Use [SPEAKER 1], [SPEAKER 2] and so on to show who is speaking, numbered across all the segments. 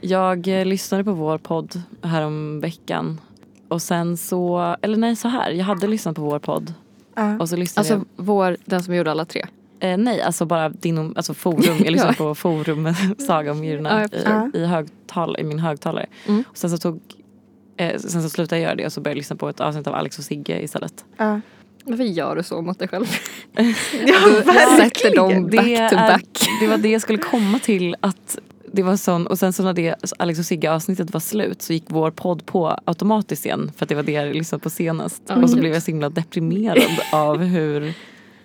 [SPEAKER 1] Jag eh, lyssnade på vår podd härom veckan. Och sen så, eller nej så här, jag hade lyssnat på vår podd.
[SPEAKER 2] Ja.
[SPEAKER 1] Och så lyssnade
[SPEAKER 3] Alltså vår, den som vi gjorde alla tre.
[SPEAKER 1] jag, eh, nej alltså bara din, alltså forum, jag lyssnade
[SPEAKER 3] Ja.
[SPEAKER 1] på forum, Saga om
[SPEAKER 3] Ja,
[SPEAKER 1] djuren
[SPEAKER 3] jag
[SPEAKER 2] förstår.
[SPEAKER 1] i, i, högtal, i min högtalare.
[SPEAKER 3] Mm.
[SPEAKER 1] Och sen så tog, eh, sen så slutade jag göra det och så började jag lyssna på ett avsnitt av Alex och Sigge istället.
[SPEAKER 2] Ja.
[SPEAKER 3] Varför gör du så mot dig själv?
[SPEAKER 2] Ja,
[SPEAKER 3] Sätter dem
[SPEAKER 1] Det
[SPEAKER 3] back to
[SPEAKER 1] är-
[SPEAKER 3] back.
[SPEAKER 1] Det var det jag skulle komma till att det var sån och sen så när det Alex och Sigge avsnittet var slut så gick vår podd på automatiskt igen för att det var det jag lyssnade på senast.
[SPEAKER 3] Ja,
[SPEAKER 1] och så
[SPEAKER 3] gud.
[SPEAKER 1] blev jag så himla deprimerad av hur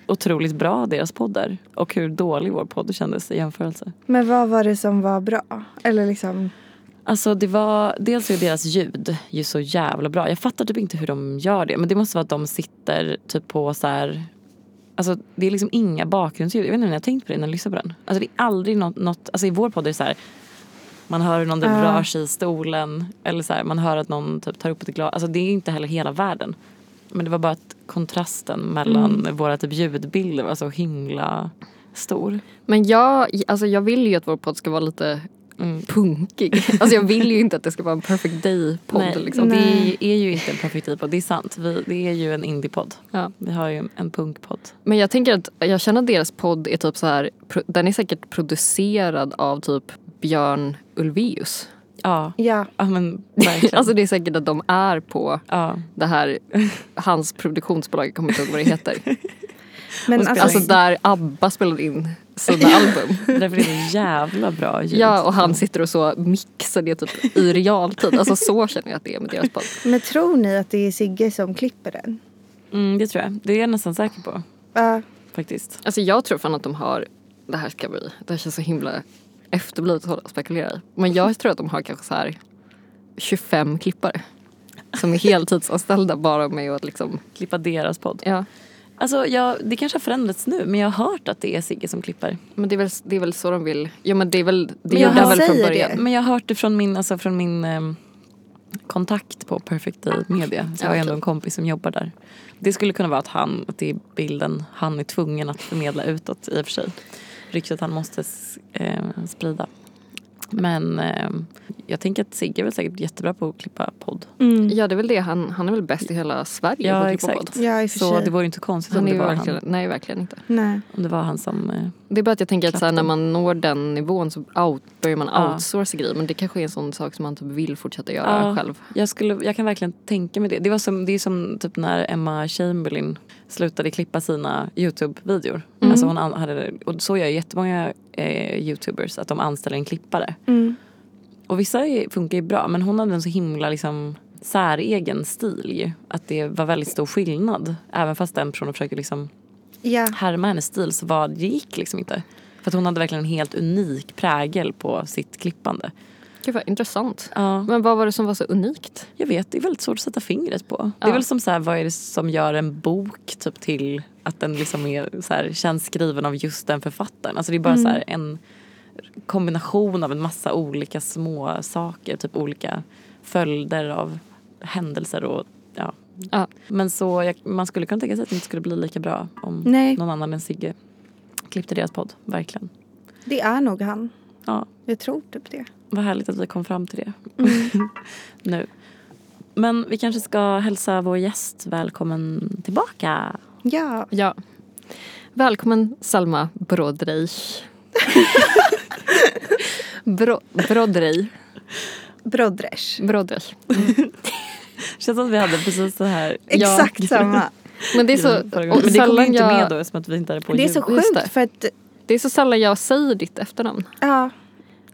[SPEAKER 1] otroligt bra deras podd är och hur dålig vår podd kändes i jämförelse.
[SPEAKER 2] Men vad var det som var bra? Eller liksom,
[SPEAKER 1] Alltså det var, dels är deras ljud ju så jävla bra. Jag fattar typ inte hur de gör det men det måste vara att de sitter typ på så här Alltså det är liksom inga bakgrundsljud. Jag vet inte om ni har tänkt på det när ni lyssnar på den. Alltså det är aldrig något, något alltså i vår podd är det så här man hör hur någon typ
[SPEAKER 2] Ja.
[SPEAKER 1] rör sig i stolen eller så här, man hör att någon typ tar upp ett glas. Alltså det är inte heller hela världen. Men det var bara att kontrasten mellan våra typ ljudbilder var så himla stor.
[SPEAKER 3] Men jag, alltså jag vill ju att vår podd ska vara lite
[SPEAKER 1] Mm.
[SPEAKER 3] punkig. Alltså jag vill ju inte att det ska vara en perfect day-podd.
[SPEAKER 1] Nej,
[SPEAKER 3] Liksom.
[SPEAKER 1] Det
[SPEAKER 2] Nej.
[SPEAKER 1] är, är ju inte en perspektivpodd, det är sant. Vi, det är ju en indiepodd.
[SPEAKER 3] Ja.
[SPEAKER 1] Vi har ju en, en punkpodd.
[SPEAKER 3] Men jag tänker att jag känner att deras podd är typ så här, pro- den är säkert producerad av typ Björn Ulvaeus.
[SPEAKER 1] Ja,
[SPEAKER 2] ja.
[SPEAKER 1] ja men verkligen.
[SPEAKER 3] Alltså det är säkert att de är på
[SPEAKER 1] ja.
[SPEAKER 3] det här, hans produktionsbolag, jag kommer inte ihåg vad det heter.
[SPEAKER 2] Men
[SPEAKER 1] spelar
[SPEAKER 2] alltså,
[SPEAKER 3] Alltså där ABBA spelar in sina album.
[SPEAKER 1] Därför är det jävla bra ljud.
[SPEAKER 3] Ja, och han sitter och så mixar det typ i realtid. Alltså så känner jag att det är med deras podd.
[SPEAKER 2] men tror ni att det är Sigge som klipper den?
[SPEAKER 1] Mm, det tror jag. Det är jag nästan säker på
[SPEAKER 2] Ja.
[SPEAKER 1] faktiskt.
[SPEAKER 3] Alltså jag tror fan att de har, det här ska bli, det här känns så himla efterblivet att hålla- spekulera i. Men jag tror att de har kanske så här 25 klippare. Som är heltidsanställda bara med att liksom,
[SPEAKER 1] Klippa deras podd.
[SPEAKER 3] ja.
[SPEAKER 1] Alltså jag, det kanske har förändrats nu men jag har hört att det är Sigge som klipper.
[SPEAKER 3] Men det är väl, det är väl så de vill, ja men det är väl, det
[SPEAKER 1] jag
[SPEAKER 3] gjorde han
[SPEAKER 1] hör-
[SPEAKER 3] väl från
[SPEAKER 2] säger
[SPEAKER 3] början.
[SPEAKER 1] Men jag har hört det från min, alltså från min ehm, kontakt på Perfect Day Media. Så jag har
[SPEAKER 3] Ja,
[SPEAKER 1] ändå
[SPEAKER 3] okej.
[SPEAKER 1] en kompis som jobbar där. Det skulle kunna vara att han, att det är bilden han är tvungen att förmedla utåt i och för sig. Ryktet han måste s- eh, sprida. Men ehm, jag tänker att Sigge är väl säkert jättebra på att klippa podd.
[SPEAKER 2] Mm.
[SPEAKER 3] Ja det är väl det, han, han är väl bäst i hela Sverige
[SPEAKER 1] Ja,
[SPEAKER 3] på att klippa
[SPEAKER 1] exakt.
[SPEAKER 3] podd.
[SPEAKER 2] Ja, i och för
[SPEAKER 1] Så
[SPEAKER 2] sig.
[SPEAKER 1] det vore inte konstigt om
[SPEAKER 3] Han är
[SPEAKER 1] det,
[SPEAKER 3] ju
[SPEAKER 1] var
[SPEAKER 3] verkligen,
[SPEAKER 1] han,
[SPEAKER 3] nej verkligen inte.
[SPEAKER 2] Nej.
[SPEAKER 1] om det var han som... Eh,
[SPEAKER 3] Det är bara att jag tänker att så här, när
[SPEAKER 1] Klappen.
[SPEAKER 3] man når den nivån så out, börjar man
[SPEAKER 1] Ja.
[SPEAKER 3] outsourca grejer. Men det kanske är en sån sak som man typ vill fortsätta göra
[SPEAKER 1] Ja.
[SPEAKER 3] själv.
[SPEAKER 1] Jag, skulle, jag kan verkligen tänka mig det. Det, var som, det är som typ när Emma Chamberlain slutade klippa sina Youtube-videor.
[SPEAKER 3] Mm.
[SPEAKER 1] Alltså hon an- hade, och så gör ju jättemånga eh, Youtubers, att de anställer en klippare.
[SPEAKER 2] Mm.
[SPEAKER 1] Och vissa är, funkar ju bra, men hon hade en så himla liksom, säregen stil ju. Att det var väldigt stor skillnad. Även fast den personen försöker liksom
[SPEAKER 2] Ja.
[SPEAKER 1] härma hennes stil så var, det gick liksom inte. För att hon hade verkligen en helt unik prägel på sitt klippande.
[SPEAKER 3] Gud vad intressant.
[SPEAKER 1] Ja.
[SPEAKER 3] Men vad var det som var så unikt?
[SPEAKER 1] Jag vet, det är väldigt svårt att sätta fingret på. Det är
[SPEAKER 3] Ja.
[SPEAKER 1] väl som så här, vad är det som gör en bok typ till att den liksom är, så här, känns skriven av just den författaren? Alltså det är bara så här, en kombination av en massa olika små saker, typ olika följder av händelser och ja.
[SPEAKER 3] Ja.
[SPEAKER 1] Men så jag, man skulle kunna tänka sig att det inte skulle bli lika bra om
[SPEAKER 2] Nej.
[SPEAKER 1] någon annan än Sigge klippte deras podd, verkligen.
[SPEAKER 2] Det är nog han.
[SPEAKER 1] Ja.
[SPEAKER 2] Jag tror typ det.
[SPEAKER 1] Vad härligt att vi kom fram till det
[SPEAKER 2] Mm.
[SPEAKER 1] nu. Men vi kanske ska hälsa vår gäst välkommen tillbaka.
[SPEAKER 2] Ja.
[SPEAKER 3] Ja. Välkommen Salma Brodrej. Bro, Brodrej.
[SPEAKER 2] Brodrej.
[SPEAKER 3] Brodrej.
[SPEAKER 1] Känns som att vi hade precis så här.
[SPEAKER 2] Exakt samma.
[SPEAKER 3] Men det är så,
[SPEAKER 1] Förra gången.
[SPEAKER 3] och
[SPEAKER 1] Men det kom ju
[SPEAKER 3] sällan
[SPEAKER 1] inte
[SPEAKER 3] jag,
[SPEAKER 1] med då eftersom att vi inte hade på
[SPEAKER 2] Det är så
[SPEAKER 1] ljud.
[SPEAKER 3] Just det.
[SPEAKER 2] sjukt för att...
[SPEAKER 3] det är så sällan jag säger ditt efternamn.
[SPEAKER 2] Ja.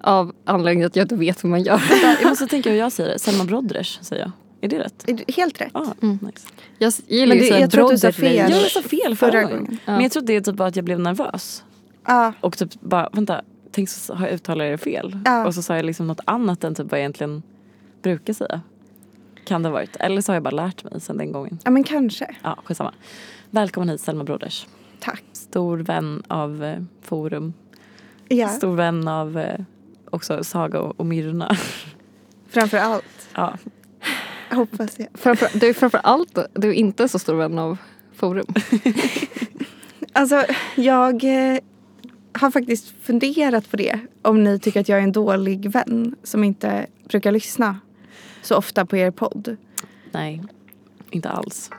[SPEAKER 3] Av anledningen att jag inte vet hur man gör.
[SPEAKER 1] Jag måste tänka hur jag säger det. Selma Brodrej säger jag. Är det rätt?
[SPEAKER 2] Helt rätt.
[SPEAKER 1] Ah, nice.
[SPEAKER 3] Jag gillar
[SPEAKER 2] Men
[SPEAKER 3] ju
[SPEAKER 2] det-
[SPEAKER 3] att säga
[SPEAKER 2] jag tror att du sa
[SPEAKER 3] Brodrej.
[SPEAKER 1] Jag
[SPEAKER 2] fel.
[SPEAKER 1] sa fel förra
[SPEAKER 2] Förra
[SPEAKER 1] gången.
[SPEAKER 2] gången.
[SPEAKER 1] Men jag tror att det är typ bara att jag blev nervös.
[SPEAKER 2] Ja.
[SPEAKER 1] Och typ bara, vänta, tänk så har jag uttalat det fel.
[SPEAKER 2] Ja.
[SPEAKER 1] Och så sa jag liksom något annat än typ vad jag egentligen brukar säga. Kan det ha varit. Eller så har jag bara lärt mig sen den gången.
[SPEAKER 2] Ja men kanske.
[SPEAKER 1] Ja, skitsamma. Välkommen hit Selma Broders.
[SPEAKER 2] Tack.
[SPEAKER 1] Stor vän av eh, Forum.
[SPEAKER 2] Ja.
[SPEAKER 1] Stor vän av eh, också Saga och, och Myrna.
[SPEAKER 2] Framför allt.
[SPEAKER 1] ja.
[SPEAKER 2] Hoppas jag.
[SPEAKER 3] Framför, du är framför allt du är inte så stor vän av Forum.
[SPEAKER 2] Alltså jag eh, har faktiskt funderat på det. Om ni tycker att jag är en dålig vän som inte brukar lyssna så ofta på er podd.
[SPEAKER 1] Nej, inte alls.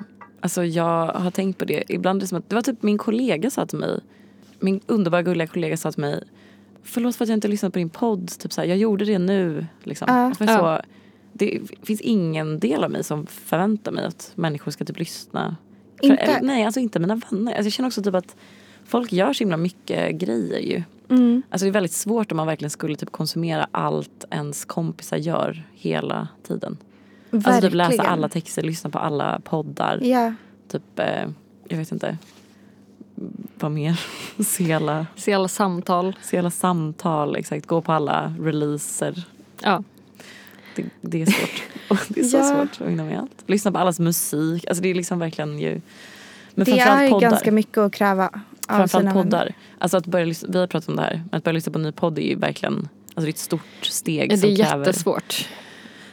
[SPEAKER 1] Alltså jag har tänkt på det. Ibland är det som att, det var typ min kollega sa till mig, min underbara gulliga kollega sa till mig, förlåt för att jag inte lyssnat på din podd, typ så här, jag gjorde det nu. Liksom.
[SPEAKER 2] Ja.
[SPEAKER 1] Det, var så, det finns ingen del av mig som förväntar mig att människor ska typ lyssna. För-
[SPEAKER 2] Inte?
[SPEAKER 1] eller, nej, alltså inte mina vänner. Alltså jag känner också typ att folk gör så himla mycket grejer ju.
[SPEAKER 2] Mm.
[SPEAKER 1] Alltså det är väldigt svårt om man verkligen skulle typ konsumera allt ens kompisar gör hela tiden.
[SPEAKER 2] Verkligen.
[SPEAKER 1] Alltså typ läsa alla texter, lyssna på alla poddar.
[SPEAKER 2] Ja.
[SPEAKER 1] Typ, eh, jag vet inte. Vad mer? se, alla,
[SPEAKER 3] Se alla samtal.
[SPEAKER 1] se alla samtal, exakt. Gå på alla releaser.
[SPEAKER 3] Ja.
[SPEAKER 1] Det, det är svårt. Och det är så
[SPEAKER 2] Ja.
[SPEAKER 1] svårt att hinna med allt. Lyssna på allas musik. Alltså det är liksom verkligen ju... Men
[SPEAKER 2] Det
[SPEAKER 1] framförallt
[SPEAKER 2] är
[SPEAKER 1] poddar.
[SPEAKER 2] ganska mycket att kräva av
[SPEAKER 1] Framförallt
[SPEAKER 2] sina vänner.
[SPEAKER 1] poddar. Alltså att börja lyssna, vi har pratat om det här. Att börja lyssna på en ny podd är ju verkligen Alltså det är ett stort steg
[SPEAKER 3] Det är
[SPEAKER 1] som kräver
[SPEAKER 3] jättesvårt.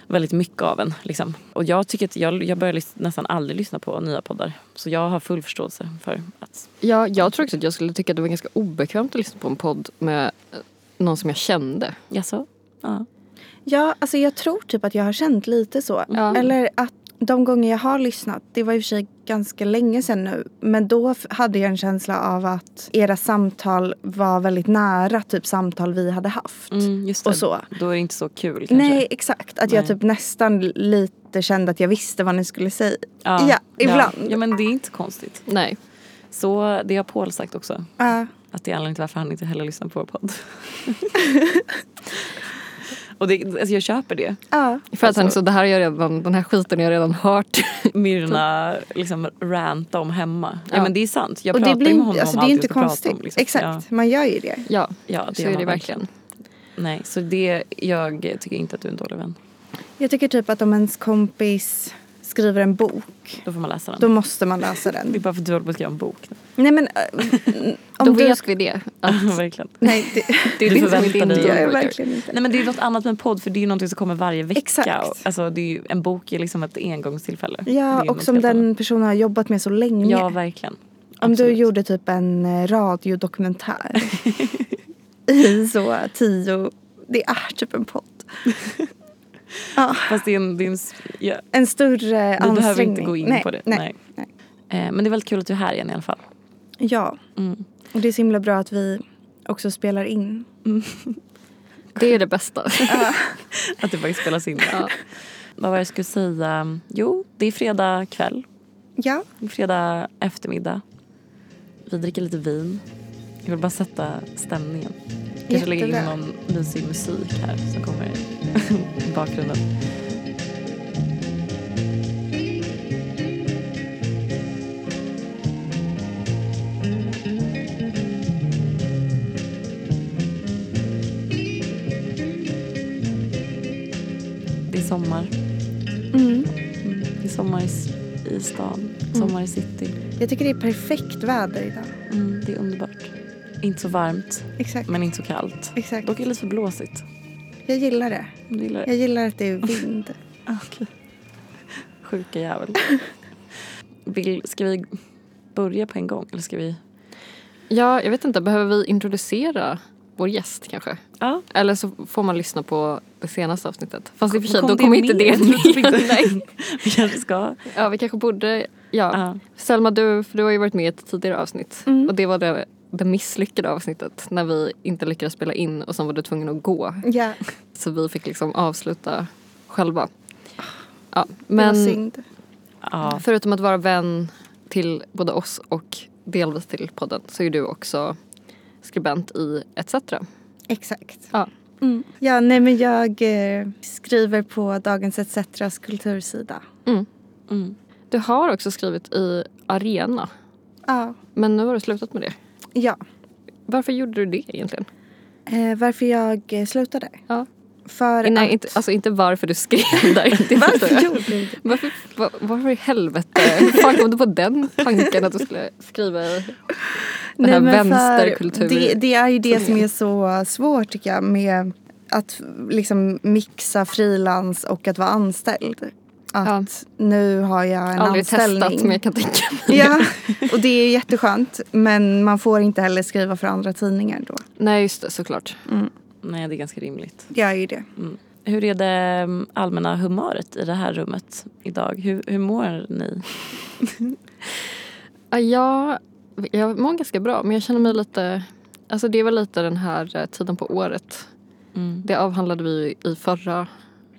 [SPEAKER 1] väldigt mycket av en. Liksom. Och jag tycker att jag, jag börjar lys- nästan aldrig lyssna på nya poddar. Så jag har full förståelse för att
[SPEAKER 3] Ja, jag tror också att jag skulle tycka att det var ganska obekvämt att lyssna på en podd med eh, någon som jag kände.
[SPEAKER 1] Jaså? Ja.
[SPEAKER 2] Ja, alltså jag tror typ att jag har känt lite så.
[SPEAKER 3] Ja.
[SPEAKER 2] Eller att de gånger jag har lyssnat, det var i och för sig ganska länge sedan nu, men då f- hade jag en känsla av att era samtal var väldigt nära typ samtal vi hade haft.
[SPEAKER 1] Mm, just det.
[SPEAKER 2] Och så.
[SPEAKER 1] Då är det inte så kul kanske.
[SPEAKER 2] Nej, exakt. Att jag
[SPEAKER 1] Nej.
[SPEAKER 2] typ nästan lite kände att jag visste vad ni skulle säga.
[SPEAKER 1] Ja,
[SPEAKER 2] ja, ibland.
[SPEAKER 1] Ja. ja, men det är inte konstigt.
[SPEAKER 3] Nej.
[SPEAKER 1] Så det har Paul sagt också.
[SPEAKER 2] Ja,
[SPEAKER 1] Att det är anledningen till varför han inte heller lyssnar på vår podd. Och det, alltså jag köper det.
[SPEAKER 2] ja.
[SPEAKER 3] För att han så, det här har jag redan, den här skiten har jag redan hört.
[SPEAKER 1] Myrna liksom ranta om hemma. Ja,
[SPEAKER 3] Ja.
[SPEAKER 1] men det är sant. Jag
[SPEAKER 2] Och
[SPEAKER 1] pratar
[SPEAKER 2] det
[SPEAKER 1] ju
[SPEAKER 2] blir
[SPEAKER 1] med honom
[SPEAKER 2] inte, alltså,
[SPEAKER 1] om
[SPEAKER 2] det är ju
[SPEAKER 1] allt
[SPEAKER 2] inte
[SPEAKER 1] jag ska prata
[SPEAKER 2] konstigt.
[SPEAKER 1] om, liksom.
[SPEAKER 2] Exakt,
[SPEAKER 1] Ja,
[SPEAKER 2] man gör ju det.
[SPEAKER 3] Ja,
[SPEAKER 1] ja det
[SPEAKER 3] så
[SPEAKER 1] gör
[SPEAKER 3] är
[SPEAKER 1] man
[SPEAKER 3] det verkligen.
[SPEAKER 1] Nej, så det, jag tycker inte att du är en dålig vän.
[SPEAKER 2] Jag tycker typ att om ens kompis skriver en bok,
[SPEAKER 1] Då får man läsa den.
[SPEAKER 2] då måste man läsa
[SPEAKER 1] Det är
[SPEAKER 2] den.
[SPEAKER 1] bara för att du håller på att skriva en bok.
[SPEAKER 2] Nej men... äh,
[SPEAKER 3] Då
[SPEAKER 2] du
[SPEAKER 3] vet vi det. Att
[SPEAKER 1] Verkligen.
[SPEAKER 2] Nej, det,
[SPEAKER 3] det är
[SPEAKER 1] Du
[SPEAKER 3] det som är
[SPEAKER 1] förväntar
[SPEAKER 3] din
[SPEAKER 1] dig-
[SPEAKER 2] det gör jag
[SPEAKER 3] dealbreaker.
[SPEAKER 2] verkligen inte.
[SPEAKER 1] Nej men det är något annat med en podd för det är ju någonting som kommer varje vecka.
[SPEAKER 2] Exakt.
[SPEAKER 1] Och, Alltså, det är ju, en bok är liksom ett engångstillfälle. Det är ju
[SPEAKER 2] Ja, och
[SPEAKER 1] något
[SPEAKER 2] som
[SPEAKER 1] helt annat.
[SPEAKER 2] den personen har jobbat med så länge.
[SPEAKER 1] Ja verkligen.
[SPEAKER 2] Om du
[SPEAKER 1] absolut.
[SPEAKER 2] gjorde typ en eh, radiodokumentär i så tio... Det är typ en podd. ja,
[SPEAKER 1] Fast det är en, det är en s- ja,
[SPEAKER 2] en större
[SPEAKER 1] vi
[SPEAKER 2] ansträngning.
[SPEAKER 1] behöver inte gå in
[SPEAKER 2] nej,
[SPEAKER 1] på det.
[SPEAKER 2] Nej,
[SPEAKER 1] Nej.
[SPEAKER 2] nej.
[SPEAKER 1] Eh, men det är väldigt kul att du är här igen i alla fall.
[SPEAKER 2] Ja,
[SPEAKER 1] Mm.
[SPEAKER 2] och det är så himla bra att vi också spelar in.
[SPEAKER 3] Det är det bästa.
[SPEAKER 1] Att det faktiskt spelas in.
[SPEAKER 3] Ja.
[SPEAKER 1] Vad var det jag skulle säga? Jo, det är fredag kväll.
[SPEAKER 2] Ja,
[SPEAKER 1] Det är fredag eftermiddag. Vi dricker lite vin. Jag vill bara sätta stämningen. Kanske lägga in
[SPEAKER 2] Jättebra.
[SPEAKER 1] någon mysig musik här som kommer i bakgrunden. Det är sommar.
[SPEAKER 2] Mm.
[SPEAKER 1] Mm. Det är sommar i, s- i stan, sommar i city.
[SPEAKER 2] Jag tycker det är perfekt väder idag.
[SPEAKER 1] Mm, det är underbart. Inte så varmt,
[SPEAKER 2] Exakt.
[SPEAKER 1] men inte så kallt.
[SPEAKER 2] Exakt.
[SPEAKER 1] Dock är det lite för blåsigt.
[SPEAKER 2] Jag gillar det.
[SPEAKER 1] Men det gillar
[SPEAKER 2] Jag
[SPEAKER 1] jag.
[SPEAKER 2] gillar att det är vind.
[SPEAKER 1] Okej. Sjuka jävel. Vill, ska vi börja på en gång? Eller ska vi...
[SPEAKER 3] ja, jag vet inte. Behöver vi introducera vår gäst kanske?
[SPEAKER 1] Ja.
[SPEAKER 3] Eller så får man lyssna på det senaste avsnittet. Fast i och för sig,
[SPEAKER 1] Kom
[SPEAKER 3] då
[SPEAKER 1] det
[SPEAKER 3] kommer inte
[SPEAKER 1] med?
[SPEAKER 3] det
[SPEAKER 1] Jag tror inte
[SPEAKER 3] med. Nej.
[SPEAKER 1] Vi kanske ska...
[SPEAKER 3] Ja, vi kanske borde... Ja.
[SPEAKER 1] Ja.
[SPEAKER 3] Selma, du, för du har ju varit med i ett tidigare avsnitt.
[SPEAKER 2] Mm.
[SPEAKER 3] Och det var det, det misslyckade avsnittet när vi inte lyckades spela in och sen var du tvungen att gå.
[SPEAKER 2] Ja,
[SPEAKER 3] Så vi fick liksom avsluta själva. Ja,
[SPEAKER 2] men... det var
[SPEAKER 3] men
[SPEAKER 2] synd.
[SPEAKER 1] Ja.
[SPEAKER 3] förutom att vara vän till både oss och delvis till podden så är du också skribent i ETC.
[SPEAKER 2] Exakt.
[SPEAKER 3] Ja.
[SPEAKER 2] Mm. Ja, nej men jag eh, skriver på Dagens ETCs kultursida.
[SPEAKER 3] Mm.
[SPEAKER 1] Mm.
[SPEAKER 3] Du har också skrivit i Arena,
[SPEAKER 2] Ja.
[SPEAKER 3] men nu har du slutat med det.
[SPEAKER 2] ja.
[SPEAKER 3] Varför gjorde du det egentligen?
[SPEAKER 2] Eh, varför jag eh, slutade?
[SPEAKER 3] Ja.
[SPEAKER 2] För
[SPEAKER 3] Nej,
[SPEAKER 2] att...
[SPEAKER 3] inte, alltså inte varför du skrev där. Det förstår
[SPEAKER 2] Varför
[SPEAKER 3] jag.
[SPEAKER 2] gjorde du det?
[SPEAKER 3] Varför, var, varför i helvete? Hur fan kom du på den tanken att du skulle skriva den här
[SPEAKER 2] Nej, men för
[SPEAKER 3] vänsterkulturen?
[SPEAKER 2] Det, det är ju det som
[SPEAKER 3] Tidningen.
[SPEAKER 2] är så svårt tycker jag med att liksom mixa frilans och att vara anställd. Att nu har jag en
[SPEAKER 3] Aldrig
[SPEAKER 2] anställning.
[SPEAKER 3] testat men jag kan tänka mig.
[SPEAKER 2] Ja, och det är jätteskönt. Men man får inte heller skriva för andra tidningar då.
[SPEAKER 3] Nej just det, såklart.
[SPEAKER 1] Nej, det är ganska rimligt.
[SPEAKER 2] Jag är ju det.
[SPEAKER 1] Hur är det mm, allmänna humöret i det här rummet idag? Hur, hur mår ni?
[SPEAKER 3] Ja, Jag, jag mår ganska bra men jag känner mig lite... Alltså det var lite den här eh, tiden på året.
[SPEAKER 1] Mm.
[SPEAKER 3] Det avhandlade vi i förra,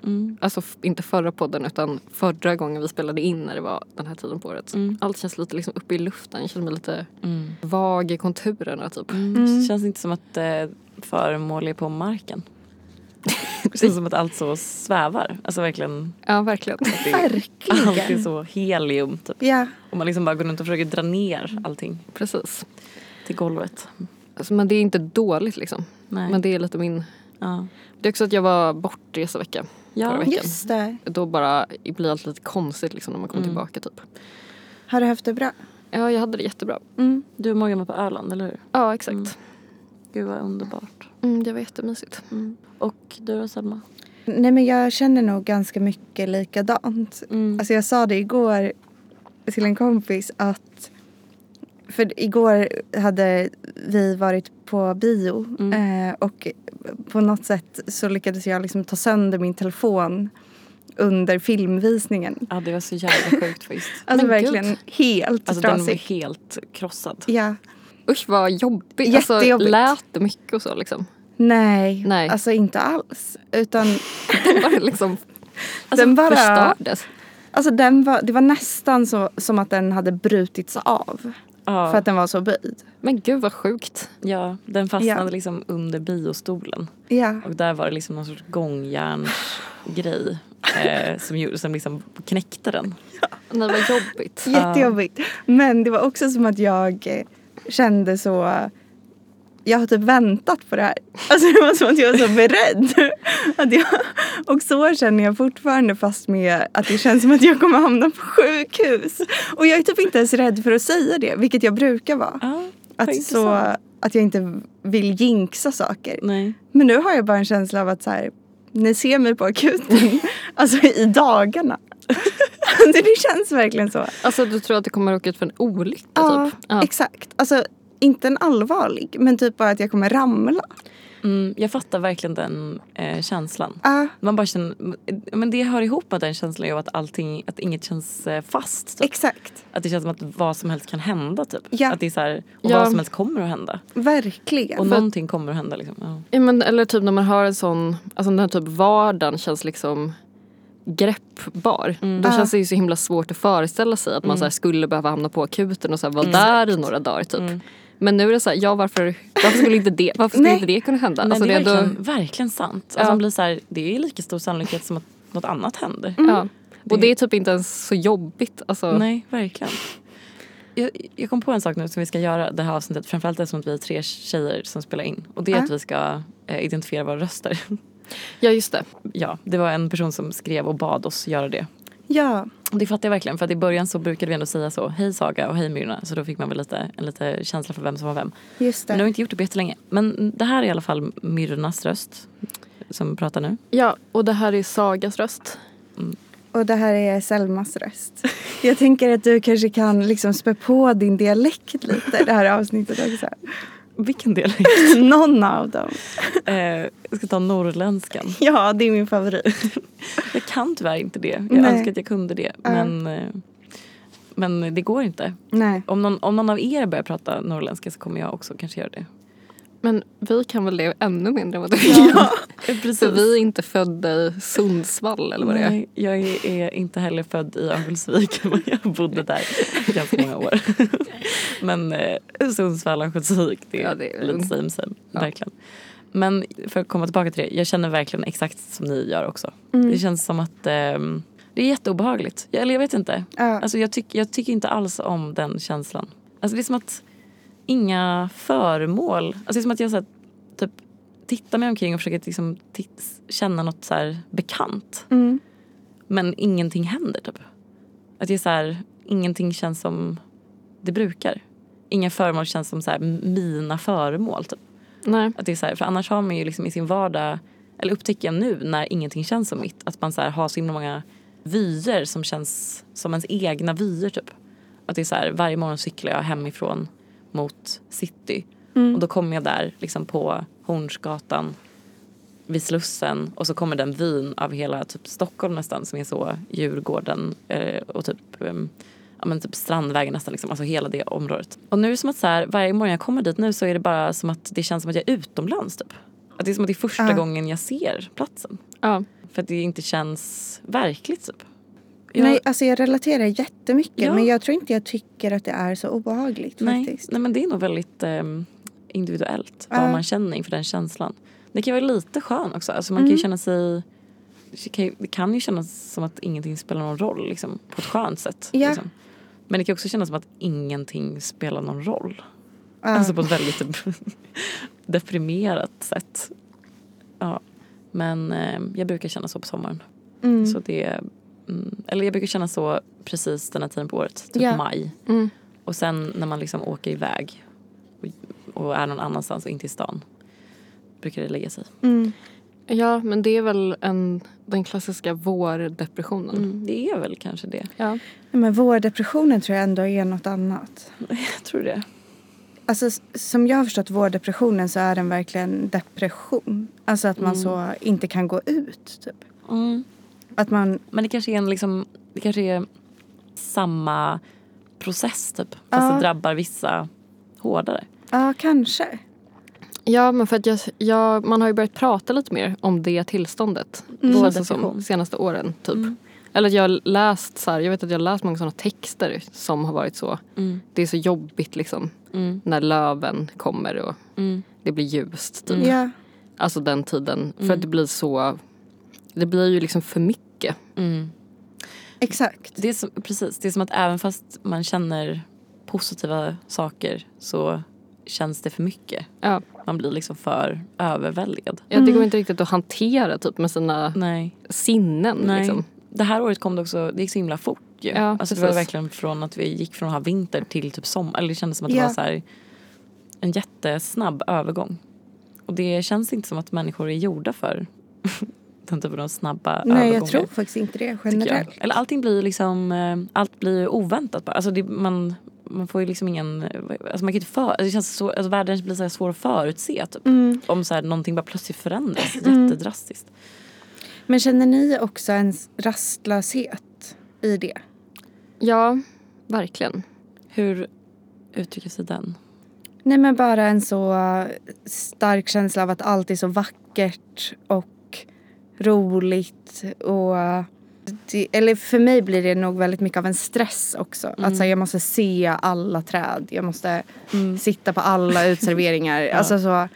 [SPEAKER 1] Mm.
[SPEAKER 3] alltså f- inte förra podden utan förra gången vi spelade in när det var den här tiden på året.
[SPEAKER 1] Mm.
[SPEAKER 3] Allt känns lite liksom uppe i luften, jag känner mig lite
[SPEAKER 1] Mm.
[SPEAKER 3] vag i konturerna typ.
[SPEAKER 1] Mm. Det känns inte som att eh, föremål är på marken. Det känns som att allt så svävar. Alltså verkligen.
[SPEAKER 3] Ja verkligen.
[SPEAKER 1] Det är, allt är
[SPEAKER 2] Verkligen.
[SPEAKER 1] så helium typ.
[SPEAKER 2] Ja,
[SPEAKER 1] Och man liksom bara går runt och försöker dra ner allting
[SPEAKER 3] Precis.
[SPEAKER 1] till golvet.
[SPEAKER 3] Alltså, men det är inte dåligt liksom.
[SPEAKER 1] Nej.
[SPEAKER 3] Men det är lite min...
[SPEAKER 1] ja.
[SPEAKER 3] Det är också att jag var bortresa vecka. förra
[SPEAKER 1] Ja.
[SPEAKER 3] veckan.
[SPEAKER 2] just det.
[SPEAKER 3] Då bara blir allt lite konstigt liksom när man kommer tillbaka typ.
[SPEAKER 2] Har du haft det bra?
[SPEAKER 3] Ja jag hade det jättebra.
[SPEAKER 2] Mm.
[SPEAKER 1] Du och Morgan var på Öland, eller hur? Mm.
[SPEAKER 3] Ja exakt.
[SPEAKER 1] Gud vad underbart.
[SPEAKER 3] Mm, det var jättemysigt.
[SPEAKER 1] Och du då Selma?
[SPEAKER 2] Nej, men jag känner nog ganska mycket likadant.
[SPEAKER 1] Mm.
[SPEAKER 2] Alltså jag sa det igår till en kompis att... För igår hade vi varit på bio
[SPEAKER 1] Mm.
[SPEAKER 2] eh, och på något sätt så lyckades jag liksom ta sönder min telefon under filmvisningen.
[SPEAKER 1] Ja det var så jävla sjukt faktiskt.
[SPEAKER 2] Alltså
[SPEAKER 3] Men gud.
[SPEAKER 2] verkligen helt
[SPEAKER 1] Alltså den var
[SPEAKER 2] trasig.
[SPEAKER 1] helt krossad.
[SPEAKER 2] Ja.
[SPEAKER 3] Usch vad jobbigt. Alltså,
[SPEAKER 2] Jättejobbigt.
[SPEAKER 3] lät det mycket och så liksom?
[SPEAKER 2] Nej,
[SPEAKER 3] Nej.
[SPEAKER 2] alltså inte alls. Utan
[SPEAKER 3] Var det liksom
[SPEAKER 1] Alltså,
[SPEAKER 2] den bara...
[SPEAKER 3] förstördes?
[SPEAKER 2] Alltså den var, det var nästan så, som att den hade brutits av.
[SPEAKER 1] Ja,
[SPEAKER 2] För att den var så böjd.
[SPEAKER 3] Men gud vad sjukt.
[SPEAKER 1] ja den fastnade
[SPEAKER 2] Ja.
[SPEAKER 1] liksom under biostolen.
[SPEAKER 2] Ja.
[SPEAKER 1] Och där var det liksom någon sorts gångjärnsgrej eh, som, gjorde, som liksom knäckte den.
[SPEAKER 3] Nej vad jobbigt.
[SPEAKER 2] Jättejobbigt. Men det var också som att jag eh, kände så... Jag har typ väntat på det här. Alltså det var som att jag var så beredd. Att jag, och så känner jag fortfarande fast med att det känns som att jag kommer hamna på sjukhus. Och jag är typ inte ens rädd för att säga det, vilket jag brukar vara.
[SPEAKER 1] Ja, vad
[SPEAKER 2] Att, så,
[SPEAKER 1] intressant.
[SPEAKER 2] att jag inte vill jinxa saker.
[SPEAKER 1] Nej.
[SPEAKER 2] Men nu har jag bara en känsla av att så här, ni ser mig på akuten. alltså i dagarna. alltså, det känns verkligen så.
[SPEAKER 3] Alltså du tror att det kommer råka ut för en olycka
[SPEAKER 2] Ja,
[SPEAKER 3] typ? Ja.
[SPEAKER 2] exakt. Alltså inte en allvarlig, men typ bara att jag kommer ramla.
[SPEAKER 1] Mm, jag fattar verkligen den eh, känslan.
[SPEAKER 2] Ja,
[SPEAKER 1] Man bara känner, men det hör ihop med den känslan av att, allting, att inget känns eh, fast. Typ.
[SPEAKER 2] exakt.
[SPEAKER 1] Att det känns som att vad som helst kan hända. Typ.
[SPEAKER 2] Ja.
[SPEAKER 1] Att det är så här, och
[SPEAKER 3] Ja.
[SPEAKER 1] vad som helst kommer att hända.
[SPEAKER 2] Verkligen.
[SPEAKER 1] Och någonting kommer att hända. Liksom. Ja.
[SPEAKER 3] Ja, men, eller typ när man har en sån, alltså den här typ vardagen känns liksom greppbar. Då känns det ju så himla svårt att föreställa sig att man så här skulle behöva hamna på akuten och så här vara där i några dagar typ. Men nu är det så här, ja varför, varför skulle inte det, varför skulle
[SPEAKER 2] Nej.
[SPEAKER 3] inte det kunna hända?
[SPEAKER 1] Nej,
[SPEAKER 3] Alltså,
[SPEAKER 1] det är
[SPEAKER 3] ändå-
[SPEAKER 1] verkligen, verkligen sant. Alltså,
[SPEAKER 3] Ja.
[SPEAKER 1] man blir så här, det är lika stor sannolikhet som att något annat händer.
[SPEAKER 3] Ja. Och det är typ inte ens så jobbigt. Alltså,
[SPEAKER 1] Nej, verkligen. Jag, jag kom på en sak nu som vi ska göra det här avsnittet. Framförallt eftersom att vi är tre tjejer som spelar in. Och det är
[SPEAKER 2] Ja.
[SPEAKER 1] att vi ska eh, identifiera våra röster.
[SPEAKER 3] Ja just det.
[SPEAKER 1] ja, det var en person som skrev och bad oss göra det.
[SPEAKER 2] Ja,
[SPEAKER 1] Och det fattar jag verkligen för att i början så brukade vi ändå säga så. Hej Saga och hej Myrna. Så då fick man väl lite, en lite känsla för vem som var vem.
[SPEAKER 2] just
[SPEAKER 1] Men nu har
[SPEAKER 2] det.
[SPEAKER 1] vi inte gjort det på jättelänge. Men det här är i alla fall Myrnas röst som pratar nu.
[SPEAKER 3] Ja, och det här är Sagas röst.
[SPEAKER 2] Och det här är Selmas röst. Jag tänker att du kanske kan liksom spä på din dialekt lite i det här avsnittet också.
[SPEAKER 1] Vilken del?
[SPEAKER 2] Någon av dem.
[SPEAKER 1] eh, jag ska ta norrländskan.
[SPEAKER 2] Ja, det är min favorit.
[SPEAKER 1] Jag kan tyvärr inte det. Jag
[SPEAKER 2] Nej.
[SPEAKER 1] önskar att jag kunde det.
[SPEAKER 2] Ja.
[SPEAKER 1] Men, eh, men det går inte.
[SPEAKER 2] Nej.
[SPEAKER 1] Om någon, om någon av er börjar prata norrländska så kommer jag också kanske göra det.
[SPEAKER 3] Men vi kan väl det ännu mindre än vad du kan.
[SPEAKER 1] Precis.
[SPEAKER 3] För vi är inte födda i Sundsvall eller vad det är.
[SPEAKER 1] Nej, jag är, är inte heller född i Örnsköldsvik men jag bodde där i ganska många år. men eh, Sundsvall och Örnsköldsvik det är,
[SPEAKER 3] Ja, det är-
[SPEAKER 1] lite same same,
[SPEAKER 3] Ja.
[SPEAKER 1] verkligen. Men för att komma tillbaka till det, jag känner verkligen exakt som ni gör också. Det känns som att ehm, det är jätteobehagligt. Jag, eller jag vet inte.
[SPEAKER 2] Ja.
[SPEAKER 1] Alltså, jag, tyck, jag tycker inte alls om den känslan. Alltså, det är som att inga föremål... Alltså, det är som att jag så här, typ, tittar mig omkring och försöker liksom, titt, känna något så här, bekant.
[SPEAKER 2] Mm.
[SPEAKER 1] Men ingenting händer typ. Att det är så här, ingenting känns som det brukar. Inga föremål känns som så här, mina föremål typ.
[SPEAKER 3] Nej.
[SPEAKER 1] Att det är så här, för annars har man ju liksom i sin vardag, eller upptäcker jag nu när ingenting känns som mitt, att man så här har så himla många vyer som känns som ens egna vyer typ. Att det är så här, varje morgon cyklar jag hemifrån mot city. Och då kommer jag där liksom på Hornsgatan vid Slussen och så kommer den vyn av hela typ Stockholm nästan som är så Djurgården eh, och typ, eh, ja, men typ Strandvägen nästan liksom, alltså hela det området. Och nu är det som att så här, varje morgon jag kommer dit nu så är det bara som att det känns som att jag är utomlands typ. Att det är som att det är första
[SPEAKER 2] Ja.
[SPEAKER 1] gången jag ser platsen.
[SPEAKER 3] Ja.
[SPEAKER 1] För att det inte känns verkligt typ. Jag-
[SPEAKER 2] Nej, alltså jag relaterar jättemycket
[SPEAKER 1] Ja.
[SPEAKER 2] men jag tror inte jag tycker att det är så obehagligt
[SPEAKER 1] nej,
[SPEAKER 2] faktiskt.
[SPEAKER 1] nej men det är nog väldigt ehm, individuellt
[SPEAKER 2] Ja.
[SPEAKER 1] vad man känner inför den känslan. Det kan vara lite skön också. Alltså man
[SPEAKER 2] Mm.
[SPEAKER 1] kan ju känna sig det kan ju- det kan ju kännas som att ingenting spelar någon roll liksom, på ett skönt sätt.
[SPEAKER 2] Ja.
[SPEAKER 1] Liksom. Men det kan också kännas som att ingenting spelar någon roll.
[SPEAKER 2] Ja.
[SPEAKER 1] Alltså på ett väldigt typ, deprimerat sätt. Ja. Men eh, jag brukar känna så på sommaren.
[SPEAKER 2] Mm.
[SPEAKER 1] Så det, mm, eller jag brukar känna så precis den här tiden på året, typ
[SPEAKER 2] Ja.
[SPEAKER 1] maj.
[SPEAKER 3] Mm.
[SPEAKER 1] Och sen när man liksom åker iväg och, och är någon annanstans och inte i stan brukar det lägga sig.
[SPEAKER 2] Mm.
[SPEAKER 3] Ja, men det är väl en, den klassiska
[SPEAKER 1] Mm.
[SPEAKER 3] vårdepressionen.
[SPEAKER 1] Det är väl kanske det.
[SPEAKER 3] Ja.
[SPEAKER 2] Nej, Men vårdepressionen tror jag ändå är något annat.
[SPEAKER 1] Jag tror det.
[SPEAKER 2] Alltså s- som jag har förstått vårdepressionen så är den verkligen depression. Alltså att man så inte kan gå ut typ.
[SPEAKER 1] Mm.
[SPEAKER 2] Att man,
[SPEAKER 1] Men det kanske är en liksom, det kanske är samma process typ. Fast
[SPEAKER 2] Ja.
[SPEAKER 1] det drabbar vissa hårdare.
[SPEAKER 2] ja kanske.
[SPEAKER 3] Ja, men för att jag, jag, man har ju börjat prata lite mer om det tillståndet.
[SPEAKER 1] Mm.
[SPEAKER 3] Känns det som,
[SPEAKER 1] Depression.
[SPEAKER 3] de senaste åren, typ. Eller att jag har läst så här, jag vet att jag har läst många sådana texter som har varit så.
[SPEAKER 1] Mm.
[SPEAKER 3] Det är så jobbigt liksom
[SPEAKER 1] Mm.
[SPEAKER 3] när löven kommer och
[SPEAKER 1] Mm.
[SPEAKER 3] det blir ljust. Typ.
[SPEAKER 2] Mm. Ja.
[SPEAKER 3] Alltså den tiden. För att det blir så, det blir ju liksom för mycket.
[SPEAKER 1] Mm.
[SPEAKER 2] Exakt.
[SPEAKER 1] Det är som, precis, det är som att även fast man känner positiva saker så känns det för mycket.
[SPEAKER 3] Ja,
[SPEAKER 1] Man blir liksom för överväldigad.
[SPEAKER 3] ja det går inte riktigt att hantera typ med sina
[SPEAKER 1] Nej.
[SPEAKER 3] sinnen.
[SPEAKER 1] Mm. Nej.
[SPEAKER 3] Liksom.
[SPEAKER 1] Det här året kom det också, det gick så himla fort ju.
[SPEAKER 3] Ja,
[SPEAKER 1] alltså det var
[SPEAKER 3] precis.
[SPEAKER 1] verkligen från att vi gick från att ha vinter till typ sommar. Eller det kändes som att det
[SPEAKER 2] Ja.
[SPEAKER 1] var så här en jättesnabb övergång. Och det känns inte som att människor är gjorda för den typen av snabba
[SPEAKER 2] Nej
[SPEAKER 1] övergångar.
[SPEAKER 2] jag tror faktiskt inte det
[SPEAKER 1] tycker jag.
[SPEAKER 2] generellt.
[SPEAKER 1] Eller allting blir liksom, eh, allt blir ju oväntat bara. Alltså det, man, man får ju liksom ingen, alltså man kan ju inte för, alltså det känns så, alltså världen blir så här svår att förutse typ.
[SPEAKER 2] Mm.
[SPEAKER 1] Om så här, någonting bara plötsligt förändras jättedrastiskt.
[SPEAKER 2] Men känner ni också en s- rastlöshet i det?
[SPEAKER 3] Ja, verkligen.
[SPEAKER 1] Hur uttrycker sig den?
[SPEAKER 2] Nej men bara en så eh, stark känsla av att allt är så vackert och roligt och eh, det, eller för mig blir det nog väldigt mycket av en stress också.
[SPEAKER 1] Mm.
[SPEAKER 2] Att så här, jag måste se alla träd, jag måste sitta på alla utserveringar. Alltså så,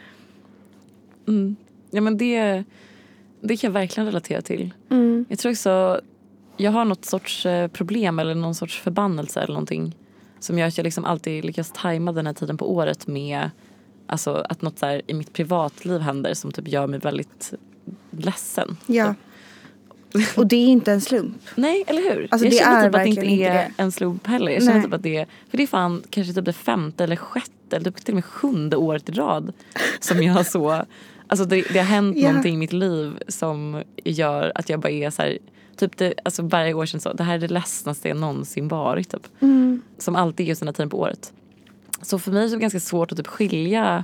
[SPEAKER 1] Mm. Ja men det, det kan jag verkligen relatera till.
[SPEAKER 2] mm,
[SPEAKER 1] Jag tror också, jag har något sorts eh, problem eller någon sorts förbannelse eller någonting. Som gör att jag liksom alltid lyckas tajma den här tiden på året med alltså, att något så här i mitt privatliv händer som typ gör mig väldigt ledsen.
[SPEAKER 2] ja. Och det är inte en slump.
[SPEAKER 1] Nej, eller hur?
[SPEAKER 2] Alltså,
[SPEAKER 1] jag
[SPEAKER 2] det
[SPEAKER 1] känner
[SPEAKER 2] är
[SPEAKER 1] typ att det inte
[SPEAKER 2] verkligen inte
[SPEAKER 1] är
[SPEAKER 2] det.
[SPEAKER 1] en slump heller. Jag känner
[SPEAKER 2] Nej.
[SPEAKER 1] typ att det är, för det är fan kanske typ det femte eller sjätte eller typ till och med sjunde året i rad som jag så, alltså det, det har hänt
[SPEAKER 2] Ja.
[SPEAKER 1] någonting i mitt liv som gör att jag bara är så här, typ det, alltså varje år känns så, det här är det ledsnaste jag någonsin varit typ.
[SPEAKER 2] Mm.
[SPEAKER 1] Som alltid är just den här tiden på året. Så för mig så är det ganska svårt att typ skilja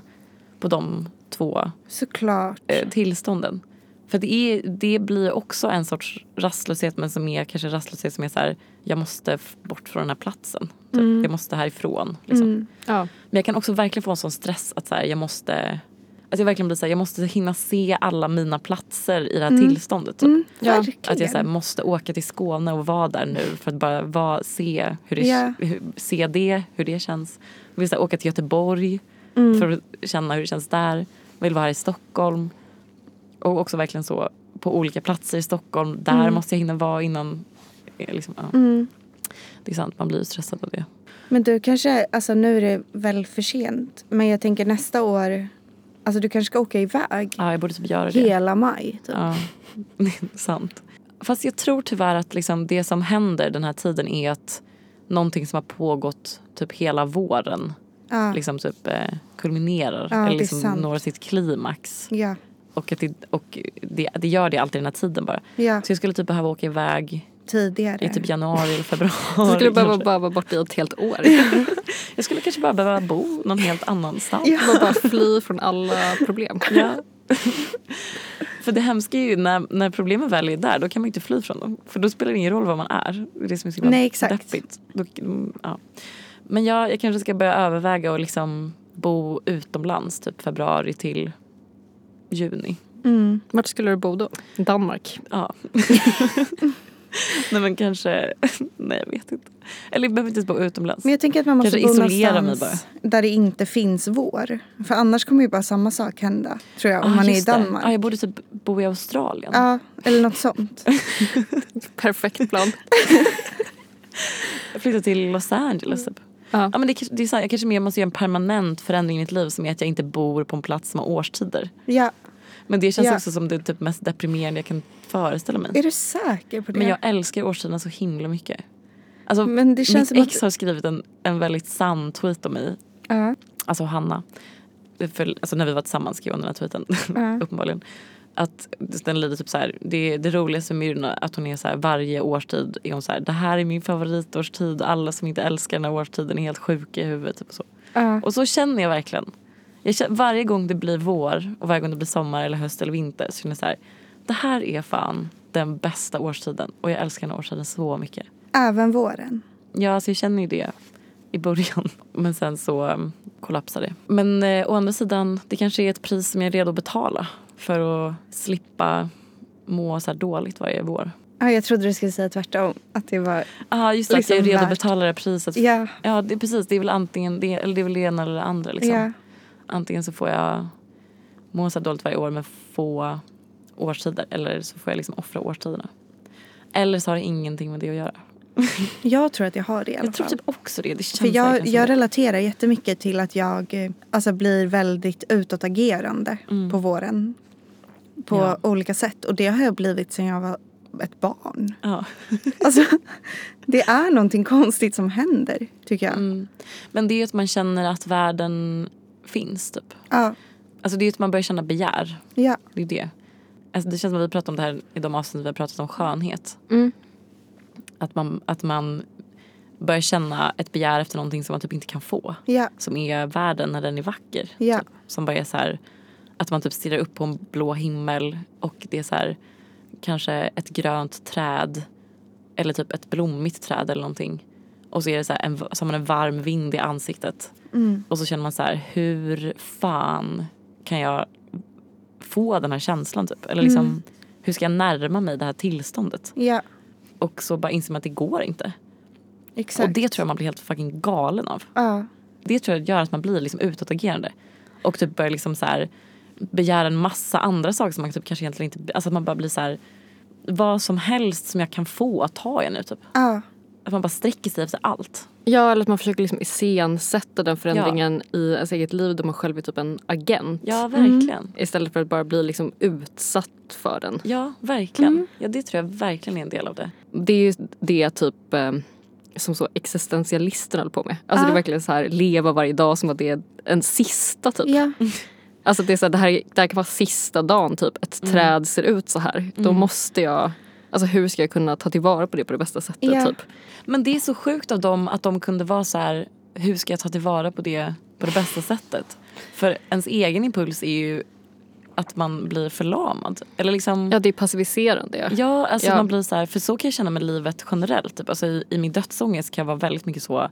[SPEAKER 1] på de två
[SPEAKER 2] Såklart.
[SPEAKER 1] eh, tillstånden. För det, är, det blir också en sorts rastlöshet men som är kanske rastlöshet som är så här jag måste f- bort från den här platsen. Typ. Jag måste härifrån. Liksom.
[SPEAKER 3] Ja.
[SPEAKER 1] Men jag kan också verkligen få en sån stress att så här, jag måste att jag verkligen blir så här, jag måste hinna se alla mina platser i det här tillståndet. Typ.
[SPEAKER 3] Ja,
[SPEAKER 2] Mm. Verkligen.
[SPEAKER 1] Att jag så här, måste åka till Skåne och vara där nu för att bara vara, se, hur det,
[SPEAKER 2] Ja.
[SPEAKER 1] hur, se det, hur det känns. Jag vill så här, åka till Göteborg
[SPEAKER 2] Mm.
[SPEAKER 1] för att känna hur det känns där. Jag vill vara här i Stockholm. Och också verkligen så på olika platser i Stockholm. Där
[SPEAKER 2] Mm.
[SPEAKER 1] måste jag hinna vara innan. eh, Liksom, ja. Det är sant, man blir ju stressad av det.
[SPEAKER 2] Men du kanske, alltså nu är det väl för sent. Men jag tänker nästa år, alltså du kanske ska åka iväg.
[SPEAKER 1] Ja, jag borde typ göra det.
[SPEAKER 2] Hela maj. Typ.
[SPEAKER 1] Ja, sant. Fast jag tror tyvärr att liksom det som händer den här tiden är att någonting som har pågått typ hela våren
[SPEAKER 2] Ja.
[SPEAKER 1] liksom typ eh, kulminerar
[SPEAKER 2] Ja, det
[SPEAKER 1] eller
[SPEAKER 2] är
[SPEAKER 1] liksom
[SPEAKER 2] sant.
[SPEAKER 1] når sitt klimax.
[SPEAKER 2] Ja.
[SPEAKER 1] Och, att det, och det, det gör det alltid den här tiden bara.
[SPEAKER 2] Ja.
[SPEAKER 1] Så jag skulle typ behöva åka iväg
[SPEAKER 2] tidigare.
[SPEAKER 1] i typ januari eller
[SPEAKER 3] Du
[SPEAKER 1] februari.
[SPEAKER 3] skulle behöva
[SPEAKER 1] kanske.
[SPEAKER 3] bara vara borta i ett helt år.
[SPEAKER 1] Jag skulle kanske bara behöva bo någon helt annanstans.
[SPEAKER 2] Ja.
[SPEAKER 3] Bara, bara fly från alla problem.
[SPEAKER 1] Ja. För det hemska är ju när, när problemen väl är där, då kan man ju inte fly från dem. För då spelar det ingen roll var man är. Det är det som är så himla
[SPEAKER 2] Nej, exakt.
[SPEAKER 1] deppigt. Då, mm, ja. Men jag, jag kanske ska börja överväga att liksom bo utomlands typ februari till juni.
[SPEAKER 2] Mm.
[SPEAKER 3] Vart skulle du bo då? Danmark.
[SPEAKER 1] Ja. nej men kanske, nej jag vet inte. Eller jag behöver inte ens bo utomlands.
[SPEAKER 2] Men jag tänker att man måste
[SPEAKER 1] Kanske
[SPEAKER 2] bo
[SPEAKER 1] isolera mig
[SPEAKER 2] någonstans där det inte finns vår. För annars kommer ju bara samma sak hända, tror jag, om
[SPEAKER 1] Ah,
[SPEAKER 2] man är i
[SPEAKER 1] just det.
[SPEAKER 2] Danmark.
[SPEAKER 1] Ah, jag borde typ bo i Australien.
[SPEAKER 2] Ja, eller något sånt.
[SPEAKER 3] Perfekt plan.
[SPEAKER 1] Flytta till Los Angeles typ.
[SPEAKER 3] Ja.
[SPEAKER 1] Ja, men det, kanske- det är så här, jag kanske mer måste göra en permanent förändring i mitt liv som är att jag inte bor på en plats som har årstider.
[SPEAKER 2] Ja.
[SPEAKER 1] Men det känns
[SPEAKER 2] Ja.
[SPEAKER 1] också som det typ mest deprimerande jag kan föreställa mig.
[SPEAKER 2] Är du säker på det?
[SPEAKER 1] Men jag älskar årstiderna så himla mycket. Alltså,
[SPEAKER 2] Men det känns som
[SPEAKER 1] mitt ex
[SPEAKER 2] att-
[SPEAKER 1] har skrivit en, en väldigt sann tweet om mig.
[SPEAKER 2] Ja.
[SPEAKER 1] Alltså Hanna. För, alltså när vi var tillsammans skrev hon den här tweeten.
[SPEAKER 2] Ja.
[SPEAKER 1] uppenbarligen. Att den lyder typ så här. Det, det roligaste med Myrna är att hon är så här varje årstid är hon så här. Det här är min favoritårstid. Alla som inte älskar den här årstiden är helt sjuka i huvudet. Typ och så.
[SPEAKER 2] Ja.
[SPEAKER 1] Och så känner jag verkligen. Jag känner, varje gång det blir vår och varje gång det blir sommar eller höst eller vinter så känner jag så här. Det här är fan den bästa årstiden och jag älskar den här årstiden så mycket.
[SPEAKER 2] Även våren.
[SPEAKER 1] Ja, alltså jag känner ju det i början. Men sen så um, kollapsar det. Men eh, å andra sidan, det kanske är ett pris som jag är redo att betala för att slippa må så här dåligt varje vår.
[SPEAKER 2] Ja, jag trodde du skulle säga tvärtom. Att det var...
[SPEAKER 1] Ja, just det,
[SPEAKER 2] Liksom
[SPEAKER 1] att jag är redo att
[SPEAKER 2] värt.
[SPEAKER 1] betala det här priset.
[SPEAKER 2] Ja.
[SPEAKER 1] Ja, det, precis. Det är väl antingen det, eller det, är väl det ena eller det andra. Liksom.
[SPEAKER 2] Ja.
[SPEAKER 1] Antingen så får jag må så här dåligt varje år med få årstider eller så får jag liksom offra årstiderna. Eller så har det ingenting med det att göra.
[SPEAKER 2] Jag tror att jag har det i alla
[SPEAKER 1] Jag tror
[SPEAKER 2] fall.
[SPEAKER 1] typ också det. Det känns
[SPEAKER 2] För
[SPEAKER 1] verkligen
[SPEAKER 2] jag,
[SPEAKER 1] som
[SPEAKER 2] jag
[SPEAKER 1] det.
[SPEAKER 2] relaterar jättemycket till att jag eh, alltså, blir väldigt utåtagerande på våren. På
[SPEAKER 1] Mm. Ja.
[SPEAKER 2] olika sätt. Och det har jag blivit sedan jag var ett barn.
[SPEAKER 1] Ja.
[SPEAKER 2] Alltså, det är någonting konstigt som händer, tycker jag.
[SPEAKER 1] Mm. Men det är ju att man känner att världen finns typ.
[SPEAKER 2] Ja,
[SPEAKER 1] Alltså det är ju att man börjar känna begär.
[SPEAKER 2] ja,
[SPEAKER 1] Det är ju det. Alltså det känns som att vi pratar om det här i de avsnitt vi har pratat om skönhet.
[SPEAKER 3] Mm.
[SPEAKER 1] Att, man, att man börjar känna ett begär efter någonting som man typ inte kan få.
[SPEAKER 2] ja,
[SPEAKER 1] Som är världen när den är vacker.
[SPEAKER 2] Ja.
[SPEAKER 1] Typ. Som bara är så här att man typ stirrar upp på en blå himmel och det är så här kanske ett grönt träd eller typ ett blommigt träd eller någonting. Och så är det så här en, så har man en varm vind i ansiktet. Och så känner man så här, hur fan kan jag få den här känslan typ? Eller liksom, hur ska jag närma mig det här tillståndet?
[SPEAKER 2] ja.
[SPEAKER 1] Och så bara inser man att det går inte.
[SPEAKER 2] Exakt.
[SPEAKER 1] Och det tror jag man blir helt fucking galen av.
[SPEAKER 2] Ja,
[SPEAKER 1] Det tror jag gör att man blir liksom utåtagerande. Och typ börjar liksom så här begära en massa andra saker som man typ kanske egentligen inte... Alltså att man bara blir så här... Vad som helst som jag kan få tar jag nu typ.
[SPEAKER 2] ja,
[SPEAKER 1] Att man bara sträcker sig efter allt.
[SPEAKER 3] Ja, eller att man försöker liksom iscensätta den förändringen i ens eget liv där man själv är typ en agent.
[SPEAKER 1] Ja, verkligen.
[SPEAKER 3] Istället för att bara bli liksom utsatt för den.
[SPEAKER 1] Ja, verkligen. Ja, det tror jag verkligen är en del av det.
[SPEAKER 3] Det är ju det typ eh, som så existentialisterna håller på med. Alltså det är verkligen så här leva varje dag som att det är en sista typ.
[SPEAKER 2] ja.
[SPEAKER 3] Alltså det är så här, det här, det här kan vara sista dagen typ. Ett träd ser ut så här. Då måste jag, alltså hur ska jag kunna ta tillvara på det på det bästa sättet
[SPEAKER 2] Ja.
[SPEAKER 3] typ.
[SPEAKER 1] Men det är så sjukt av dem att de kunde vara så här, hur ska jag ta tillvara på det på det bästa sättet? För ens egen impuls är ju att man blir förlamad. Eller liksom...
[SPEAKER 3] Ja det är passiviserande ja.
[SPEAKER 1] Ja, alltså
[SPEAKER 3] Ja.
[SPEAKER 1] man blir så här, för så kan jag känna med livet generellt. Typ. Alltså i, I min dödsångest kan jag vara väldigt mycket så,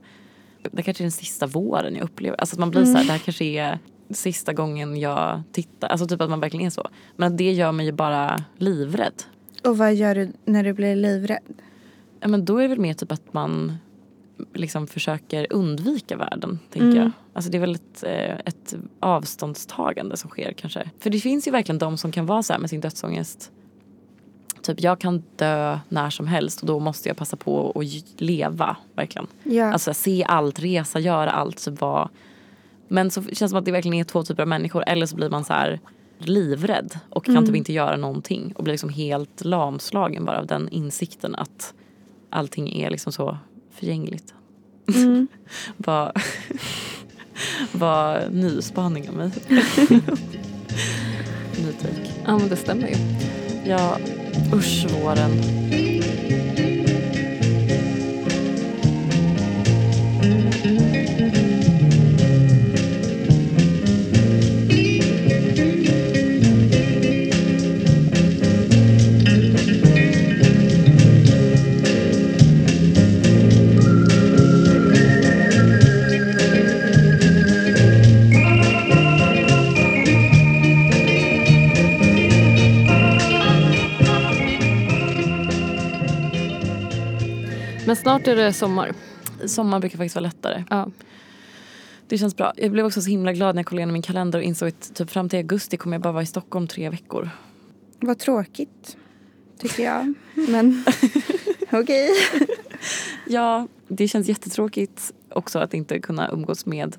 [SPEAKER 1] det kanske är den sista våren jag upplever. Alltså att man blir så här,
[SPEAKER 3] Mm.
[SPEAKER 1] det här kanske är sista gången jag tittar. Alltså typ att man verkligen är så. Men att det gör mig ju bara livrädd.
[SPEAKER 2] Och vad gör du när du blir livrädd?
[SPEAKER 1] Ja, men då är det väl mer typ att man liksom försöker undvika världen, tänker jag. Alltså det är väl ett, eh, ett avståndstagande som sker kanske. För det finns ju verkligen de som kan vara så här med sin dödsångest. Typ jag kan dö när som helst och då måste jag passa på att j- leva verkligen.
[SPEAKER 2] Ja.
[SPEAKER 1] Alltså se allt, resa, göra allt, typ vara. Men så känns det som att det verkligen är två typer av människor. Eller så blir man så här livrädd och kan typ inte göra någonting. Och blir liksom helt lamslagen bara av den insikten att allting är liksom så förgängligt.
[SPEAKER 2] Mm.
[SPEAKER 1] Vad var ny spaning av mig. ny take.
[SPEAKER 3] Ja men det stämmer ju.
[SPEAKER 1] Ja, usch våren.
[SPEAKER 3] Men snart är det sommar.
[SPEAKER 1] Sommar brukar faktiskt vara lättare.
[SPEAKER 3] Ja.
[SPEAKER 1] Det känns bra. Jag blev också så himla glad när jag kollade igenom min kalender och insåg att typ fram till augusti kommer jag bara vara i Stockholm tre veckor.
[SPEAKER 2] Vad tråkigt, tycker jag. Men okej.
[SPEAKER 1] Ja, det känns jättetråkigt också att inte kunna umgås med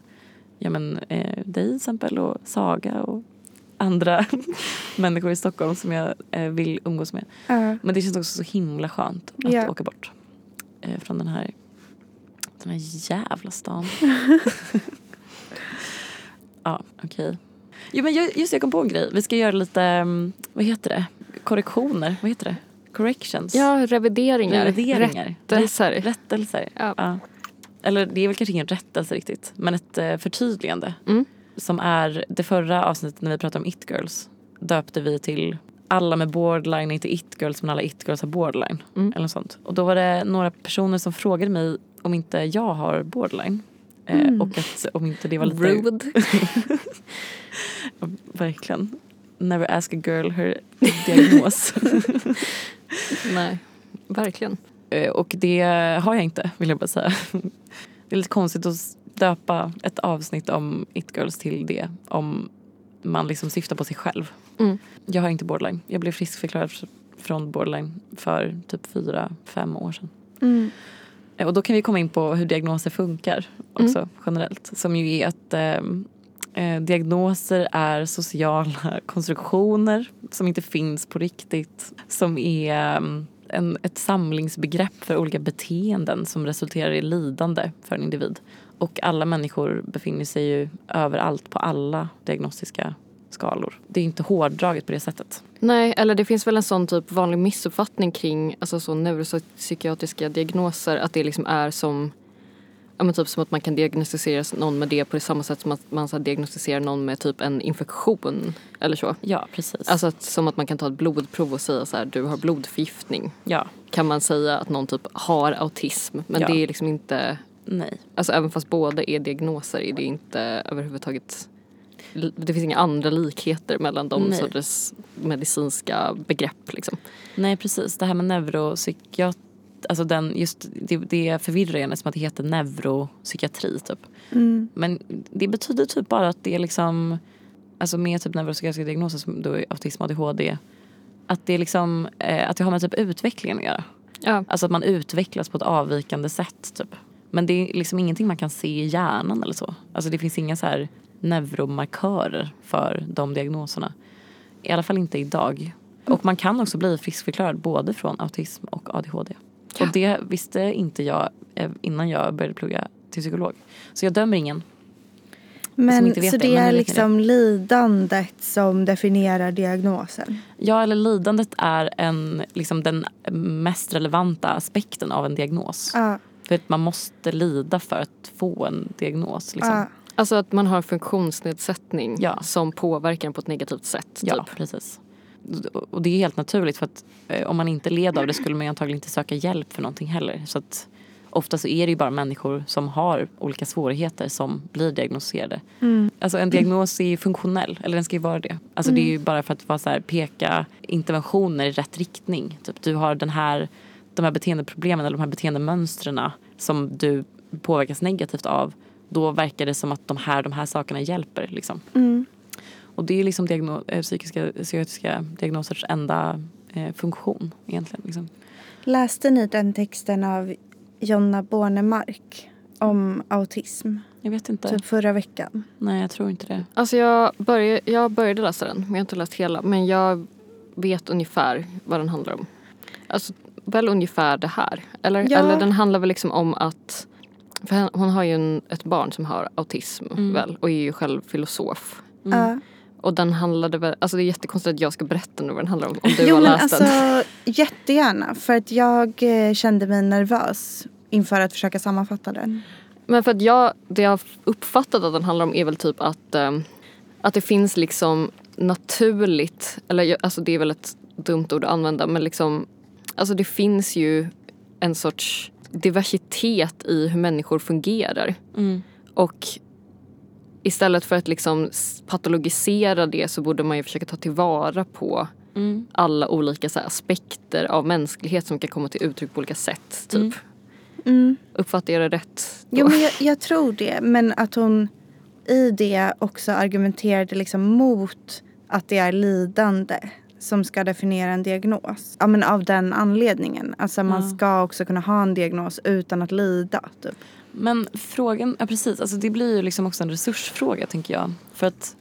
[SPEAKER 1] ja, men, eh, dig till exempel och Saga och andra människor i Stockholm som jag eh, vill umgås med.
[SPEAKER 2] Ja.
[SPEAKER 1] Men det känns också så himla skönt att
[SPEAKER 2] Ja.
[SPEAKER 1] åka bort eh, från den här, den här jävla stan. ja, okej. Jo men ju- just det, jag kom på en grej. Vi ska göra lite, mm, vad heter det, korrektioner, vad heter det? Corrections?
[SPEAKER 3] ja, revideringar.
[SPEAKER 1] Revideringar.
[SPEAKER 3] Rättelser.
[SPEAKER 1] Rätt- Rättelser.
[SPEAKER 3] Ja.
[SPEAKER 1] Eller det är väl kanske ingen rättelse riktigt, men ett eh, förtydligande.
[SPEAKER 3] Mm.
[SPEAKER 1] Som är det förra avsnittet när vi pratade om it-girls. Döpte vi till alla med borderline är inte it-girls men alla it-girls har borderline.
[SPEAKER 3] Mm.
[SPEAKER 1] Eller något sånt. Och då var det några personer som frågade mig om inte jag har borderline. Eh, Och att om inte det var lite...
[SPEAKER 3] Mm. Rude.
[SPEAKER 1] Verkligen. Never ask a girl her diagnos.
[SPEAKER 3] Nej, verkligen.
[SPEAKER 1] Eh, Och det har jag inte, vill jag bara säga. Det är lite konstigt att s- döpa ett avsnitt om It Girls till det om man liksom syftar på sig själv.
[SPEAKER 3] Mm.
[SPEAKER 1] Jag har inte borderline. Jag blev friskförklarad fr- från borderline för typ fyra, fem år sedan.
[SPEAKER 2] Mm.
[SPEAKER 1] Eh, Och då kan vi komma in på hur diagnoser funkar också generellt. Som ju är att ehm, eh, diagnoser är sociala konstruktioner som inte finns på riktigt. Som är ehm, en, ett samlingsbegrepp för olika beteenden som resulterar i lidande för en individ. Och alla människor befinner sig ju överallt på alla diagnostiska skalor. Det är inte hårdraget på det sättet.
[SPEAKER 3] Nej, eller det finns väl en sån typ vanlig missuppfattning kring alltså så neuropsykiatriska diagnoser att det liksom är som Ja, men typ som att man kan diagnostisera någon med det på samma sätt som att man så här diagnostiserar någon med typ en infektion eller så.
[SPEAKER 1] Ja, precis.
[SPEAKER 3] Alltså att, som att man kan ta ett blodprov och säga så här, du har blodförgiftning.
[SPEAKER 1] ja,
[SPEAKER 3] Kan man säga att någon typ har autism, men
[SPEAKER 1] Ja.
[SPEAKER 3] det är liksom inte
[SPEAKER 1] nej.
[SPEAKER 3] Alltså även fast båda är diagnoser är det inte överhuvudtaget det finns inga andra likheter mellan de
[SPEAKER 1] Nej.
[SPEAKER 3] sorters medicinska begrepp. Liksom.
[SPEAKER 1] Nej precis, det här med neuropsykiat... Alltså den, just, det, det förvirrar en som att det heter neuropsykiatri typ.
[SPEAKER 2] Mm.
[SPEAKER 1] Men det betyder typ bara att det är liksom... Alltså med typ neuropsykiatriska diagnoser som då är autism och ADHD. Att det, är liksom, eh, att det har med typ utvecklingen att göra.
[SPEAKER 3] Ja.
[SPEAKER 1] Alltså att man utvecklas på ett avvikande sätt typ. Men det är liksom ingenting man kan se i hjärnan eller så. Alltså det finns inga så här neuromarkörer för de diagnoserna. I alla fall inte idag. Och man kan också bli friskförklarad både från autism och ADHD. Och det visste inte jag eh, innan jag började plugga till psykolog. Så jag dömer ingen.
[SPEAKER 2] Men,
[SPEAKER 1] inte vet
[SPEAKER 2] så
[SPEAKER 1] det,
[SPEAKER 2] det
[SPEAKER 1] men
[SPEAKER 2] är
[SPEAKER 1] det-
[SPEAKER 2] liksom lidandet som definierar diagnosen?
[SPEAKER 1] Ja, eller lidandet är en, liksom den mest relevanta aspekten av en diagnos.
[SPEAKER 2] Ja.
[SPEAKER 1] För att man måste lida för att få en diagnos. Liksom.
[SPEAKER 2] ja.
[SPEAKER 3] Alltså att man har en funktionsnedsättning
[SPEAKER 1] Ja.
[SPEAKER 3] som påverkar en på ett negativt sätt.
[SPEAKER 1] Ja,
[SPEAKER 3] Typ.
[SPEAKER 1] precis. Och det är helt naturligt för att eh, om man inte led av det skulle man ju antagligen inte söka hjälp för någonting heller. Så att ofta så är det ju bara människor som har olika svårigheter som blir diagnostiserade.
[SPEAKER 3] Mm.
[SPEAKER 1] Alltså en diagnos är ju funktionell, eller den ska ju vara det. Alltså det är
[SPEAKER 3] Mm.
[SPEAKER 1] ju bara för att vara så här, peka interventioner i rätt riktning. Typ du har den här, de här beteendeproblemen eller de här beteendemönstren som du påverkas negativt av. Då verkar det som att de här, de här sakerna hjälper liksom.
[SPEAKER 2] Mm.
[SPEAKER 1] Och det är liksom diagno- eh, psykiska, psykiatriska diagnosers enda eh, funktion egentligen. Liksom.
[SPEAKER 2] Läste ni den texten av Jonna Bornemark om autism?
[SPEAKER 1] Jag vet inte.
[SPEAKER 2] Typ förra veckan.
[SPEAKER 1] Nej, jag tror inte det.
[SPEAKER 3] Alltså jag, började, jag började läsa den, men jag har inte läst hela. Men jag vet ungefär vad den handlar om. Alltså väl ungefär det här. Eller,
[SPEAKER 2] Ja.
[SPEAKER 3] eller den handlar väl liksom om att... För hen- hon har ju en, ett barn som har autism
[SPEAKER 1] Mm.
[SPEAKER 3] väl och är ju själv filosof.
[SPEAKER 2] Ja.
[SPEAKER 3] Och den handlade väl, alltså det är jättekonstigt att jag ska berätta nu vad den handlar om. Om du
[SPEAKER 2] Jo
[SPEAKER 3] har
[SPEAKER 2] men
[SPEAKER 3] läst
[SPEAKER 2] alltså
[SPEAKER 3] den.
[SPEAKER 2] jättegärna. För att jag eh, kände mig nervös inför att försöka sammanfatta den.
[SPEAKER 3] Men för att jag, det jag har uppfattat att den handlar om är väl typ att, ehm, att det finns liksom naturligt, eller jag- alltså det är väl ett dumt ord att använda men liksom, alltså det finns ju en sorts diversitet i hur människor fungerar.
[SPEAKER 1] Mm.
[SPEAKER 3] Och istället för att liksom s- patologisera det så borde man ju försöka ta tillvara på
[SPEAKER 1] Mm.
[SPEAKER 3] alla olika så här, aspekter av mänsklighet som kan komma till uttryck på olika sätt. Typ.
[SPEAKER 2] Mm.
[SPEAKER 3] Uppfattar jag det rätt? då?
[SPEAKER 2] Jo, men jag, jag tror det. Men att hon i det också argumenterade liksom mot att det är lidande som ska definiera en diagnos. Ja, men av den anledningen. Alltså man
[SPEAKER 1] Ja.
[SPEAKER 2] ska också kunna ha en diagnos utan att lida. Typ.
[SPEAKER 1] Men frågan, ja precis, alltså det blir ju liksom också en resursfråga tänker jag. För att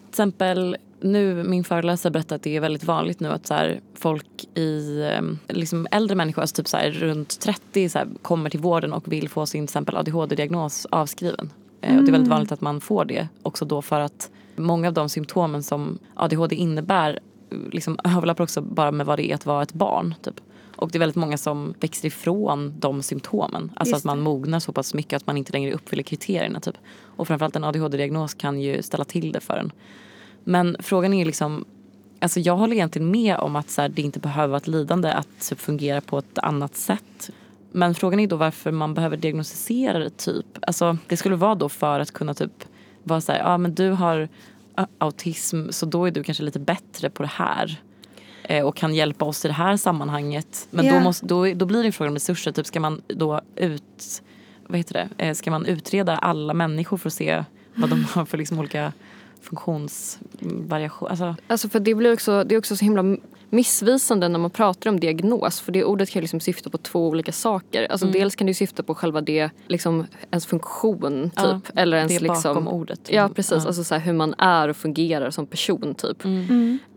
[SPEAKER 1] till exempel nu, min föreläsare berättade att det är väldigt vanligt nu att så här, folk i, eh, liksom äldre människor, alltså typ så här, runt 30 så här, kommer till vården och vill få sin till exempel ADHD-diagnos avskriven. Eh, Och det är väldigt vanligt att man får det också då för att många av de symptomen som ADHD innebär eh, liksom överlappar också bara med vad det är att vara ett barn. Typ. Och det är väldigt många som växer ifrån de symptomen. Alltså
[SPEAKER 2] Just
[SPEAKER 1] att man mognar så pass mycket att man inte längre uppfyller kriterierna. Typ. Och framförallt en ADHD-diagnos kan ju ställa till det för en. Men frågan är ju liksom, alltså jag håller egentligen med om att så här, det inte behöver vara ett lidande att typ, fungera på ett annat sätt. Men frågan är då varför man behöver diagnostisera det typ. Alltså det skulle vara då för att kunna typ vara så här, ja ah, men du har a- autism så då är du kanske lite bättre på det här. eh, Och kan hjälpa oss i det här sammanhanget. Men
[SPEAKER 2] Ja.
[SPEAKER 1] då, måste, då, då blir det en fråga om resurser. Typ ska man då ut, vad heter det? Eh, Ska man utreda alla människor för att se vad de har för liksom olika funktionsvariationer? Alltså,
[SPEAKER 3] Alltså för det, blir också, det är också så himla missvisande när man pratar om diagnos. För det ordet kan ju liksom syfta på två olika saker. Alltså Dels kan det ju syfta på själva det, liksom ens funktion typ.
[SPEAKER 1] Ja,
[SPEAKER 3] eller ens
[SPEAKER 1] det är
[SPEAKER 3] liksom,
[SPEAKER 1] bakom ordet.
[SPEAKER 3] Ja precis, alltså så här, hur man är och fungerar som person typ.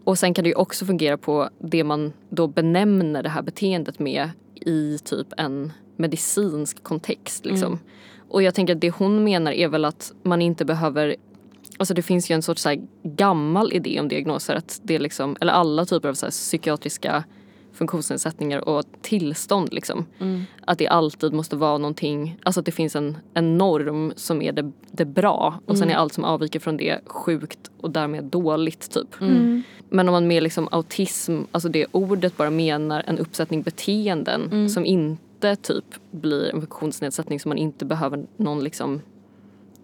[SPEAKER 3] Och sen kan det ju också fungera på det man då benämner det här beteendet med i typ en medicinsk kontext liksom. Och jag tänker att det hon menar är väl att man inte behöver Alltså det finns ju en sorts så här gammal idé om diagnoser att det är liksom, eller alla typer av så här psykiatriska funktionsnedsättningar och tillstånd liksom. Att det alltid måste vara någonting, alltså att det finns en, en norm som är det, det bra och sen är allt som avviker från det sjukt och därmed dåligt typ. Men om man med liksom autism, alltså det ordet bara menar en uppsättning beteenden
[SPEAKER 1] Mm.
[SPEAKER 3] som inte typ blir en funktionsnedsättning som man inte behöver någon liksom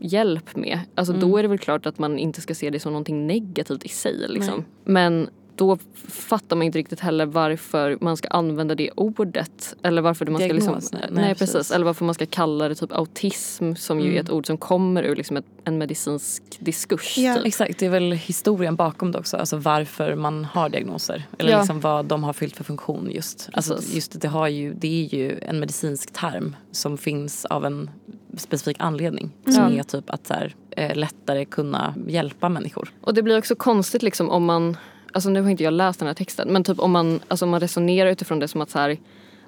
[SPEAKER 3] hjälp med. Alltså
[SPEAKER 1] Mm.
[SPEAKER 3] då är det väl klart att man inte ska se det som någonting negativt i sig liksom. Men då fattar man inte riktigt heller varför man ska använda det ordet. Eller varför man ska
[SPEAKER 1] Diagnos,
[SPEAKER 3] liksom...
[SPEAKER 1] nej.
[SPEAKER 3] nej,
[SPEAKER 1] Nej,
[SPEAKER 3] precis.
[SPEAKER 1] precis. Mm.
[SPEAKER 3] Eller varför man ska kalla det typ autism som ju är ett ord som kommer ur liksom ett, en medicinsk diskurs.
[SPEAKER 2] Ja.
[SPEAKER 3] Typ.
[SPEAKER 1] Exakt, det är väl historien bakom det också. Alltså varför man har diagnoser. Eller
[SPEAKER 3] Ja.
[SPEAKER 1] liksom vad de har fyllt för funktion just. Alltså
[SPEAKER 3] Precis.
[SPEAKER 1] just det, har ju, det är ju en medicinsk term som finns av en specifik anledning. Som är typ att så här, eh, lättare kunna hjälpa människor.
[SPEAKER 3] Och det blir också konstigt liksom om man, alltså nu har inte jag läst den här texten, men typ om man, alltså om man resonerar utifrån det som att så här,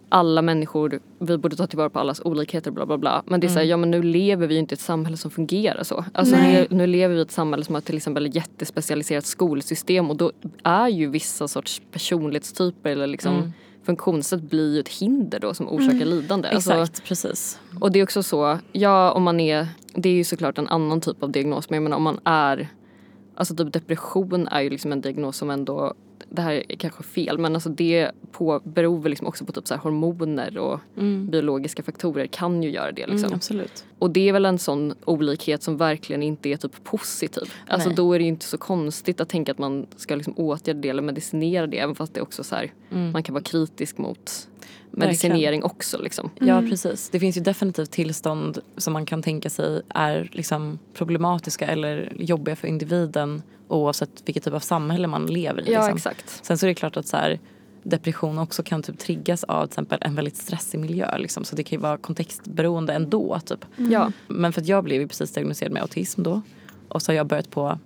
[SPEAKER 3] alla människor, vi borde ta tillvara på allas olikheter bla bla bla. Men det är så här, ja men nu lever vi ju inte i ett samhälle som fungerar så. Alltså nu,
[SPEAKER 2] Nej.
[SPEAKER 3] nu lever vi i ett samhälle som har till exempel ett jättespecialiserat skolsystem och då är ju vissa sorts personlighetstyper eller liksom funktionssätt blir ju ett hinder då som orsakar lidande. Alltså,
[SPEAKER 1] Exakt, precis.
[SPEAKER 3] och det är också så, ja om man är, det är ju såklart en annan typ av diagnos men jag menar om man är, alltså typ depression är ju liksom en diagnos som ändå, det här är kanske fel men alltså det på, beror väl liksom också på typ så här hormoner och biologiska faktorer kan ju göra det liksom.
[SPEAKER 1] Mm, absolut.
[SPEAKER 3] Och det är väl en sån olikhet som verkligen inte är typ positiv. Alltså
[SPEAKER 1] Nej.
[SPEAKER 3] då är det ju inte så konstigt att tänka att man ska liksom åtgärda det eller medicinera det även fast det är också så här, man kan vara kritisk mot medicinering också liksom.
[SPEAKER 1] Ja, precis. Det finns ju definitivt tillstånd som man kan tänka sig är liksom problematiska eller jobbiga för individen oavsett vilket typ av samhälle man lever i.
[SPEAKER 3] Ja
[SPEAKER 1] liksom.
[SPEAKER 3] exakt.
[SPEAKER 1] Sen så är det klart att så här, depression också kan typ triggas av till exempel en väldigt stressig miljö. Liksom. Så det kan ju vara kontextberoende ändå. Typ.
[SPEAKER 3] Ja.
[SPEAKER 1] Men för att jag blev ju precis diagnostiserad med autism då. Och så har jag börjat på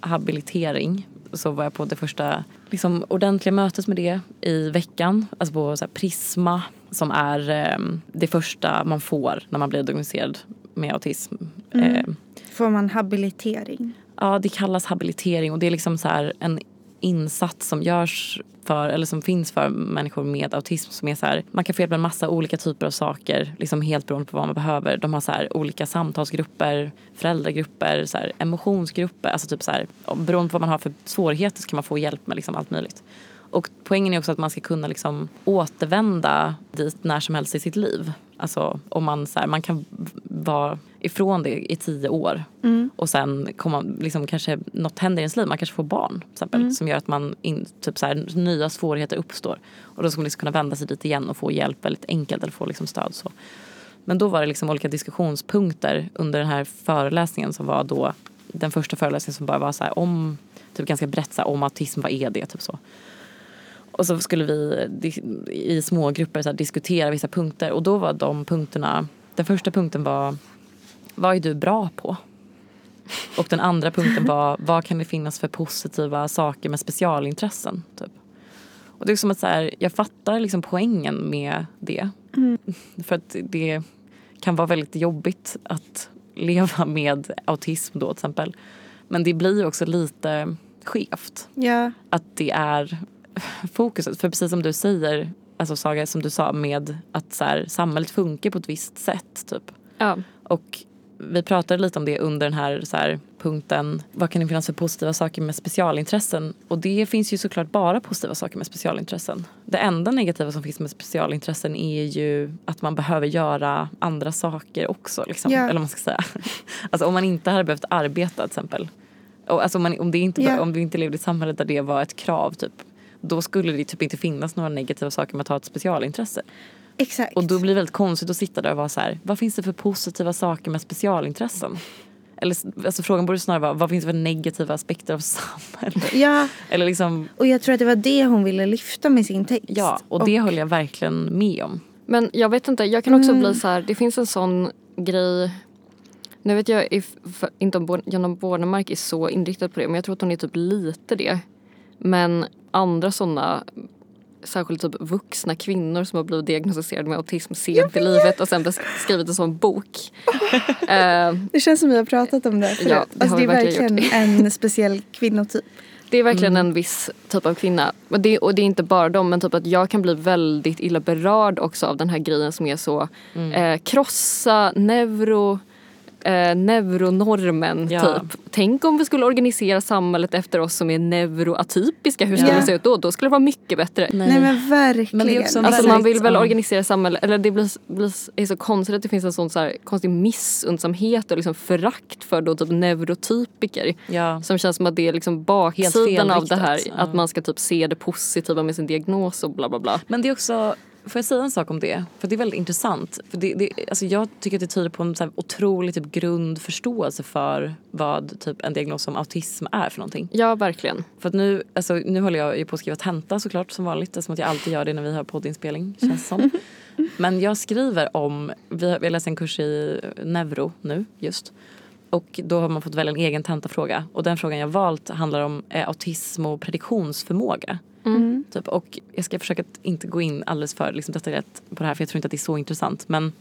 [SPEAKER 1] habilitering. Så var jag på det första liksom, ordentliga mötet med det i veckan. Alltså på så här, Prisma som är eh, det första man får när man blir diagnostiserad med autism. Eh,
[SPEAKER 2] Får man habilitering?
[SPEAKER 1] Ja, det kallas habilitering och det är liksom så här en insats som görs för, eller som finns för människor med autism som är så här, man kan få hjälp med en massa olika typer av saker, liksom helt beroende på vad man behöver. De har så här olika samtalsgrupper, föräldragrupper, så här emotionsgrupper, alltså typ så här, beroende på vad man har för svårigheter så kan man få hjälp med liksom allt möjligt. Och poängen är också att man ska kunna liksom återvända dit när som helst i sitt liv. Alltså om man, så här, man kan v- vara ifrån det i tio år
[SPEAKER 2] Mm.
[SPEAKER 1] och sen komma, liksom, kanske något händer i ens liv, man kanske får barn till exempel, som gör att man in, typ, så här, nya svårigheter uppstår. Och då ska man liksom kunna vända sig dit igen och få hjälp väldigt enkelt eller få liksom, stöd. Så. Men då var det liksom olika diskussionspunkter under den här föreläsningen som var då den första föreläsningen som bara var så här om, typ ganska brett så här, om autism, vad är det? Typ så. Och så skulle vi di- i smågrupper så här, diskutera vissa punkter och då var de punkterna, den första punkten var vad är du bra på? Och den andra punkten var vad kan det finnas för positiva saker med specialintressen? Typ. Och det är som att så här, jag fattar liksom poängen med det. För att det kan vara väldigt jobbigt att leva med autism då till exempel. Men det blir ju också lite skevt
[SPEAKER 2] Ja.
[SPEAKER 1] att det är fokuset. För precis som du säger, alltså Saga, som du sa med att så här, samhället funkar på ett visst sätt typ.
[SPEAKER 3] Ja.
[SPEAKER 1] Och vi pratade lite om det under den här, så här punkten, vad kan det finnas för positiva saker med specialintressen? Och det finns ju såklart bara positiva saker med specialintressen. Det enda negativa som finns med specialintressen är ju att man behöver göra andra saker också. Liksom,
[SPEAKER 2] Ja.
[SPEAKER 1] Eller vad man ska säga. Alltså om man inte hade behövt arbeta till exempel. Och alltså om, man, om, det inte,
[SPEAKER 2] Ja.
[SPEAKER 1] om vi inte levde i ett samhälle där det var ett krav typ. Då skulle det typ inte finnas några negativa saker med att ha ett specialintresse.
[SPEAKER 2] Exakt.
[SPEAKER 1] Och då blir det väldigt konstigt att sitta där och vara så här, vad finns det för positiva saker med specialintressen? Eller alltså frågan borde snarare vara, vad finns det för negativa aspekter av samhället?
[SPEAKER 2] Ja,
[SPEAKER 1] Eller liksom,
[SPEAKER 2] och jag tror att det var det hon ville lyfta med sin text.
[SPEAKER 1] ja, och det höll jag verkligen med om.
[SPEAKER 3] Men jag vet inte, jag kan också bli så här, det finns en sån grej nu vet jag if, för, inte om Bo- Jonna Bornemark är så inriktad på det men jag tror att hon är typ lite det. Men andra såna särskilt typ vuxna kvinnor som har blivit diagnostiserade med autism sent i livet och sen bes- skrivit en sån bok. Eh,
[SPEAKER 2] Det känns som vi har pratat om det förut.
[SPEAKER 3] Ja, det har
[SPEAKER 2] alltså, det
[SPEAKER 3] vi
[SPEAKER 2] är verkligen
[SPEAKER 3] verkligen
[SPEAKER 2] en speciell kvinnotyp.
[SPEAKER 3] Det är verkligen en viss typ av kvinna. Och det, och det är inte bara dem, men typ att jag kan bli väldigt illa berörd också av den här grejen som är så eh, krossa neuro, eh, neuronormen
[SPEAKER 1] Ja.
[SPEAKER 3] typ. Tänk om vi skulle organisera samhället efter oss som är neuroatypiska, hur skulle
[SPEAKER 2] Ja.
[SPEAKER 3] det se ut då? Då skulle det vara mycket bättre.
[SPEAKER 2] Nej, men verkligen.
[SPEAKER 1] Men det är också en
[SPEAKER 3] Alltså
[SPEAKER 1] väldigt-
[SPEAKER 3] man vill väl
[SPEAKER 1] ja.
[SPEAKER 3] organisera samhället, eller det blir, blir, är så konstigt att det finns en sån så här konstig missundsamhet och liksom förakt för då typ neurotypiker.
[SPEAKER 1] Ja.
[SPEAKER 3] Som känns som att det är liksom baksidan av det
[SPEAKER 1] felriktat.
[SPEAKER 3] här.
[SPEAKER 1] Ja.
[SPEAKER 3] Att man ska typ se det positiva med sin diagnos och bla bla bla.
[SPEAKER 1] Men det är också, får jag säga en sak om det? För det är väldigt intressant. För det, det, alltså jag tycker att det tyder på en så här otrolig typ grundförståelse för vad typ en diagnos som autism är för någonting.
[SPEAKER 3] Ja, verkligen.
[SPEAKER 1] För att nu, alltså, nu håller jag ju på att skriva tenta såklart som vanligt eftersom att jag alltid gör det när vi har poddinspelning känns det som. Men jag skriver om, vi har, jag läser en kurs i neuro nu just. Och då har man fått välja en egen tentafråga. Och den frågan jag valt handlar om eh, autism och prediktionsförmåga. Typ. Och jag ska försöka att inte gå in alldeles för liksom, detaljerat på det här för jag tror inte att det är så intressant. Men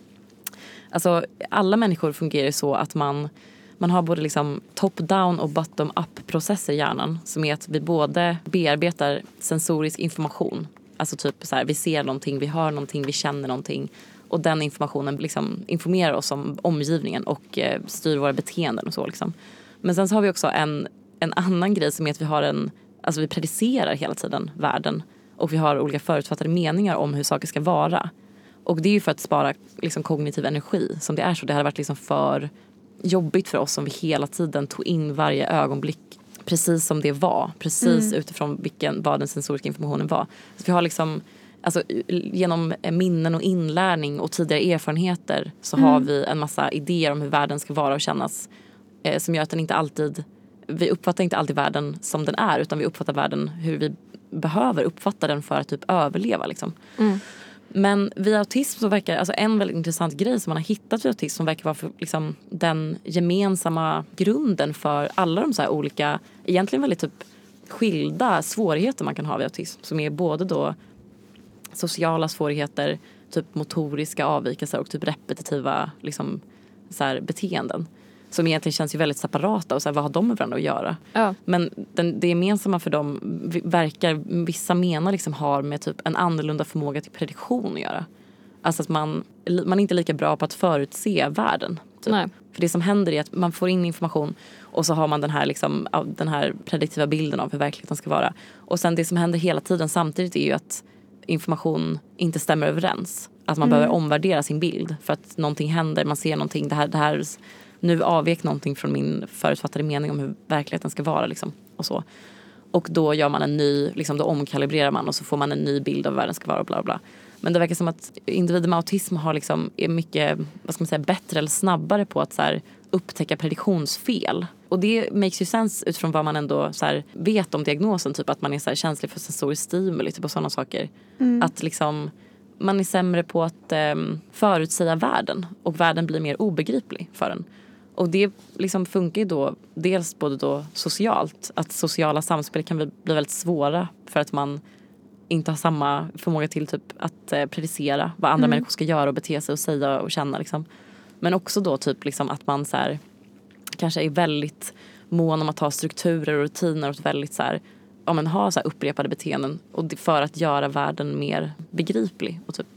[SPEAKER 1] Alltså, alla människor fungerar ju så att man, man har både liksom top-down och bottom-up-processer i hjärnan. Som är att vi både bearbetar sensorisk information. Alltså typ så här, vi ser någonting, vi hör någonting, vi känner någonting. Och den informationen liksom informerar oss om omgivningen och eh, styr våra beteenden och så. Liksom. Men sen så har vi också en, en annan grej som är att vi har en, alltså vi predicerar hela tiden världen. Och vi har olika förutfattade meningar om hur saker ska vara. Och det är ju för att spara liksom, kognitiv energi som det är så. Det hade varit liksom för jobbigt för oss om vi hela tiden tog in varje ögonblick precis som det var. Precis utifrån vilken, vad den sensoriska informationen var. Så vi har liksom, alltså, genom minnen och inlärning och tidigare erfarenheter så har vi en massa idéer om hur världen ska vara och kännas. Eh, som gör att den inte alltid, vi uppfattar inte alltid världen som den är utan vi uppfattar världen hur vi behöver uppfatta den för att typ överleva. Liksom. Men vid autism så verkar, alltså en väldigt intressant grej som man har hittat vid autism som verkar vara för, liksom, den gemensamma grunden för alla de så här olika, egentligen väldigt typ skilda svårigheter man kan ha vid autism som är både då sociala svårigheter, typ motoriska avvikelser och typ repetitiva liksom, så här, beteenden. Som egentligen känns ju väldigt separata och så här, vad har de med varandra att göra?
[SPEAKER 3] Ja.
[SPEAKER 1] Men den, det gemensamma för dem vi- verkar vissa menar liksom har med typ en annorlunda förmåga till prediktion att göra. Alltså att man, man är inte lika bra på att förutse världen. Typ.
[SPEAKER 3] Nej.
[SPEAKER 1] För det som händer är att man får in information och så har man den här, liksom, av- den här prediktiva bilden av hur verkligheten ska vara. Och sen det som händer hela tiden samtidigt är ju att information inte stämmer överens. Att man behöver omvärdera sin bild för att någonting händer, man ser någonting, det här, det här nu avvek någonting från min förutfattade mening om hur verkligheten ska vara liksom, och så. Och då gör man en ny, liksom, då omkalibrerar man och så får man en ny bild av hur världen ska vara och bla bla. Men det verkar som att individer med autism har liksom, är mycket vad ska man säga, bättre eller snabbare på att så här, upptäcka prediktionsfel. Och det makes ju sense utifrån vad man ändå så här, vet om diagnosen, typ att man är så här, känslig för sensorisk stimuli typ, och sådana saker. Att liksom man är sämre på att ehm, förutsäga världen och världen blir mer obegriplig för en. Och det liksom funkar ju då dels både då socialt, att sociala samspel kan bli bli väldigt svåra för att man inte har samma förmåga till typ att eh, predicera vad andra människor ska göra och bete sig och säga och känna liksom. Men också då typ liksom att man så här, kanske är väldigt mån om att ha strukturer och rutiner och ett väldigt så här, ja, men ha så här upprepade beteenden och det- för att göra världen mer begriplig och typ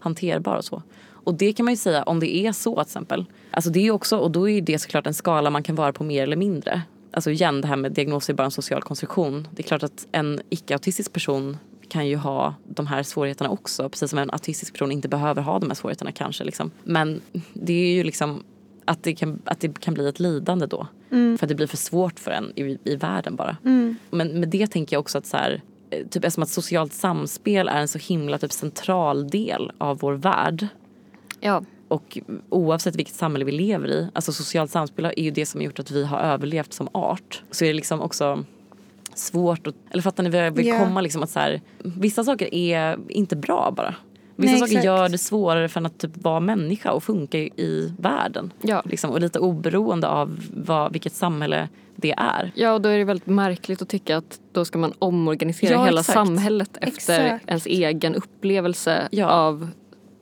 [SPEAKER 1] hanterbar och så. Och det kan man ju säga om det är så till exempel. Alltså det är ju också, och då är ju det såklart en skala man kan vara på mer eller mindre. Alltså igen det här med diagnos är bara en social konstruktion. Det är klart att en icke-autistisk person kan ju ha de här svårigheterna också. Precis som en autistisk person inte behöver ha de här svårigheterna kanske. Liksom. Men det är ju liksom att det kan, att det kan bli ett lidande då. För att det blir för svårt för en i, i världen bara. Men med det tänker jag också att så här, eh, typ eftersom att socialt samspel är en så himla typ central del av vår värld.
[SPEAKER 3] Ja.
[SPEAKER 1] Och oavsett vilket samhälle vi lever i, alltså socialt samspel är ju det som har gjort att vi har överlevt som art. Så är det liksom också svårt att, eller fattar ni vad jag vill
[SPEAKER 2] Ja.
[SPEAKER 1] komma liksom att så här, vissa saker är inte bra bara. Vissa
[SPEAKER 2] Nej,
[SPEAKER 1] saker
[SPEAKER 2] exakt.
[SPEAKER 1] gör det svårare för en att typ vara människa och funka i- i världen.
[SPEAKER 3] Ja.
[SPEAKER 1] Liksom, och lite oberoende av vad, vilket samhälle det är.
[SPEAKER 3] Ja, och då är det väldigt märkligt att tycka att då ska man omorganisera
[SPEAKER 1] Ja,
[SPEAKER 3] hela
[SPEAKER 1] exakt.
[SPEAKER 3] samhället efter
[SPEAKER 2] Exakt.
[SPEAKER 3] ens egen upplevelse
[SPEAKER 1] Ja.
[SPEAKER 3] av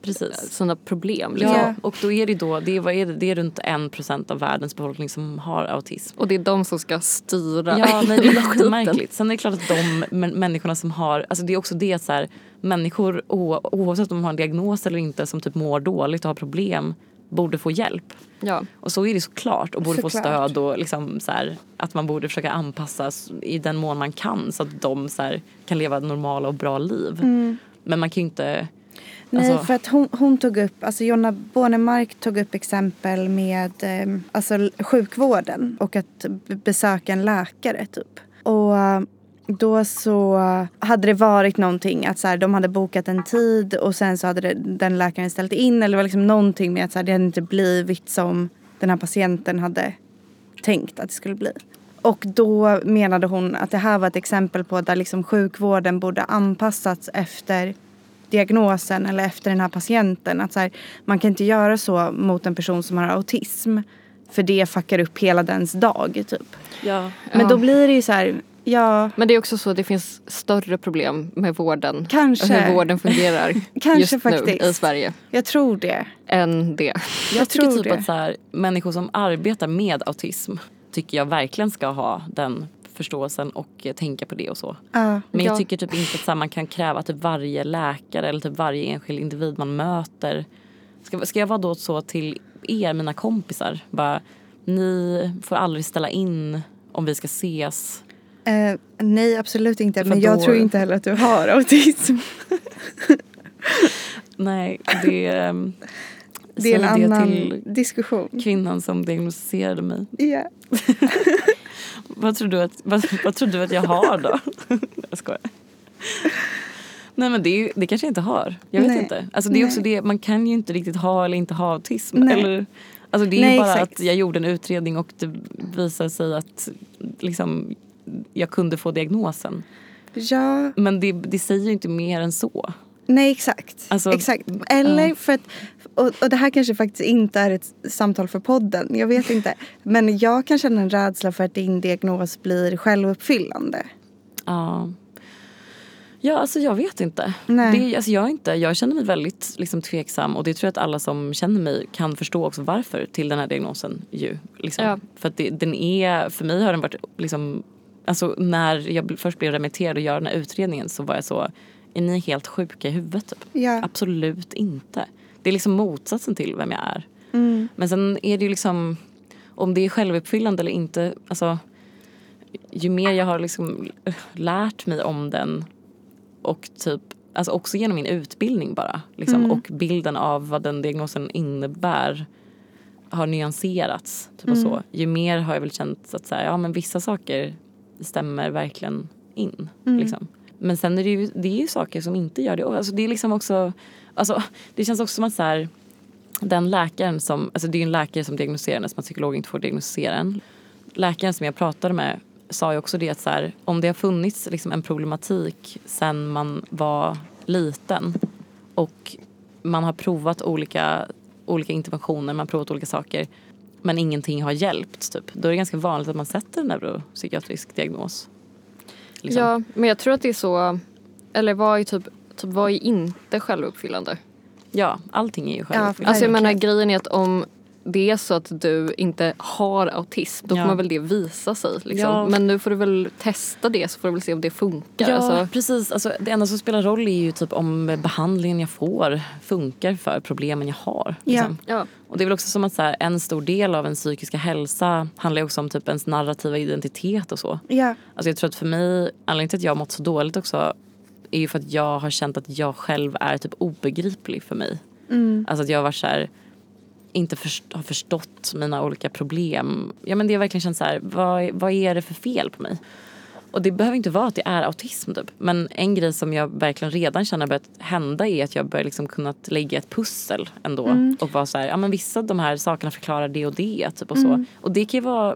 [SPEAKER 1] Precis.
[SPEAKER 3] sina problem.
[SPEAKER 1] Ja,
[SPEAKER 3] Liksom.
[SPEAKER 2] Ja.
[SPEAKER 1] och då är det då, det är, vad är det, det är runt 1% av världens befolkning som har autism.
[SPEAKER 3] Och det är de som ska styra
[SPEAKER 1] Ja, nej, det är
[SPEAKER 3] hela skiten.
[SPEAKER 1] jättemärkligt. Sen är det klart att de män- människorna som har, alltså det är också det att så här, människor o- oavsett om de har en diagnos eller inte som typ mår dåligt och har problem borde få hjälp.
[SPEAKER 3] Ja.
[SPEAKER 1] Och så är det såklart och borde få
[SPEAKER 2] Såklart.
[SPEAKER 1] stöd och liksom så här, att man borde försöka anpassa s- i den mån man kan så att de så här, kan leva normala och bra liv.
[SPEAKER 2] Mm.
[SPEAKER 1] Men man kan ju inte,
[SPEAKER 2] Nej,
[SPEAKER 1] Alltså-
[SPEAKER 2] för att hon, hon tog upp, alltså Jonna Bornemark tog upp exempel med eh, alltså l- sjukvården och att b- besöka en läkare typ. Och eh, då så hade det varit någonting att så här, de hade bokat en tid och sen så hade det, den läkaren ställt in eller det var liksom någonting med att så här, det hade inte blivit som den här patienten hade tänkt att det skulle bli. Och då menade hon att det här var ett exempel på där liksom sjukvården borde anpassats efter diagnosen eller efter den här patienten. Att så här, man kan inte göra så mot en person som har autism för det fuckar upp hela dens dag. Typ.
[SPEAKER 1] ja,
[SPEAKER 2] Men
[SPEAKER 3] Ja.
[SPEAKER 2] då blir det ju så här, ja,
[SPEAKER 3] Men det är också så att det finns större problem med vården
[SPEAKER 2] Kanske.
[SPEAKER 3] och hur vården fungerar
[SPEAKER 2] Kanske
[SPEAKER 3] just
[SPEAKER 2] faktiskt.
[SPEAKER 3] nu i Sverige
[SPEAKER 2] jag tror det.
[SPEAKER 3] än det.
[SPEAKER 1] Jag tycker
[SPEAKER 2] tror
[SPEAKER 1] typ
[SPEAKER 2] det.
[SPEAKER 1] att så här, människor som arbetar med autism tycker jag verkligen ska ha den förståelsen och eh, tänka på det och så.
[SPEAKER 2] Ja.
[SPEAKER 1] Men jag
[SPEAKER 3] Ja.
[SPEAKER 1] tycker typ inte att så här, man kan kräva att typ varje läkare eller typ varje enskild individ man möter. Ska, ska jag vara då så till er, mina kompisar? Bara, ni får aldrig ställa in om vi ska ses.
[SPEAKER 2] Eh, nej, absolut inte.
[SPEAKER 1] För
[SPEAKER 2] Men jag
[SPEAKER 1] då-
[SPEAKER 2] tror inte heller att du har autism.
[SPEAKER 1] Nej, det... ehm,
[SPEAKER 2] Det är en
[SPEAKER 1] säg det
[SPEAKER 2] annan
[SPEAKER 1] till
[SPEAKER 2] diskussion.
[SPEAKER 1] kvinnan som diagnostiserade mig.
[SPEAKER 2] Ja.
[SPEAKER 1] Vad tror du att, vad, vad tror du att jag har då? jag skojar. Nej men det, är ju, det kanske jag inte har. Jag vet
[SPEAKER 2] Nej.
[SPEAKER 1] inte. Alltså det är också det, man kan ju inte riktigt ha eller inte ha autism.
[SPEAKER 2] Nej.
[SPEAKER 1] Eller, alltså det är
[SPEAKER 2] Nej,
[SPEAKER 1] ju bara
[SPEAKER 2] exakt.
[SPEAKER 1] att jag gjorde en utredning och det visade sig att liksom, jag kunde få diagnosen.
[SPEAKER 2] ja.
[SPEAKER 1] Men det, det säger ju inte mer än så.
[SPEAKER 2] Nej, exakt.
[SPEAKER 1] Alltså,
[SPEAKER 2] exakt. Eller för att, och, och det här kanske faktiskt inte är ett samtal för podden, jag vet inte. Men jag kan känna en rädsla för att din diagnos blir självuppfyllande.
[SPEAKER 1] Ja. Ja, alltså jag vet inte.
[SPEAKER 2] Nej.
[SPEAKER 1] Det, alltså jag, är inte jag känner mig väldigt liksom, tveksam och det tror jag att alla som känner mig kan förstå också varför till den här diagnosen. Ju, liksom.
[SPEAKER 3] Ja.
[SPEAKER 1] För att det, den är, för mig har den varit liksom, alltså när jag bl- först blev remitterad och gör den här utredningen så var jag så, är ni helt sjuka i huvudet typ?
[SPEAKER 2] Ja.
[SPEAKER 1] Absolut inte. Det är liksom motsatsen till vem jag är. Men sen är det ju liksom, om det är självuppfyllande eller inte, alltså ju mer jag har liksom lärt mig om den och typ alltså också genom min utbildning bara. Liksom, Och bilden av vad den diagnosen innebär har nyanserats. Typ och så. Ju mer har jag väl känt att så här, ja, men vissa saker stämmer verkligen in. Liksom. Men sen är det, ju, det är ju saker som inte gör det. Och Alltså, det, är liksom också, alltså, det känns också som att så här, den läkaren som, alltså det är ju en läkare som diagnostiserar den som att psykolog inte får diagnostisera en. Läkaren som jag pratade med sa ju också det att så här, om det har funnits liksom en problematik sen man var liten och man har provat olika, olika interventioner, man har provat olika saker men ingenting har hjälpt typ. Då är det ganska vanligt att man sätter en neuropsykiatrisk diagnos. Liksom.
[SPEAKER 3] Ja, men jag tror att det är så... Eller vad är, typ, typ, vad är inte självuppfyllande?
[SPEAKER 1] ja, allting är ju
[SPEAKER 2] Ja,
[SPEAKER 1] självuppfyllande.
[SPEAKER 3] Alltså
[SPEAKER 2] Verkligen.
[SPEAKER 3] jag menar grejen är att om det är så att du inte har autism då
[SPEAKER 1] Ja.
[SPEAKER 3] får man väl det visa sig. Liksom.
[SPEAKER 1] Ja.
[SPEAKER 3] Men nu får du väl testa det så får du väl se om det funkar.
[SPEAKER 1] Ja,
[SPEAKER 3] Alltså,
[SPEAKER 1] precis. Alltså, det enda som spelar roll är ju typ om behandlingen jag får funkar för problemen jag har.
[SPEAKER 2] Ja.
[SPEAKER 1] Liksom.
[SPEAKER 3] ja.
[SPEAKER 1] Och det är väl också som att så här, en stor del av ens psykiska hälsa handlar ju också om typ ens narrativa identitet och så.
[SPEAKER 2] Ja.
[SPEAKER 1] Alltså jag tror att för mig, anledningen till att jag har mått så dåligt också är ju för att jag har känt att jag själv är typ obegriplig för mig. Alltså att jag har varit så här, inte först, har förstått mina olika problem. Ja men det har verkligen känts så här, vad, vad är det för fel på mig? Och det behöver inte vara att det är autism typ. Men en grej som jag verkligen redan känner har börjat hända är att jag börjar liksom kunnat lägga ett pussel ändå. Och vara så här, ja men vissa av de här sakerna förklarar det och det typ och så. Och det kan ju vara,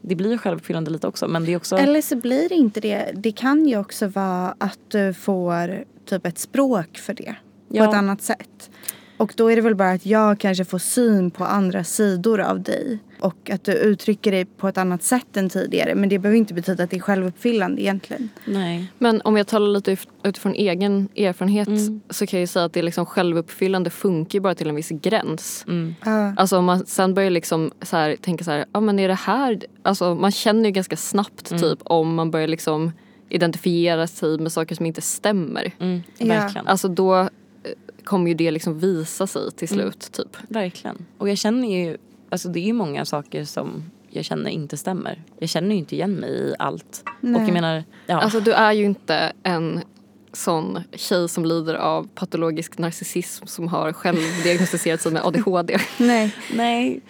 [SPEAKER 1] det blir ju självuppfyllande lite också men det är också
[SPEAKER 2] Eller så blir det inte det. Det kan ju också vara att du får typ ett språk för det.
[SPEAKER 1] Ja.
[SPEAKER 2] På ett annat sätt. Och då är det väl bara att jag kanske får syn på andra sidor av dig. Och att du uttrycker dig på ett annat sätt än tidigare. Men det behöver inte betyda att det är självuppfyllande egentligen.
[SPEAKER 1] Nej.
[SPEAKER 3] Men om jag talar lite ut- utifrån egen erfarenhet
[SPEAKER 1] Mm.
[SPEAKER 3] så kan jag ju säga att det är liksom självuppfyllande funkar ju bara till en viss gräns.
[SPEAKER 2] Ja.
[SPEAKER 3] Alltså om man sen börjar liksom så här, tänka så här, ja men är det här, alltså man känner ju ganska snabbt
[SPEAKER 1] Mm.
[SPEAKER 3] typ om man börjar liksom identifiera sig med saker som inte stämmer.
[SPEAKER 1] Mm,
[SPEAKER 2] Ja.
[SPEAKER 1] Verkligen.
[SPEAKER 3] Alltså då eh, kommer ju det liksom visa sig till
[SPEAKER 1] Mm.
[SPEAKER 3] slut typ.
[SPEAKER 1] Verkligen. Och jag känner ju, alltså det är ju många saker som jag känner inte stämmer. Jag känner ju inte igen mig i allt. Och jag menar, ja.
[SPEAKER 3] Alltså du är ju inte en sån tjej som lider av patologisk narcissism som har själv diagnostiserat sig med ADHD.
[SPEAKER 2] Nej.
[SPEAKER 1] nej.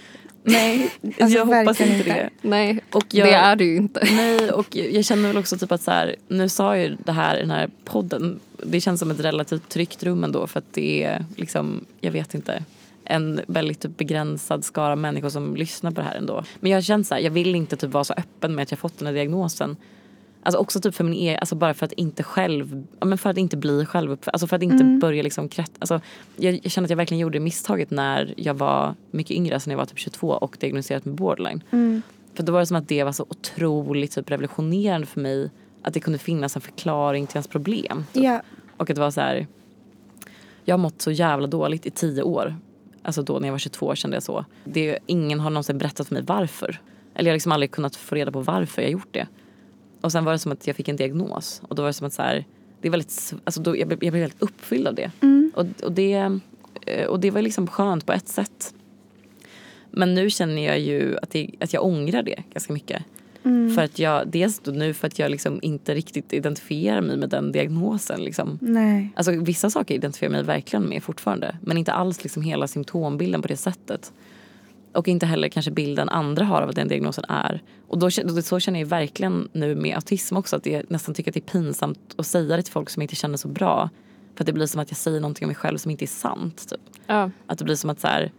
[SPEAKER 1] Nej,
[SPEAKER 2] Alltså,
[SPEAKER 1] jag hoppas
[SPEAKER 2] verkligen
[SPEAKER 1] inte det.
[SPEAKER 2] inte.
[SPEAKER 3] Nej,
[SPEAKER 1] Och jag-
[SPEAKER 3] det är du ju inte.
[SPEAKER 1] Nej, och jag känner väl också typ att så här, nu sa ju det här i den här podden, det känns som ett relativt tryggt rum ändå för att det är liksom, jag vet inte, en väldigt typ begränsad skara människor som lyssnar på det här ändå. Men jag känner så här, jag vill inte typ vara så öppen med att jag fått den här diagnosen. Alltså också typ för min e- alltså bara för att inte själv, ja men för att inte bli själv, alltså för att inte börja liksom krätt, alltså jag, jag känner att jag verkligen gjorde misstaget när jag var mycket yngre, alltså när jag var typ 22 och diagnostiserat med borderline. För då var det som att det var så otroligt typ revolutionerande för mig att det kunde finnas en förklaring till ens problem. typ.
[SPEAKER 2] Ja.
[SPEAKER 1] Och att det var så här, jag har mått så jävla dåligt i tio år. Alltså då när jag var 22 kände jag så. Det, ingen har någonsin berättat för mig varför. Eller jag har liksom aldrig kunnat få reda på varför jag gjort det. Och sen var det som att jag fick en diagnos. Och då var det som att så här, det är väldigt, sv- alltså då, jag, blev, jag blev helt uppfylld av det. Och, och det. eh, Och det var liksom skönt på ett sätt. Men nu känner jag ju att, det, att jag ångrar det ganska mycket. För att jag, dels då nu för att jag liksom inte riktigt identifierar mig med den diagnosen. Liksom.
[SPEAKER 2] Nej.
[SPEAKER 1] Alltså vissa saker identifierar jag mig verkligen med fortfarande. Men inte alls liksom hela symptombilden på det sättet. Och inte heller kanske bilden andra har av vad den diagnosen är. Och då, kän- då- så känner jag ju verkligen nu med autism också att jag nästan tycker att det är pinsamt att säga det till folk som inte känner så bra. För att det blir som att jag säger någonting om mig själv som inte är sant. Typ.
[SPEAKER 3] Ja.
[SPEAKER 1] Att det blir som att så här,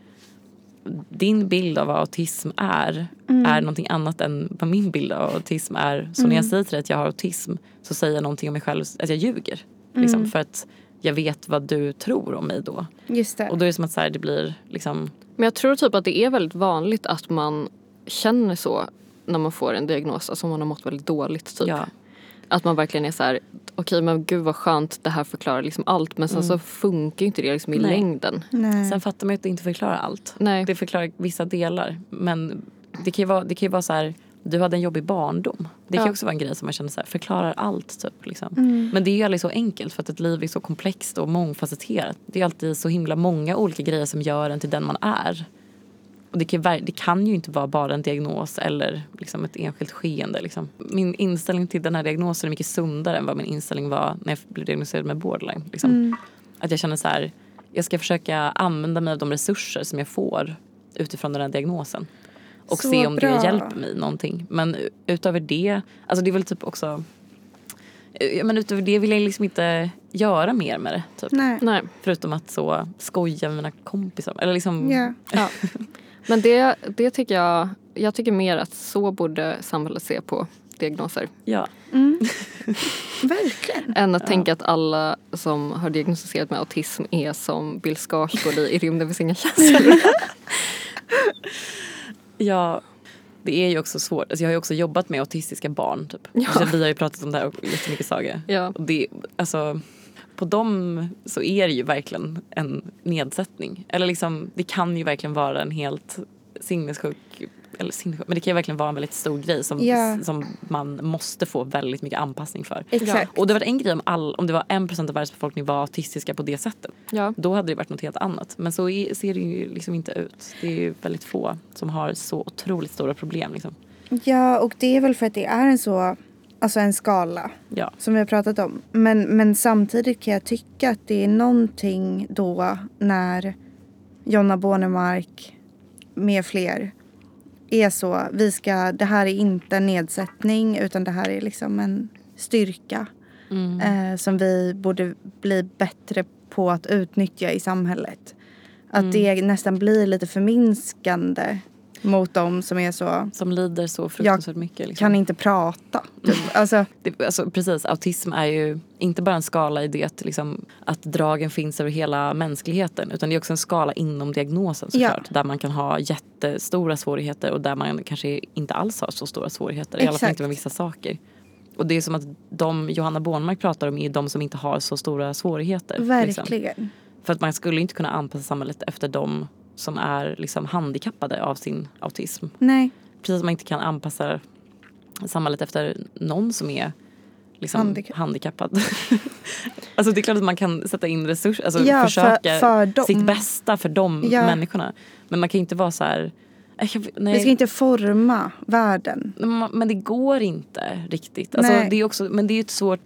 [SPEAKER 1] din bild av vad autism är är någonting annat än vad min bild av autism är. Så när jag säger till dig att jag har autism så säger jag någonting om mig själv, att jag ljuger. Liksom, för att jag vet vad du tror om mig då.
[SPEAKER 2] Just det.
[SPEAKER 1] Och då är det som att så här, det blir liksom...
[SPEAKER 3] Men jag tror typ att det är väldigt vanligt att man känner så när man får en diagnos, alltså om man har mått väldigt dåligt typ.
[SPEAKER 1] Ja,
[SPEAKER 3] Att man verkligen är så här, okej men gud vad skönt, det här förklarar liksom allt men sen så funkar ju inte det liksom i
[SPEAKER 1] Nej.
[SPEAKER 3] längden.
[SPEAKER 2] Nej.
[SPEAKER 1] Sen fattar man ju att det inte förklarar allt.
[SPEAKER 3] Nej.
[SPEAKER 1] Det förklarar vissa delar. Men det kan ju vara, det kan ju vara så här, du hade en jobbig barndom. Det kan ju
[SPEAKER 3] Ja. Mm.
[SPEAKER 1] också vara en grej som man känner så här, förklarar allt. Typ, liksom. Men det är ju aldrig så enkelt för att ett liv är så komplext och mångfacetterat. Det är alltid så himla många olika grejer som gör en till den man är. Och det, kan, ver- det kan ju inte vara bara en diagnos eller liksom ett enskilt skeende. Liksom. Min inställning till den här diagnosen är mycket sundare än vad min inställning var när jag blev diagnostiserad med borderline. Liksom.
[SPEAKER 2] Mm.
[SPEAKER 1] Att jag känner så här, jag ska försöka använda mig av de resurser som jag får utifrån den här diagnosen. Och
[SPEAKER 2] Så
[SPEAKER 1] se om
[SPEAKER 2] bra.
[SPEAKER 1] det hjälper mig någonting. Men utöver det, alltså det är väl typ också eh, Ja, men utöver det vill jag liksom inte göra mer med det. Typ.
[SPEAKER 2] Nej.
[SPEAKER 3] Nej.
[SPEAKER 1] Förutom att så skoja med mina kompisar. Eller liksom,
[SPEAKER 2] Ja.
[SPEAKER 3] Ja. Men det, det tycker jag, jag tycker mer att så borde samhället se på diagnoser.
[SPEAKER 1] ja.
[SPEAKER 2] Mm. Verkligen.
[SPEAKER 3] Än att tänka att alla som har diagnostiserat med autism är som Bill Skarsgård i I rymden finns inga känslor.
[SPEAKER 1] ja. Det är ju också svårt. Alltså jag har ju också jobbat med autistiska barn. Typ. Så vi har ju pratat om det här och jättemycket Saga.
[SPEAKER 3] Ja.
[SPEAKER 1] Och det, alltså, på dem så är det ju verkligen en nedsättning. Eller liksom, det kan ju verkligen vara en helt sinnessjuk eller sinnessjuk, men det kan ju verkligen vara en väldigt stor grej som,
[SPEAKER 2] Ja.
[SPEAKER 1] som man måste få väldigt mycket anpassning för.
[SPEAKER 2] Exakt.
[SPEAKER 1] Och det var en grej om, all, om det var en procent av världens befolkning var autistiska på det sättet.
[SPEAKER 3] Ja.
[SPEAKER 1] Då hade det varit något helt annat. Men så är, ser det ju liksom inte ut. Det är ju väldigt få som har så otroligt stora problem. Liksom.
[SPEAKER 2] Ja, och det är väl för att det är en så, alltså en skala
[SPEAKER 1] Ja.
[SPEAKER 2] som vi har pratat om. Men, men samtidigt kan jag tycka att det är någonting då när Jonna Bornemark med fler är så, vi ska, det här är inte en nedsättning utan det här är liksom en styrka
[SPEAKER 1] Mm.
[SPEAKER 2] eh, som vi borde bli bättre på att utnyttja i samhället. Att
[SPEAKER 1] Mm.
[SPEAKER 2] det nästan blir lite förminskande mot dem som är så
[SPEAKER 1] Som lider så fruktansvärt mycket. Liksom. Mm.
[SPEAKER 2] kan inte prata. Typ. Alltså,
[SPEAKER 1] det, alltså, precis, autism är ju inte bara en skala i det liksom, att dragen finns över hela mänskligheten utan det är också en skala inom diagnosen
[SPEAKER 2] Ja.
[SPEAKER 1] såklart. Där man kan ha jättestora svårigheter och där man kanske inte alls har så stora svårigheter. I alla fall
[SPEAKER 2] Exakt.
[SPEAKER 1] inte med vissa saker. Och det är som att de Johanna Bornmark pratar om är de som inte har så stora svårigheter. liksom.
[SPEAKER 2] verkligen.
[SPEAKER 1] För att man skulle inte kunna anpassa samhället efter de som är liksom, handikappade av sin autism
[SPEAKER 2] Nej,
[SPEAKER 1] precis som man inte kan anpassa samhället efter någon som är liksom
[SPEAKER 2] Handikapp.
[SPEAKER 1] handikappad. alltså det är klart att man kan sätta in resurser, alltså
[SPEAKER 2] Ja, för-
[SPEAKER 1] försöka
[SPEAKER 2] för dem.
[SPEAKER 1] sitt bästa för de
[SPEAKER 2] Ja.
[SPEAKER 1] människorna. Men man kan ju inte vara så här, "Äh, jag, nej,
[SPEAKER 2] vi ska inte forma världen.
[SPEAKER 1] Ma- men det går inte riktigt. Alltså,
[SPEAKER 2] Nej.
[SPEAKER 1] det är också, men det är ju ett svårt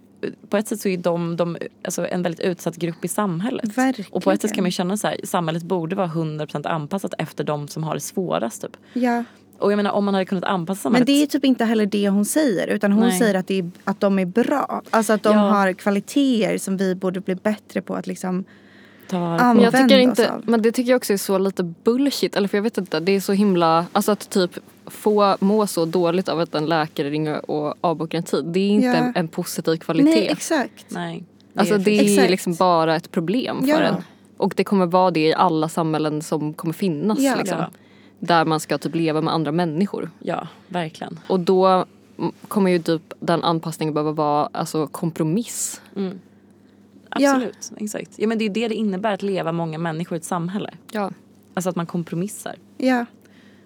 [SPEAKER 1] på ett sätt så är de, de alltså en väldigt utsatt grupp i samhället.
[SPEAKER 2] Verkligen.
[SPEAKER 1] Och på ett sätt kan man ju känna så här, samhället borde vara 100% anpassat efter de som har det svårast. Typ.
[SPEAKER 2] Ja.
[SPEAKER 1] Och jag menar om man hade kunnat anpassa
[SPEAKER 2] Men
[SPEAKER 1] samhället.
[SPEAKER 2] det är typ inte heller det hon säger utan hon
[SPEAKER 1] Nej.
[SPEAKER 2] säger att, det är, att de är bra. Alltså att de
[SPEAKER 1] Ja.
[SPEAKER 2] har kvaliteter som vi borde bli bättre på att liksom
[SPEAKER 1] ta vara på.
[SPEAKER 2] använda
[SPEAKER 3] Jag tycker
[SPEAKER 2] oss
[SPEAKER 3] inte,
[SPEAKER 2] av.
[SPEAKER 3] men det tycker jag också är så lite bullshit. Eller för jag vet inte, det är så himla, alltså att typ få må så dåligt av att en läkare ringer och avbokar en tid. Det är inte
[SPEAKER 2] Ja.
[SPEAKER 3] en, en positiv kvalitet.
[SPEAKER 2] Nej, exakt.
[SPEAKER 1] Nej.
[SPEAKER 3] Alltså det är
[SPEAKER 2] Exakt.
[SPEAKER 3] liksom bara ett problem för
[SPEAKER 2] Ja.
[SPEAKER 3] en. Och det kommer vara det i alla samhällen som kommer finnas.
[SPEAKER 2] Ja.
[SPEAKER 3] liksom.
[SPEAKER 1] Ja.
[SPEAKER 3] Där man ska typ leva med andra människor.
[SPEAKER 1] Ja, verkligen.
[SPEAKER 3] Och då mm, kommer ju typ den anpassningen behöva vara alltså, kompromiss.
[SPEAKER 2] Ja.
[SPEAKER 1] Absolut. Exakt. Ja, men det är ju det det innebär att leva många människor i ett samhälle.
[SPEAKER 3] Ja.
[SPEAKER 1] Alltså att man kompromissar
[SPEAKER 2] Ja.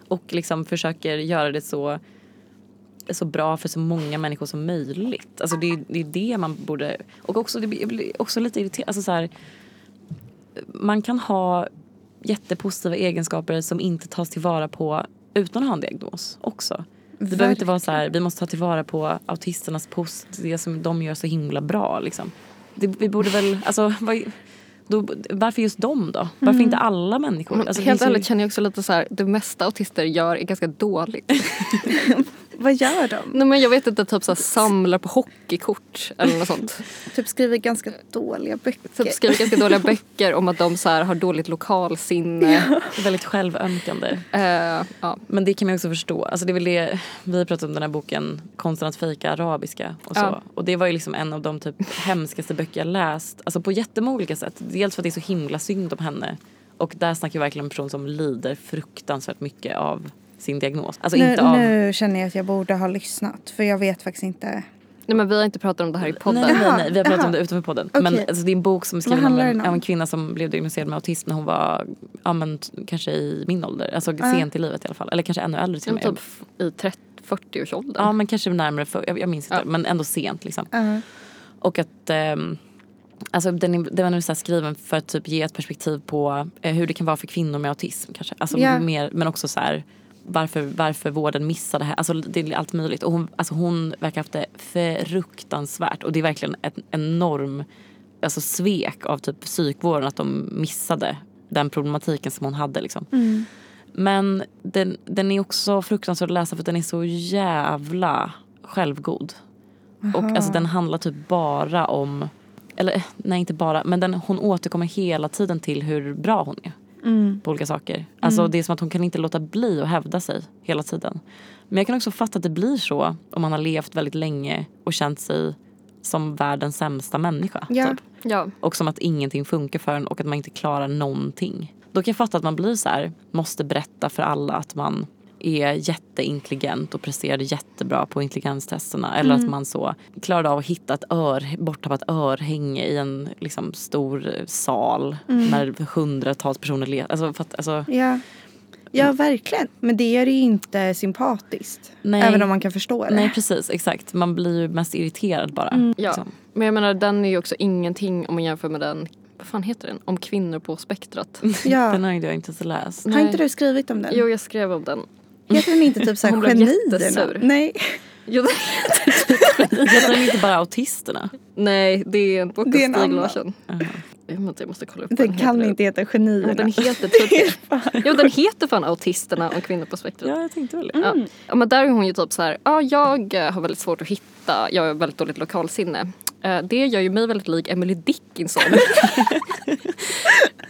[SPEAKER 1] och liksom försöker göra det så, så bra för så många människor som möjligt. Alltså det, är- det är det man borde... Och också, det blir- jag blir också lite irriterad. Alltså så här, man kan ha jättepositiva egenskaper som inte tas tillvara på utan att ha en diagnos också. Det behöver inte vara så här, vi måste ta tillvara på autisternas post, det som de gör så himla bra liksom. Det, vi borde väl, alltså vad, då, varför just dem då? Varför inte alla människor?
[SPEAKER 3] Mm. Men
[SPEAKER 1] Alltså, det
[SPEAKER 3] helt
[SPEAKER 1] finns ju-
[SPEAKER 3] ärligt känner jag också lite så här, det mesta autister gör är ganska dåligt.
[SPEAKER 2] Vad gör de?
[SPEAKER 3] Nej men jag vet inte, typ så här, samlar på hockeykort eller något sånt.
[SPEAKER 2] Typ skriver ganska dåliga böcker.
[SPEAKER 3] Typ skriver ganska dåliga böcker om att de så här, har dåligt lokalsinne.
[SPEAKER 1] Väldigt självömkande.
[SPEAKER 3] Eh, ja.
[SPEAKER 1] Men det kan man ju också förstå. Alltså det är väl det, vi har pratat om den här boken Konsten att fejka arabiska och så.
[SPEAKER 3] Ja.
[SPEAKER 1] Och det var ju liksom en av de typ hemskaste böcker jag läst. Alltså på jättemånga olika sätt. Dels för att det är så himla synd om henne. Och där snackar jag verkligen om en person som lider fruktansvärt mycket av sin diagnos. Alltså
[SPEAKER 2] nu,
[SPEAKER 1] inte av...
[SPEAKER 2] nu känner jag att jag borde ha lyssnat för jag vet faktiskt inte.
[SPEAKER 3] Nej men vi har inte pratat om det här i podden.
[SPEAKER 1] Nej, nej, nej, vi har pratat
[SPEAKER 2] Jaha.
[SPEAKER 1] om det utanför podden.
[SPEAKER 2] Okej.
[SPEAKER 1] Men alltså, det är en bok som är skriven
[SPEAKER 2] Vad
[SPEAKER 1] om
[SPEAKER 2] handlar
[SPEAKER 1] en,
[SPEAKER 2] den om?
[SPEAKER 1] om en kvinna som blev diagnostiserad med autism när hon var ja, men, t- kanske i min ålder. Alltså sent i livet i alla fall. Eller kanske ännu äldre till och med.
[SPEAKER 3] Typ i 30-40-årsåldern.
[SPEAKER 1] Ja men kanske närmare för, jag, jag minns inte. Men ändå sent liksom.
[SPEAKER 2] Ja.
[SPEAKER 1] Och att ehm, Alltså den, är- den var nog så här skriven för att typ ge ett perspektiv på eh, hur det kan vara för kvinnor med autism kanske. Alltså
[SPEAKER 2] Ja.
[SPEAKER 1] mer, men också så här varför, varför vården missar det här. Alltså det är allt möjligt. Och hon, alltså hon verkar ha haft det fruktansvärt. Och det är verkligen ett enorm alltså svek av typ psykvården att de missade den problematiken som hon hade liksom.
[SPEAKER 2] Mm.
[SPEAKER 1] Men den, den är också fruktansvärd att läsa för att den är så jävla självgod. Och alltså den handlar typ bara om, eller eh, nej inte bara, men den, hon återkommer hela tiden till hur bra hon är
[SPEAKER 2] Mm.
[SPEAKER 1] på olika saker. Alltså det är som att hon kan inte låta bli att hävda sig hela tiden. Men jag kan också fatta att det blir så om man har levt väldigt länge och känt sig som världens sämsta människa.
[SPEAKER 2] Ja.
[SPEAKER 1] Typ.
[SPEAKER 3] Ja.
[SPEAKER 1] Och som att ingenting funkar för en och att man inte klarar någonting. Då kan jag fatta att man blir så här, måste berätta för alla att man är jätteintelligent och presterade jättebra på intelligenstesterna. Eller
[SPEAKER 2] Mm.
[SPEAKER 1] att man så klarade av att hitta ett ör, borttappat örhänge i en liksom, stor eh, sal
[SPEAKER 2] Mm.
[SPEAKER 1] när hundratals personer letar. Alltså, fatt- alltså,
[SPEAKER 2] Ja.
[SPEAKER 3] Mm.
[SPEAKER 2] ja, verkligen. Men det gör det ju inte sympatiskt.
[SPEAKER 1] Nej.
[SPEAKER 2] Även om man kan förstå det. Mm.
[SPEAKER 1] nej precis, exakt. Man blir ju mest irriterad bara.
[SPEAKER 3] Ja,
[SPEAKER 1] liksom.
[SPEAKER 3] men jag menar den är ju också ingenting om man jämför med den, vad fan heter den, om kvinnor på spektrat.
[SPEAKER 2] Ja.
[SPEAKER 1] Den har jag inte så läst.
[SPEAKER 2] Mm. Har inte
[SPEAKER 3] Nej.
[SPEAKER 2] du skrivit om den?
[SPEAKER 3] Jo, jag skrev om den.
[SPEAKER 2] Heter den inte typ så här
[SPEAKER 3] Hon blev
[SPEAKER 2] genierna?
[SPEAKER 3] jättesur.
[SPEAKER 2] Nej,
[SPEAKER 3] Jo,
[SPEAKER 1] Heter den inte bara autisterna?
[SPEAKER 3] Nej, det är en bok av
[SPEAKER 2] Det är en
[SPEAKER 3] Stig
[SPEAKER 2] annan.
[SPEAKER 3] Larsson. Jag, vet inte, jag måste kolla upp vad
[SPEAKER 2] den kan
[SPEAKER 3] heter.
[SPEAKER 2] inte heta
[SPEAKER 3] Jo,
[SPEAKER 2] genierna.
[SPEAKER 3] den heter typ... jo, den heter fan Autisterna och Kvinnor på spektrat.
[SPEAKER 1] Ja, jag tänkte väl det.
[SPEAKER 2] Mm.
[SPEAKER 3] Ja. Ja, men där är hon ju typ så här, ja, jag eh, har väldigt svårt att hitta, jag har väldigt dåligt lokalsinne. Eh, Det gör ju mig väldigt lik Emily Dickinson.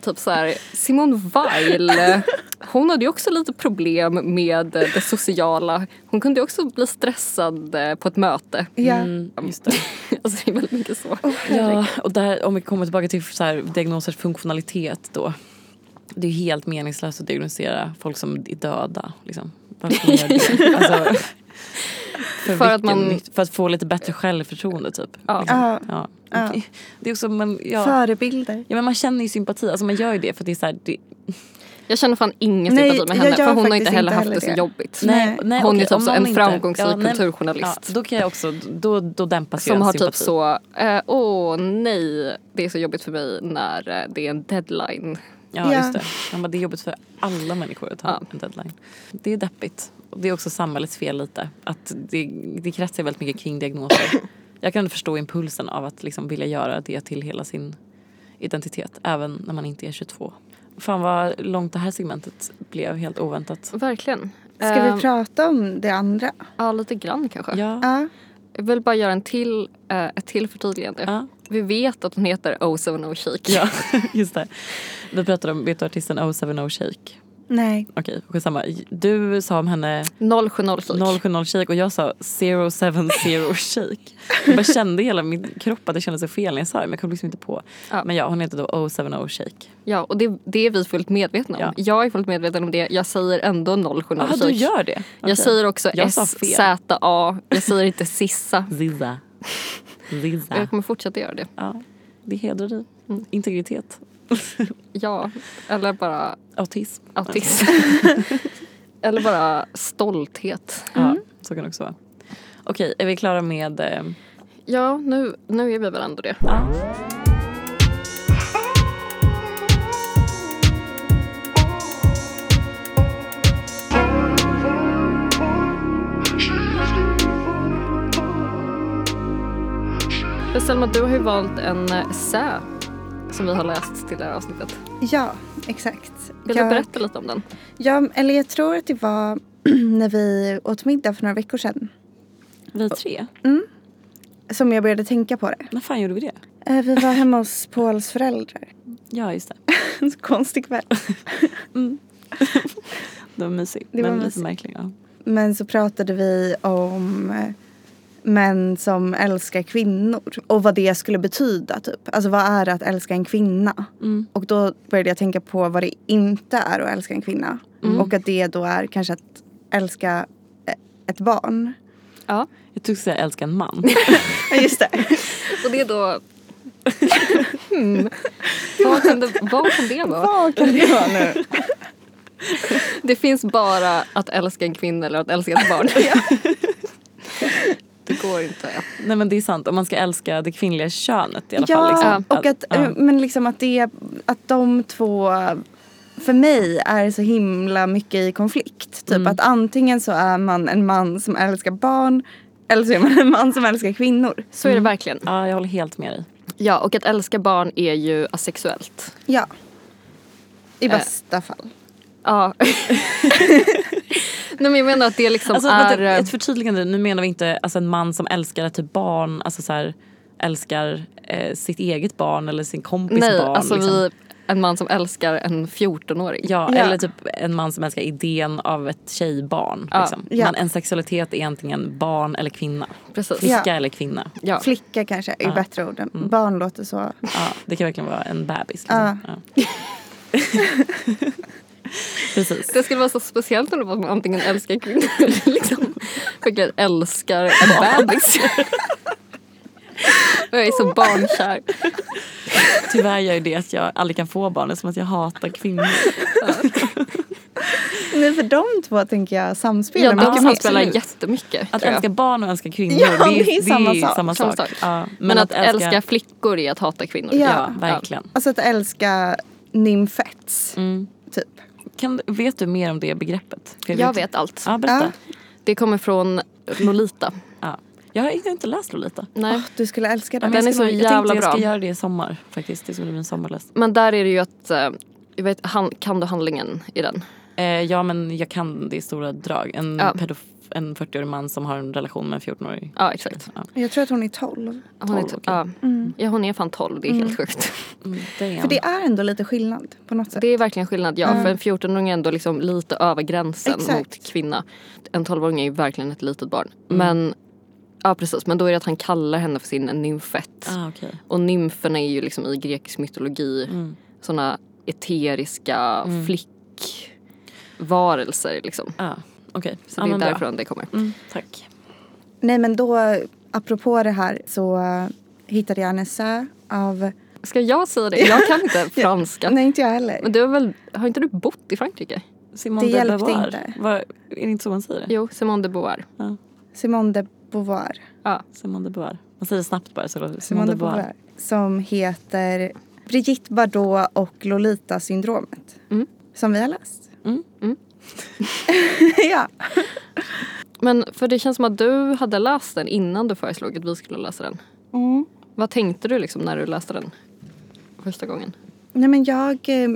[SPEAKER 3] typ så här, Simone Weil, eh, hon hade ju också lite problem med eh, det sociala. Hon kunde ju också bli stressad eh, på ett möte.
[SPEAKER 2] Ja. Oh.
[SPEAKER 1] Mm, just det.
[SPEAKER 3] Alltså det är väldigt mycket så.
[SPEAKER 1] Ja, och där, om vi kommer tillbaka till så här, diagnosers funktionalitet då. Det är ju helt meningslöst att diagnostisera folk som är döda. Liksom. Varför ska man göra det? Alltså, för,
[SPEAKER 3] För att
[SPEAKER 1] vilken
[SPEAKER 3] man-
[SPEAKER 1] nytt- för att få lite bättre självförtroende typ.
[SPEAKER 3] Ja.
[SPEAKER 1] Liksom.
[SPEAKER 2] Ja.
[SPEAKER 1] Ja.
[SPEAKER 2] Ja.
[SPEAKER 1] Det är också, man, ja.
[SPEAKER 2] Förebilder.
[SPEAKER 1] Ja, men man känner ju sympati, alltså man gör ju det för att det är så här, det,
[SPEAKER 3] Jag känner fan ingen
[SPEAKER 2] Nej,
[SPEAKER 3] sympati med
[SPEAKER 2] jag
[SPEAKER 3] henne
[SPEAKER 2] gör
[SPEAKER 3] för hon har
[SPEAKER 2] faktiskt
[SPEAKER 3] inte heller
[SPEAKER 2] inte
[SPEAKER 3] haft
[SPEAKER 2] heller
[SPEAKER 3] det så
[SPEAKER 2] det.
[SPEAKER 3] jobbigt.
[SPEAKER 1] nej, nej,
[SPEAKER 3] Hon är
[SPEAKER 1] okej,
[SPEAKER 3] typ
[SPEAKER 1] om
[SPEAKER 3] så
[SPEAKER 1] någon
[SPEAKER 3] en
[SPEAKER 1] inte-
[SPEAKER 3] framgångsrik
[SPEAKER 1] nej, men-
[SPEAKER 3] kulturjournalist.
[SPEAKER 1] Ja, då kan jag också, då, då dämpas ju
[SPEAKER 3] Som
[SPEAKER 1] ens
[SPEAKER 3] har
[SPEAKER 1] sympati.
[SPEAKER 3] typ så, eh, åh nej, det är så jobbigt för mig när eh, det är en deadline.
[SPEAKER 1] Ja,
[SPEAKER 2] Ja.
[SPEAKER 1] just det. Han bara, det är jobbigt för alla människor att ha
[SPEAKER 3] Ja.
[SPEAKER 1] en deadline. Det är deppigt. Och Det är också samhällets fel lite. Att det, det kretsar väldigt mycket kring diagnoser. Jag kan förstå impulsen av att liksom vilja göra det till hela sin identitet. Även när man inte är 22. Fan vad långt det här segmentet blev helt oväntat.
[SPEAKER 3] Verkligen.
[SPEAKER 2] Ska
[SPEAKER 3] Eh,
[SPEAKER 2] vi prata om det andra?
[SPEAKER 3] Ja, lite grann kanske.
[SPEAKER 1] Ja.
[SPEAKER 2] Ja.
[SPEAKER 3] Jag vill bara göra en till, eh, ett till förtydligande.
[SPEAKER 1] Ja.
[SPEAKER 3] Vi vet att hon heter 070 Chic.
[SPEAKER 1] Ja, just det. Vi pratade om, vet du artisten 070 Shake?
[SPEAKER 2] Nej.
[SPEAKER 1] Okej, skitsamma. Du sa om henne
[SPEAKER 3] 070 Chic.
[SPEAKER 1] 070 shake och jag sa 070 shake. Jag bara kände i hela min kropp att det kändes så fel när jag sa det men jag kom liksom inte på.
[SPEAKER 3] Ja.
[SPEAKER 1] Men ja, hon heter då 070 shake.
[SPEAKER 3] Ja, och det, det är vi fullt medvetna om.
[SPEAKER 1] Ja.
[SPEAKER 3] Jag är fullt medveten om det. Jag säger ändå 070
[SPEAKER 1] Jaha,
[SPEAKER 3] Chic.
[SPEAKER 1] du gör det? Okej.
[SPEAKER 3] Jag säger också
[SPEAKER 1] Jag sa fel.
[SPEAKER 3] SZA. Jag säger inte Sissa.
[SPEAKER 1] Zizza. Zizza.
[SPEAKER 3] Jag kommer fortsätta göra det.
[SPEAKER 1] Ja, det hedrar dig.
[SPEAKER 3] Mm.
[SPEAKER 1] Integritet.
[SPEAKER 3] Ja, eller bara
[SPEAKER 1] Autism.
[SPEAKER 3] autism. eller bara stolthet.
[SPEAKER 1] Ja, så kan det också vara. Okej, är vi klara med... Eh,
[SPEAKER 3] Ja, nu, nu är vi väl ändå det.
[SPEAKER 1] ja.
[SPEAKER 3] Men Selma, du har ju valt en eh, essä som vi har läst till det här avsnittet.
[SPEAKER 2] Ja, exakt.
[SPEAKER 3] Vill
[SPEAKER 2] jag,
[SPEAKER 3] du berätta lite om den?
[SPEAKER 2] Ja, eller jag tror att det var när vi åt middag för några veckor sedan
[SPEAKER 1] Vi tre?
[SPEAKER 2] som jag började tänka på det.
[SPEAKER 1] När fan gjorde vi det?
[SPEAKER 2] Eh, Vi var hemma hos Pauls föräldrar.
[SPEAKER 1] Ja, just det.
[SPEAKER 2] En så konstig kväll.
[SPEAKER 1] Det var mysigt.
[SPEAKER 2] Det var
[SPEAKER 1] men lite
[SPEAKER 2] mysigt.
[SPEAKER 1] märkligt. Ja.
[SPEAKER 2] Men så pratade vi om eh, män som älskar kvinnor och vad det skulle betyda. Typ. Alltså vad är det att älska en kvinna?
[SPEAKER 1] Mm.
[SPEAKER 2] Och då började jag tänka på vad det inte är att älska en kvinna. Och att det då är kanske att älska eh, ett barn.
[SPEAKER 3] Ja.
[SPEAKER 1] Jag tyckte säga älska en man.
[SPEAKER 2] Ja, Just det.
[SPEAKER 3] Och det är då... hmm. vad, kan det, vad kan det vara?
[SPEAKER 2] Vad kan det vara nu?
[SPEAKER 3] Det finns bara att älska en kvinna eller att älska ett barn.
[SPEAKER 1] Det
[SPEAKER 3] det går inte.
[SPEAKER 1] Nej men det är sant. Om man ska älska det kvinnliga könet i alla fall.
[SPEAKER 2] Ja,
[SPEAKER 1] Liksom.
[SPEAKER 2] och att,
[SPEAKER 1] ja.
[SPEAKER 2] eh, men liksom att, det, att de två för mig är så himla mycket i konflikt.
[SPEAKER 3] Mm.
[SPEAKER 2] Typ att antingen så är man en man som älskar barn eller så är man en man som älskar kvinnor.
[SPEAKER 3] Så är det verkligen.
[SPEAKER 1] ja, jag håller helt med dig.
[SPEAKER 3] Ja, och att älska barn är ju asexuellt.
[SPEAKER 2] Ja. I
[SPEAKER 3] Eh.
[SPEAKER 2] bästa fall.
[SPEAKER 3] Ja. Nej men jag menar att det liksom
[SPEAKER 1] Alltså,
[SPEAKER 3] är...
[SPEAKER 1] vänta,
[SPEAKER 2] eh,
[SPEAKER 1] ett förtydligande. Nu menar vi inte alltså, en man som älskar typ barn, alltså så här, älskar eh, sitt eget barn eller sin kompis
[SPEAKER 3] nej,
[SPEAKER 1] barn.
[SPEAKER 3] alltså
[SPEAKER 1] liksom.
[SPEAKER 3] vi... En man som älskar en 14-åring.
[SPEAKER 1] Ja,
[SPEAKER 2] Ja.
[SPEAKER 1] eller typ en man som älskar idén av ett tjejbarn.
[SPEAKER 3] Ja.
[SPEAKER 1] Liksom.
[SPEAKER 2] Ja.
[SPEAKER 1] Men en sexualitet är antingen barn eller kvinna.
[SPEAKER 3] Precis.
[SPEAKER 1] Flicka eller kvinna.
[SPEAKER 3] Ja. Mm.
[SPEAKER 2] Flicka kanske är bättre orden. Barn låter så.
[SPEAKER 1] Ja, det kan verkligen vara en bebis. Liksom.
[SPEAKER 2] Ja.
[SPEAKER 1] Ja. Precis.
[SPEAKER 3] Det skulle vara så speciellt om det var att man antingen älskar kvinnor eller liksom verkligen älskar en bebis. Och jag är så barnkär.
[SPEAKER 1] Tyvärr gör ju det att jag aldrig kan få barn som att jag hatar kvinnor.
[SPEAKER 2] Nej, för de två tänker jag samspelar
[SPEAKER 3] Ja,
[SPEAKER 2] mycket
[SPEAKER 3] de
[SPEAKER 2] mer.
[SPEAKER 3] samspelar
[SPEAKER 2] Absolut.
[SPEAKER 3] jättemycket.
[SPEAKER 1] Att
[SPEAKER 3] tror jag.
[SPEAKER 1] älska barn och älska kvinnor
[SPEAKER 2] Ja,
[SPEAKER 1] det, är, det är samma sak.
[SPEAKER 3] Samma sak.
[SPEAKER 1] Ja, men,
[SPEAKER 3] Men, att, älska... flickor är att hata kvinnor.
[SPEAKER 2] Ja.
[SPEAKER 1] Ja, verkligen.
[SPEAKER 2] Alltså att älska nymfets.
[SPEAKER 1] Mm.
[SPEAKER 2] Typ.
[SPEAKER 1] Kan, vet du mer om det begreppet? Ska
[SPEAKER 3] Jag vet allt.
[SPEAKER 1] Ja, berätta.
[SPEAKER 3] Det kommer från Lolita.
[SPEAKER 1] Ja. Jag har inte läst Lolita.
[SPEAKER 3] Nej.
[SPEAKER 2] Åh, du skulle älska
[SPEAKER 1] Ja,
[SPEAKER 2] den.
[SPEAKER 1] men jag
[SPEAKER 3] Den är
[SPEAKER 1] skulle-
[SPEAKER 3] så
[SPEAKER 1] jag
[SPEAKER 3] jävla
[SPEAKER 1] tänkte jag ska
[SPEAKER 3] bra.
[SPEAKER 1] göra det i sommar faktiskt. Det skulle bli en sommarläst.
[SPEAKER 3] Men där är det ju att, eh, jag vet, han, kan du handlingen i den?
[SPEAKER 1] Eh, ja men jag kan det i stora drag. En,
[SPEAKER 3] Ja.
[SPEAKER 1] pedof- en 40-årig man som har en relation med en 14-årig.
[SPEAKER 3] Ja exakt.
[SPEAKER 1] Ja.
[SPEAKER 2] Jag tror att hon är 12.
[SPEAKER 3] Hon är,
[SPEAKER 1] Tolv,
[SPEAKER 3] typ-
[SPEAKER 1] okej.
[SPEAKER 3] ja. ja hon är fan 12, det är helt sjukt.
[SPEAKER 1] Mm, det är
[SPEAKER 2] För det är ändå lite skillnad på något sätt.
[SPEAKER 3] Det är verkligen skillnad ja,
[SPEAKER 1] Mm.
[SPEAKER 3] för en 14-åring är ändå liksom lite över gränsen
[SPEAKER 2] Exakt.
[SPEAKER 3] mot kvinna. En 12-åring är ju verkligen ett litet barn.
[SPEAKER 1] Mm.
[SPEAKER 3] Men Ja precis, men då är det att han kallar henne för sin nymfett.
[SPEAKER 1] Ah, okej.
[SPEAKER 3] Och nymferna är ju liksom i grekisk mytologi
[SPEAKER 1] Mm.
[SPEAKER 3] såna eteriska flickvarelser liksom.
[SPEAKER 1] Ah, okej.
[SPEAKER 3] Så
[SPEAKER 1] Ah,
[SPEAKER 3] det är
[SPEAKER 1] men bra.
[SPEAKER 3] därifrån det kommer.
[SPEAKER 1] Mm, tack.
[SPEAKER 2] Nej men då, apropå det här så eh, hittade jag en essä av...
[SPEAKER 3] Ska jag säga det? Jag kan inte franska.
[SPEAKER 2] Nej inte jag heller.
[SPEAKER 3] Men du har väl, har inte du bott i Frankrike?
[SPEAKER 1] Simone
[SPEAKER 2] Det
[SPEAKER 1] de
[SPEAKER 2] hjälpte
[SPEAKER 1] Beauvoir.
[SPEAKER 2] inte.
[SPEAKER 1] Vad- är det inte så man säger det?
[SPEAKER 3] Jo, Simone de Beauvoir.
[SPEAKER 1] Ja.
[SPEAKER 2] Simone de Beauvoir.
[SPEAKER 3] Ja.
[SPEAKER 1] Simone de Beauvoir. Man säger det snabbt bara. Så låter det-
[SPEAKER 2] Simone de Beauvoir. Som heter Brigitte Bardot och Lolita-syndromet.
[SPEAKER 3] Mm.
[SPEAKER 2] Som vi har läst.
[SPEAKER 1] Mm.
[SPEAKER 3] Mm.
[SPEAKER 2] ja.
[SPEAKER 3] Men för det känns som att du hade läst den innan du föreslog att vi skulle läsa den.
[SPEAKER 2] Mm.
[SPEAKER 3] Vad tänkte du liksom när du läste den första gången?
[SPEAKER 2] Nej men jag, eh,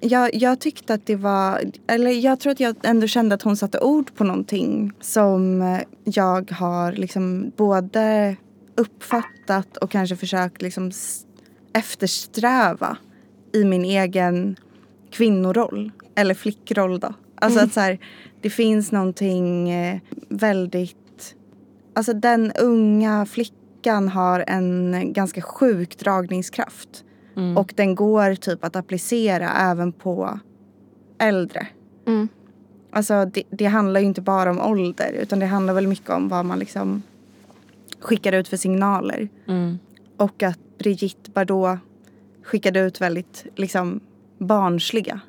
[SPEAKER 2] jag, jag tyckte att det var, eller jag tror att jag ändå kände att hon satte ord på någonting som eh, jag har liksom både uppfattat och kanske försökt liksom s- eftersträva i min egen kvinnoroll. Eller flickroll då. Alltså att så här, det finns någonting eh, väldigt Alltså den unga flickan har en ganska sjuk dragningskraft.
[SPEAKER 1] Mm.
[SPEAKER 2] Och den går typ att applicera även på äldre.
[SPEAKER 3] Mm.
[SPEAKER 2] Alltså det, det handlar ju inte bara om ålder utan det handlar väl mycket om vad man liksom skickar ut för signaler.
[SPEAKER 1] Mm.
[SPEAKER 2] Och att Brigitte Bardot skickade ut väldigt liksom barnsliga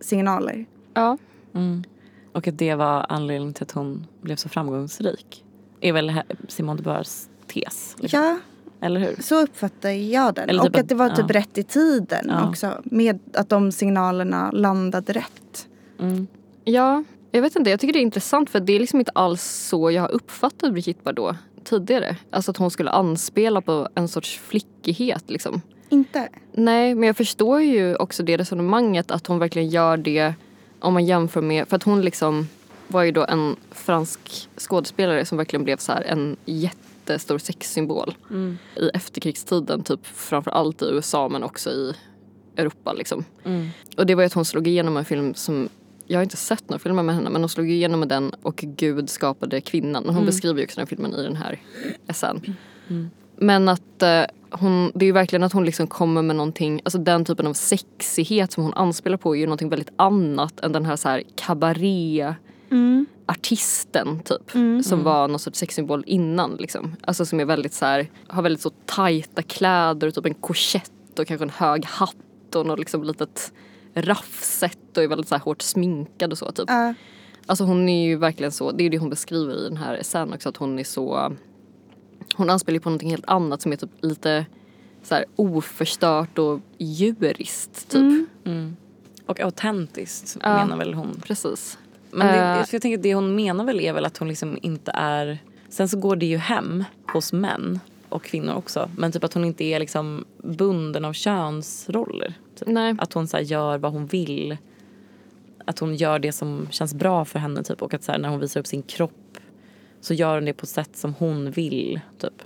[SPEAKER 2] signaler.
[SPEAKER 3] Ja.
[SPEAKER 1] Mm. Och att det var anledningen till att hon blev så framgångsrik. Är väl he- Simone de Beauvoirs tes. liksom.
[SPEAKER 2] Ja,
[SPEAKER 1] Eller hur?
[SPEAKER 2] Så uppfattar jag den.
[SPEAKER 1] Eller typ
[SPEAKER 2] och att det var
[SPEAKER 1] att-
[SPEAKER 2] typ
[SPEAKER 1] ja.
[SPEAKER 2] rätt i tiden
[SPEAKER 1] Ja.
[SPEAKER 2] också. Med att de signalerna landade rätt.
[SPEAKER 1] Mm.
[SPEAKER 3] ja, jag vet inte. Jag tycker det är intressant för det är liksom inte alls så jag har uppfattat Brigitte Bardot tidigare. Alltså att hon skulle anspela på en sorts flickighet liksom.
[SPEAKER 2] Inte?
[SPEAKER 3] Nej, men jag förstår ju också det resonemanget att hon verkligen gör det om man jämför med, för att hon liksom var ju då en fransk skådespelare som verkligen blev så här en jättestor sexsymbol i efterkrigstiden, typ framför allt i USA men också i Europa liksom.
[SPEAKER 1] Mm.
[SPEAKER 3] Och det var ju att hon slog igenom en film som jag har inte sett några filmer med henne men hon slog igenom med den och Gud skapade kvinnan. Och hon beskriver ju också den filmen i den här essän. Men att eh, hon, det är ju verkligen att hon liksom kommer med någonting, alltså den typen av sexighet som hon anspelar på är ju någonting väldigt annat än den här så här kabaré artisten typ. Som var någon sorts sexsymbol innan liksom. Alltså som är väldigt så här, har väldigt så tajta kläder och typ en korsett och kanske en hög hatt och något liksom litet raffset och är väldigt så här hårt sminkad och så typ.
[SPEAKER 2] Ja.
[SPEAKER 3] Alltså hon är ju verkligen så, det är ju det hon beskriver i den här essän också att hon är så Hon anspelar ju på någonting helt annat som är typ lite så här oförstört och djuriskt typ.
[SPEAKER 1] Och autentiskt
[SPEAKER 3] Ja.
[SPEAKER 1] menar väl hon.
[SPEAKER 3] Precis.
[SPEAKER 1] Men det,
[SPEAKER 3] Eh.
[SPEAKER 1] så jag tänker att det hon menar väl är väl att hon liksom inte är... Sen så går det ju hem hos män och kvinnor också. Men typ att hon inte är liksom bunden av könsroller. Typ.
[SPEAKER 3] Nej.
[SPEAKER 1] Att hon så här gör vad hon vill. Att hon gör det som känns bra för henne typ. Och att så här, när hon visar upp sin kropp så gör hon det på ett sätt som hon vill typ.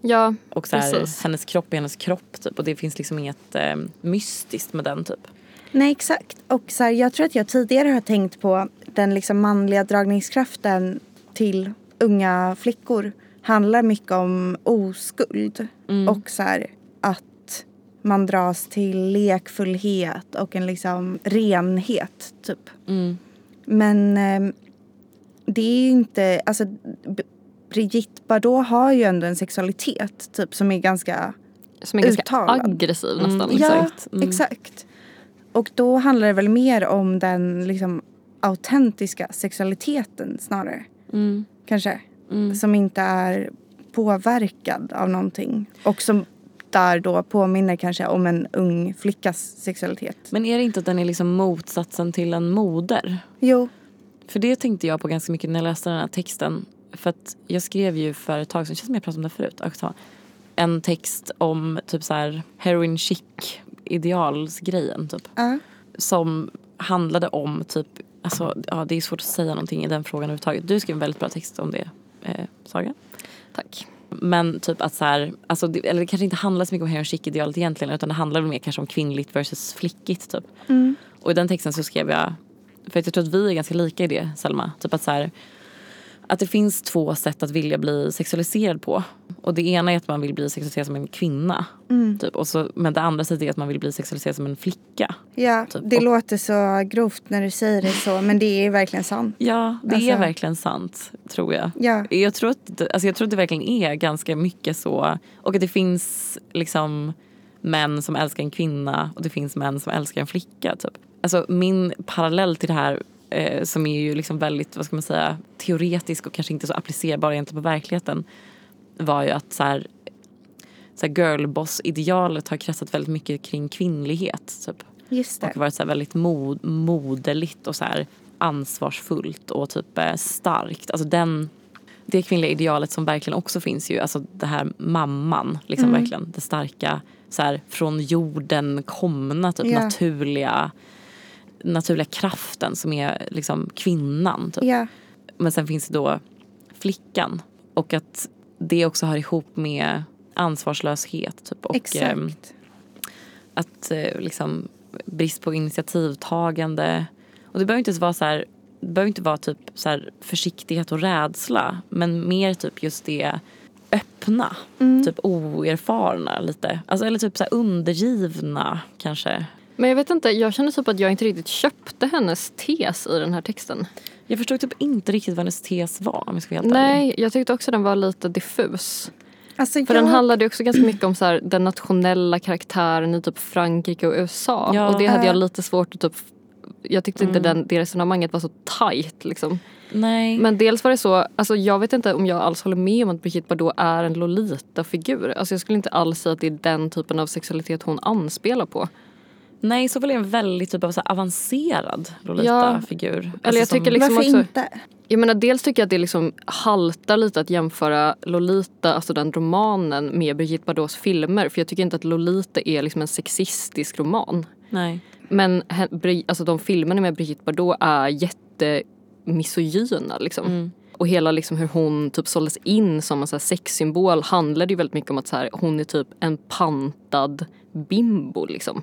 [SPEAKER 3] Ja,
[SPEAKER 1] Och så här,
[SPEAKER 3] Precis.
[SPEAKER 1] hennes kropp är hennes kropp typ. Och det finns liksom inget eh, mystiskt med den typ.
[SPEAKER 2] Nej, exakt. Och så här, jag tror att jag tidigare har tänkt på den liksom manliga dragningskraften till unga flickor handlar mycket om oskuld och så här, att man dras till lekfullhet och en liksom renhet, typ.
[SPEAKER 3] Mm.
[SPEAKER 2] Men eh, det är ju inte... Alltså, B- Brigitte Bardot har ju ändå en sexualitet typ, som är ganska
[SPEAKER 3] som är ganska
[SPEAKER 2] Uttalad.
[SPEAKER 3] aggressiv nästan.
[SPEAKER 1] Mm,
[SPEAKER 3] liksom.
[SPEAKER 2] Ja,
[SPEAKER 1] Exakt. Mm.
[SPEAKER 2] exakt. Och då handlar det väl mer om den liksom, autentiska sexualiteten snarare.
[SPEAKER 3] Mm.
[SPEAKER 2] Kanske. Som inte är påverkad av någonting. Och som där då påminner kanske om en ung flickas sexualitet.
[SPEAKER 1] Men är det inte att den är liksom motsatsen till en moder?
[SPEAKER 2] Jo.
[SPEAKER 1] För det tänkte jag på ganska mycket när jag läste den här texten. För att jag skrev ju för ett tag sedan, det känns som jag pratade om det förut, och så, en text om typ så här heroin chic idealsgrejen typ.
[SPEAKER 2] Ja.
[SPEAKER 1] Som handlade om typ, alltså ja det är svårt att säga någonting i den frågan överhuvudtaget. Du skrev en väldigt bra text om det, eh, Saga.
[SPEAKER 3] Tack.
[SPEAKER 1] Men typ att så här, alltså, det, eller det kanske inte handlar så mycket om heroin chic idealet egentligen utan det handlar väl mer kanske om kvinnligt versus flickigt typ. Och i den texten så skrev jag, för att jag tror att vi är ganska lika i det Selma, typ att så här, att det finns två sätt att vilja bli sexualiserad på. Och det ena är att man vill bli sexualiserad som en kvinna. Typ. Och så, men det andra sättet är att man vill bli sexualiserad som en flicka.
[SPEAKER 2] Ja,
[SPEAKER 1] Typ.
[SPEAKER 2] det
[SPEAKER 1] Och-
[SPEAKER 2] låter så grovt när du säger det så. Men det är verkligen sant.
[SPEAKER 1] Ja, det är
[SPEAKER 2] Alltså-
[SPEAKER 1] verkligen sant, tror jag.
[SPEAKER 2] Ja.
[SPEAKER 1] Jag, tror att, det- alltså jag tror att det verkligen är ganska mycket så. Och att det finns liksom män som älskar en kvinna och det finns män som älskar en flicka. Typ. Alltså min parallell till det här eh, som är ju liksom väldigt vad ska man säga, teoretisk och kanske inte så applicerbar egentligen på verkligheten var ju att så här, så här girlboss-idealet har kretsat väldigt mycket kring kvinnlighet. Typ.
[SPEAKER 2] Just det.
[SPEAKER 1] Och varit så här väldigt mod, moderligt och så här ansvarsfullt och typ eh, starkt. Alltså den, det kvinnliga idealet som verkligen också finns ju, alltså det här mamman, liksom
[SPEAKER 2] Mm.
[SPEAKER 1] verkligen det starka, så här, från jorden komna, typ
[SPEAKER 2] Ja.
[SPEAKER 1] naturliga, naturliga kraften som är liksom kvinnan. Typ.
[SPEAKER 2] Ja.
[SPEAKER 1] Men sen finns det då flickan och att det också hör ihop med ansvarslöshet typ, och ehm,
[SPEAKER 2] Exakt.
[SPEAKER 1] att eh, liksom, brist på initiativtagande. Och det behöver inte ens vara så här, det behöver inte vara typ så här försiktighet och rädsla men mer typ just det öppna,
[SPEAKER 3] Mm.
[SPEAKER 1] typ oerfarna lite. Alltså, eller typ så här undergivna kanske.
[SPEAKER 3] Men jag vet inte, jag känner typ att jag inte riktigt köpte hennes tes i den här texten.
[SPEAKER 1] Jag förstod typ inte riktigt vad hennes tes var om jag ska vara helt ärlig.
[SPEAKER 3] Nej, jag tyckte också den var lite diffus.
[SPEAKER 2] Alltså,
[SPEAKER 3] För
[SPEAKER 2] jag-
[SPEAKER 3] den handlade ju också ganska mycket om så här, den nationella karaktären i typ Frankrike och USA.
[SPEAKER 1] Ja.
[SPEAKER 3] Och det hade jag
[SPEAKER 2] Ja.
[SPEAKER 3] lite svårt att typ... Jag tyckte inte den, det resonemanget var så tajt liksom.
[SPEAKER 1] Nej.
[SPEAKER 3] Men dels var det så, alltså jag vet inte om jag alls håller med om att Brigitte Bardot är en Lolita-figur. Alltså jag skulle inte alls säga att det är den typen av sexualitet hon anspelar på.
[SPEAKER 1] Nej, så väl är en väldigt typ av så här avancerad Lolita-figur. Alltså Eller
[SPEAKER 3] jag tycker liksom-
[SPEAKER 2] Varför
[SPEAKER 3] också-
[SPEAKER 2] inte?
[SPEAKER 3] Jag menar dels tycker jag att det liksom haltar lite att jämföra Lolita, alltså den romanen, med Brigitte Bardots filmer. För jag tycker inte att Lolita är liksom en sexistisk roman.
[SPEAKER 1] Nej.
[SPEAKER 3] Men he- Bri- alltså de filmerna med Brigitte Bardot är jättemisogyna. Liksom. Och hela liksom hur hon typ såldes in som en så här sexsymbol handlade ju väldigt mycket om att så här, hon är typ en pantad bimbo. Liksom.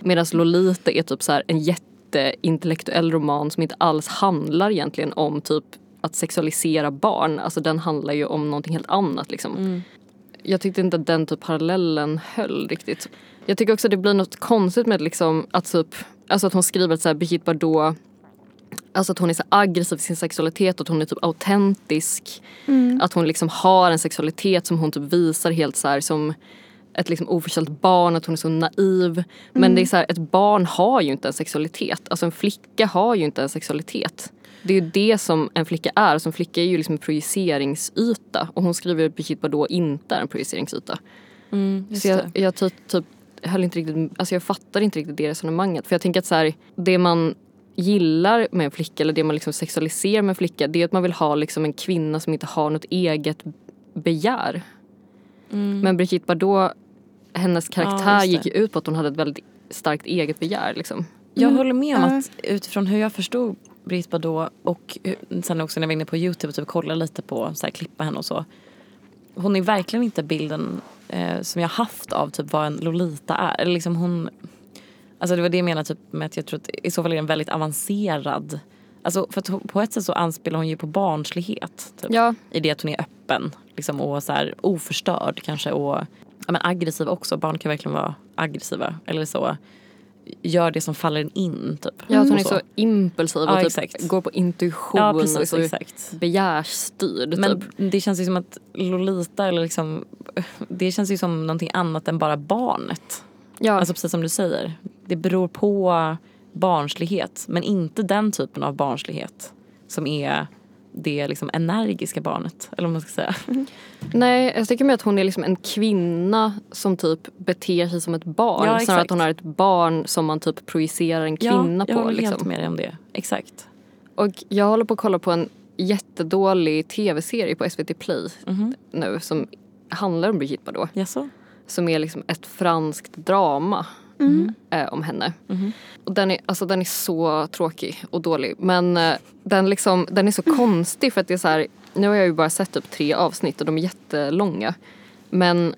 [SPEAKER 3] Medan Lolita är typ så här en jätteintellektuell roman som inte alls handlar egentligen om typ att sexualisera barn. Alltså den handlar ju om någonting helt annat. Liksom jag tyckte inte att den typ parallellen höll riktigt. Jag tycker också att det blir något konstigt med liksom att typ, alltså att hon skriver att så här Brigitte Bardot Alltså att hon är så aggressiv i sin sexualitet, att hon är typ autentisk. Att hon liksom har en sexualitet som hon typ visar helt så här som ett liksom oförställt barn, att hon är så naiv. Men det är så här, ett barn har ju inte en sexualitet. Alltså en flicka har ju inte en sexualitet. Det är ju det som en flicka är. Som flicka är ju liksom en projiceringsyta. Och hon skriver att Brigitte Bardot inte är en projiceringsyta.
[SPEAKER 1] Mm, just
[SPEAKER 3] så jag,
[SPEAKER 1] det.
[SPEAKER 3] jag typ, typ höll inte riktigt, alltså jag fattar inte riktigt det resonemanget. För jag tänker att så här, det man gillar med en flicka eller det man liksom sexualiserar med en flicka det är att man vill ha liksom en kvinna som inte har något eget begär. Men Brigitte Bardot, hennes karaktär
[SPEAKER 1] Mm. just det.
[SPEAKER 3] gick ju ut på att hon hade ett väldigt starkt eget begär. Liksom.
[SPEAKER 1] Jag håller med om
[SPEAKER 2] Ja.
[SPEAKER 1] att utifrån hur jag förstod Britt då och hur- sen också när jag var inne på Youtube och typ kollade lite på så här, klippa henne och så. Hon är verkligen inte bilden eh, som jag haft av typ vad en Lolita är. Eller liksom hon, alltså det var det jag menade typ med att jag tror att i så fall är den väldigt avancerad. Alltså för att hon, på ett sätt så anspelar hon ju på barnslighet. Typ,
[SPEAKER 3] Ja.
[SPEAKER 1] I det att hon är öppen liksom, och så här, oförstörd kanske och ja, men aggressiv också. Barn kan verkligen vara aggressiva eller så gör det som faller en in. Typ.
[SPEAKER 3] Ja, att hon
[SPEAKER 1] Och
[SPEAKER 3] är så impulsiv och
[SPEAKER 1] Ja,
[SPEAKER 3] typ
[SPEAKER 1] exakt.
[SPEAKER 3] går på intuition.
[SPEAKER 1] Ja, precis.
[SPEAKER 3] alltså
[SPEAKER 1] Exakt.
[SPEAKER 3] Begärsstyrd.
[SPEAKER 1] Men
[SPEAKER 3] typ.
[SPEAKER 1] det känns ju som att Lolita eller liksom, det känns ju som någonting annat än bara barnet.
[SPEAKER 3] Ja.
[SPEAKER 1] Alltså precis som du säger. Det beror på barnslighet men inte den typen av barnslighet som är det liksom energiska barnet. Eller vad man ska säga.
[SPEAKER 3] Nej, jag tycker mer att hon är liksom en kvinna som typ beter sig som ett
[SPEAKER 1] Ja,
[SPEAKER 3] barn. snarare
[SPEAKER 1] exakt.
[SPEAKER 3] att hon är ett barn som man typ projicerar en kvinna
[SPEAKER 1] jag
[SPEAKER 3] på.
[SPEAKER 1] håller helt
[SPEAKER 3] Liksom.
[SPEAKER 1] med dig om det. Exakt.
[SPEAKER 3] Och jag håller på att kolla på en jättedålig tv-serie på SVT Play
[SPEAKER 1] Mhm.
[SPEAKER 3] nu som handlar om Brigitte Bardot.
[SPEAKER 1] Jaså?
[SPEAKER 3] Som är liksom ett franskt drama eh, om henne. Och den, är, alltså, den är så tråkig och dålig. Men eh, den, liksom, den är så konstig för att det är så här, nu har jag ju bara sett upp tre avsnitt och de är jättelånga. Men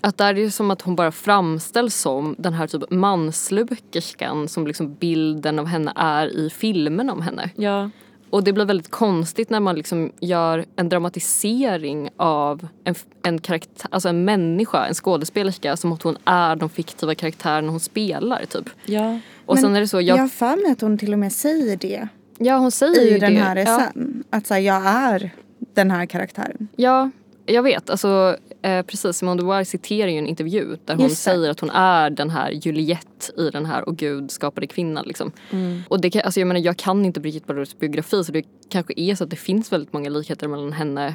[SPEAKER 3] att där är det som att hon bara framställs som den här typ manslukerskan som liksom bilden av henne är i filmen om henne.
[SPEAKER 1] Ja.
[SPEAKER 3] Och det blir väldigt konstigt när man liksom gör en dramatisering av en, f- en karaktär, alltså en människa, en skådespelerska som att hon är de fiktiva karaktärerna hon spelar typ.
[SPEAKER 1] Ja.
[SPEAKER 3] Och
[SPEAKER 2] Men
[SPEAKER 3] sen är det så,
[SPEAKER 2] Jag
[SPEAKER 3] jag,
[SPEAKER 2] har för mig att hon till och med säger det
[SPEAKER 3] ja hon säger
[SPEAKER 2] i
[SPEAKER 3] ju
[SPEAKER 2] den
[SPEAKER 3] det.
[SPEAKER 2] här
[SPEAKER 3] ja,
[SPEAKER 2] essän. Att så här, jag är den här karaktären.
[SPEAKER 3] ja, jag vet. Alltså, eh, precis, Simone de Beauvoir citerar ju en intervju där hon
[SPEAKER 2] Just det.
[SPEAKER 3] säger att hon är den här Juliette i den här och gud skapade kvinnan liksom.
[SPEAKER 2] Mm.
[SPEAKER 3] Och det kan, alltså, jag menar jag kan inte Brigitte Bardots biografi så det kanske är så att det finns väldigt många likheter mellan henne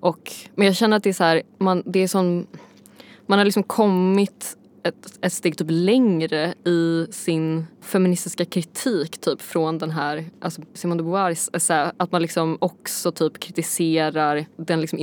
[SPEAKER 3] och, men jag känner att det är så här, man, det är sån, man har liksom kommit ett, ett steg typ längre i sin feministiska kritik typ från den här, alltså Simone de Beauvoirs
[SPEAKER 1] Mm,
[SPEAKER 3] essä, att man liksom också typ kritiserar den liksom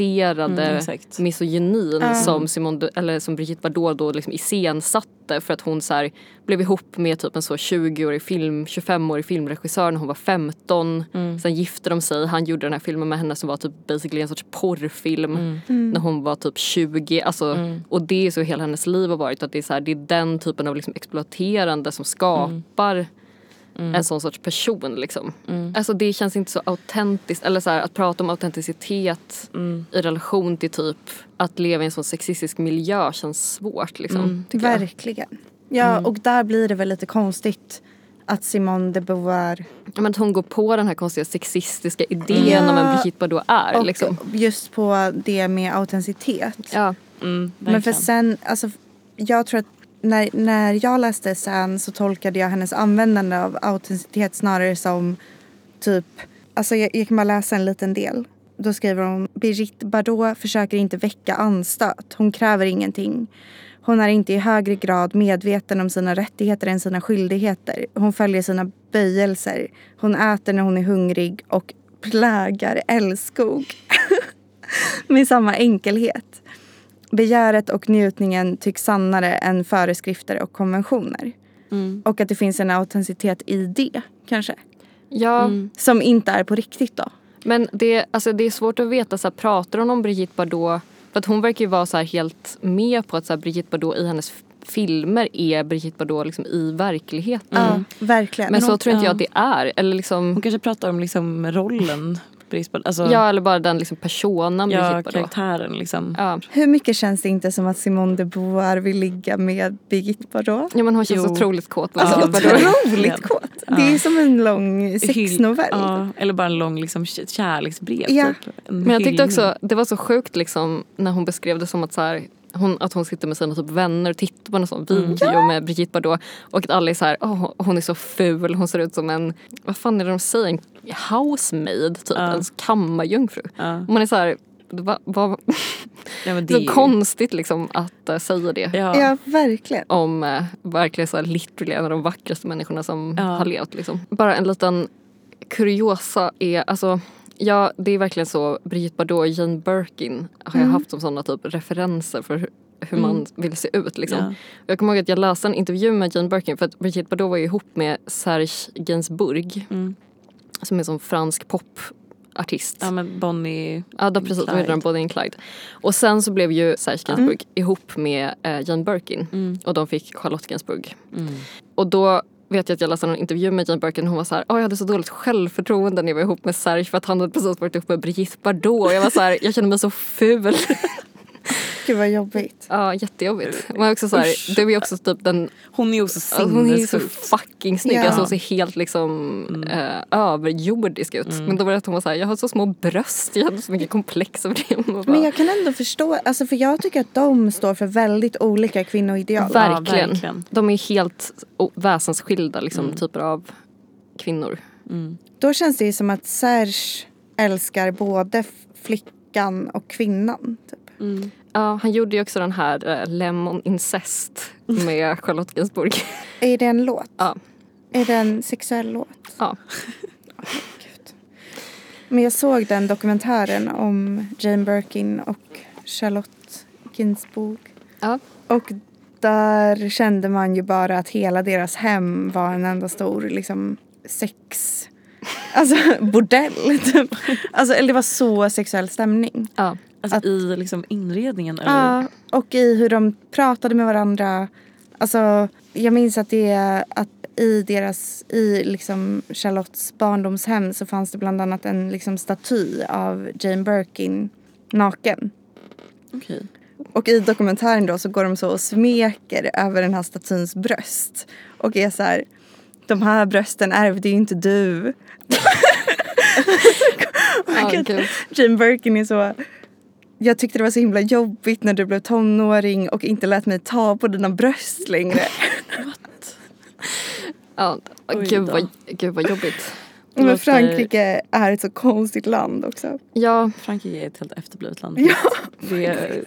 [SPEAKER 3] internaliserade
[SPEAKER 1] Mm, exakt.
[SPEAKER 3] misogynin
[SPEAKER 2] Ja.
[SPEAKER 3] som, Simone, de- eller som Brigitte Bardot då liksom iscensatte för att hon så här blev ihop med typ en så 20-årig film, 25-årig filmregissör när hon var 15. Sen gifte de sig, han gjorde den här filmen med henne som var typ basically en sorts porrfilm när hon var typ 20. Alltså, Och det är så hela hennes liv har varit. Att det, är så här, det är den typen av liksom exploaterande som skapar en sån sorts person. Liksom. Alltså det känns inte så autentiskt. Eller så här, att prata om autenticitet i relation till typ att leva i en sån sexistisk miljö känns svårt. Liksom,
[SPEAKER 2] Mm.
[SPEAKER 3] tycker jag. Mm.
[SPEAKER 2] Verkligen. Ja, och där blir det väl lite konstigt att Simone de Beauvoir
[SPEAKER 3] Ja, Men att hon går på den här konstiga sexistiska idén om en
[SPEAKER 2] Ja,
[SPEAKER 3] Brigitte Bardot är.
[SPEAKER 2] och
[SPEAKER 3] Liksom.
[SPEAKER 2] just på det med autenticitet.
[SPEAKER 3] Ja.
[SPEAKER 1] Mm,
[SPEAKER 2] Men för
[SPEAKER 1] verkligen.
[SPEAKER 2] sen, alltså, jag tror att när, när jag läste sen så tolkade jag hennes användande av autenticitet snarare som typ, alltså jag, jag kan bara läsa en liten del. Då skriver hon Brigitte Bardot försöker inte väcka anstöt. Hon kräver ingenting. Hon är inte i högre grad medveten om sina rättigheter än sina skyldigheter. Hon följer sina böjelser. Hon äter när hon är hungrig och plägar älskog med samma enkelhet. Begäret och njutningen tycks sannare än föreskrifter och konventioner. Och att det finns en autenticitet i det, kanske.
[SPEAKER 3] Ja,
[SPEAKER 2] Som inte är på riktigt då.
[SPEAKER 3] men det, alltså, det är svårt att veta. Så här, pratar hon om Brigitte Bardot? För att hon verkar ju vara så här, helt med på att så här, Brigitte Bardot i hennes f- filmer är Brigitte Bardot liksom, i verkligheten.
[SPEAKER 2] Ja, verkligen.
[SPEAKER 3] Mm. Men, så tror inte jag
[SPEAKER 1] ja.
[SPEAKER 3] att det är. Eller liksom,
[SPEAKER 1] Hon kanske pratar om liksom rollen. Britt Bardot. Alltså,
[SPEAKER 3] Ja, eller bara den liksom, personen
[SPEAKER 1] ja,
[SPEAKER 3] Brigitte Bardot.
[SPEAKER 1] karaktären liksom.
[SPEAKER 3] Ja.
[SPEAKER 2] Hur mycket känns det inte som att Simone de Beauvoir vill ligga med Birgitte Bardot?
[SPEAKER 3] ja, men hon känns
[SPEAKER 1] Jo. Alltså,
[SPEAKER 3] otroligt kåt på
[SPEAKER 1] Ja,
[SPEAKER 3] Brigitte Bardot.
[SPEAKER 1] verkligen.
[SPEAKER 2] Otroligt kåt. Det är som en lång sexnovell.
[SPEAKER 1] Hyll- Ja, eller bara en lång liksom, k- kärleksbrev.
[SPEAKER 2] Ja.
[SPEAKER 1] Typ. En
[SPEAKER 3] Men jag tyckte
[SPEAKER 1] hyllning.
[SPEAKER 3] också, det var så sjukt liksom när hon beskrev det som att så här, hon, att hon sitter med sina typ vänner och tittar på någon sån
[SPEAKER 1] Mm.
[SPEAKER 3] video med Brigitte Bardot och att alla är så här, "Åh, hon är så ful, hon ser ut som en, vad fan är det de säger, en housemaid typ, en kammarjungfru.
[SPEAKER 1] Ja.
[SPEAKER 3] Och Man är så här, va, va,
[SPEAKER 1] Ja, men det är
[SPEAKER 3] så
[SPEAKER 1] ju-
[SPEAKER 3] konstigt liksom att eh, säga det.
[SPEAKER 1] Ja.
[SPEAKER 2] Ja, verkligen.
[SPEAKER 3] Om eh, verkligen så här, literally en av de vackraste människorna som
[SPEAKER 1] Ja.
[SPEAKER 3] har levt liksom. Bara en liten kuriosa är, alltså Ja, det är verkligen så. Brigitte Bardot och Jane Birkin har
[SPEAKER 1] Mm.
[SPEAKER 3] jag haft som sådana typ referenser för hur- hur man vill se ut. Liksom.
[SPEAKER 1] Ja.
[SPEAKER 3] Jag kommer ihåg att jag läste en intervju med Jane Birkin för att Brigitte Bardot var ju ihop med Serge Gainsbourg som är en sån fransk popartist.
[SPEAKER 1] Mm. Ja men Bonnie...
[SPEAKER 3] Ja, då precis. Då
[SPEAKER 1] Clyde.
[SPEAKER 3] heter den Bonnie and Clyde. Och sen så blev ju Serge Gainsbourg ihop med eh, Jane Birkin och de fick Charlotte Gainsbourg. Och då vet jag att jag läste någon intervju med Jane Birkin och hon var så här, "Ah, jag hade så dåligt självförtroende när jag var ihop med Serge för att han hade precis varit ihop med Brigitte Bardot och jag var så här, jag kände mig så ful.
[SPEAKER 2] Gud vad jobbigt.
[SPEAKER 3] ja, jättejobbigt. Men också så här, du är också typ den
[SPEAKER 1] Hon är ju också
[SPEAKER 3] Alltså, hon är ju så
[SPEAKER 1] sinnessjuk.
[SPEAKER 3] fucking snygg.
[SPEAKER 2] Ja.
[SPEAKER 3] Alltså, hon ser helt liksom eh, överjordisk ut. Men då var det att hon var såhär, jag har så små bröst, jag hade så mycket komplex över det. Man Bara,
[SPEAKER 2] Men jag kan ändå förstå, alltså för jag tycker att de står för väldigt olika kvinnoideal.
[SPEAKER 1] Ver-
[SPEAKER 3] verkligen.
[SPEAKER 1] Ja, verkligen. Mm.
[SPEAKER 3] De är helt o- väsensskilda liksom, typer av kvinnor.
[SPEAKER 2] Då känns det ju som att Serge älskar både f- flickan och kvinnan. Typ.
[SPEAKER 3] Ja, han gjorde ju också den här eh, Lemon Incest med Charlotte Gainsbourg.
[SPEAKER 2] Är det en låt?
[SPEAKER 3] Ja.
[SPEAKER 2] Är det en sexuell låt?
[SPEAKER 3] ja.
[SPEAKER 2] Gud. Men jag såg den dokumentären om Jane Birkin och Charlotte Gainsbourg.
[SPEAKER 3] ja.
[SPEAKER 2] Och där kände man ju bara att hela deras hem var en enda stor liksom sex... Alltså bordell typ. Alltså eller det var så sexuell stämning.
[SPEAKER 3] ja.
[SPEAKER 1] Alltså i liksom inredningen eller?
[SPEAKER 2] Ja, och i hur de pratade med varandra. Alltså, jag minns att det är att i deras, i liksom Charlottes barndomshem så fanns det bland annat en liksom staty av Jane Birkin naken.
[SPEAKER 1] Okej.
[SPEAKER 2] Och i dokumentären då så går de så och smeker över den här statyns bröst. Och är så här, de här brösten ärvde ju inte du.
[SPEAKER 3] Ja,
[SPEAKER 2] Gud.
[SPEAKER 3] gud.
[SPEAKER 2] Jane Birkin är så... Jag tyckte det var så himla jobbigt när du blev tonåring och inte lät mig ta på dina bröst längre.
[SPEAKER 3] Ja.
[SPEAKER 1] Oj
[SPEAKER 3] Gud,
[SPEAKER 1] då.
[SPEAKER 3] vad, gud vad jobbigt.
[SPEAKER 2] Men
[SPEAKER 1] låter-
[SPEAKER 2] Frankrike är ett så konstigt land också.
[SPEAKER 3] Ja,
[SPEAKER 1] Frankrike är ett helt efterblivet land.
[SPEAKER 2] Ja,
[SPEAKER 1] det är...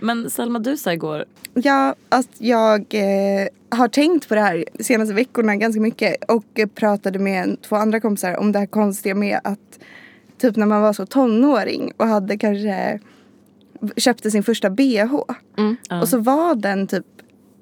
[SPEAKER 1] Men Selma du sa igår,
[SPEAKER 2] Ja, att jag eh, har tänkt på det här de senaste veckorna ganska mycket och eh, pratade med en- två andra kompisar om det här konstiga med att typ när man var så tonåring och hade kanske köpte sin första bh
[SPEAKER 3] mm.
[SPEAKER 1] ja.
[SPEAKER 2] och så var den typ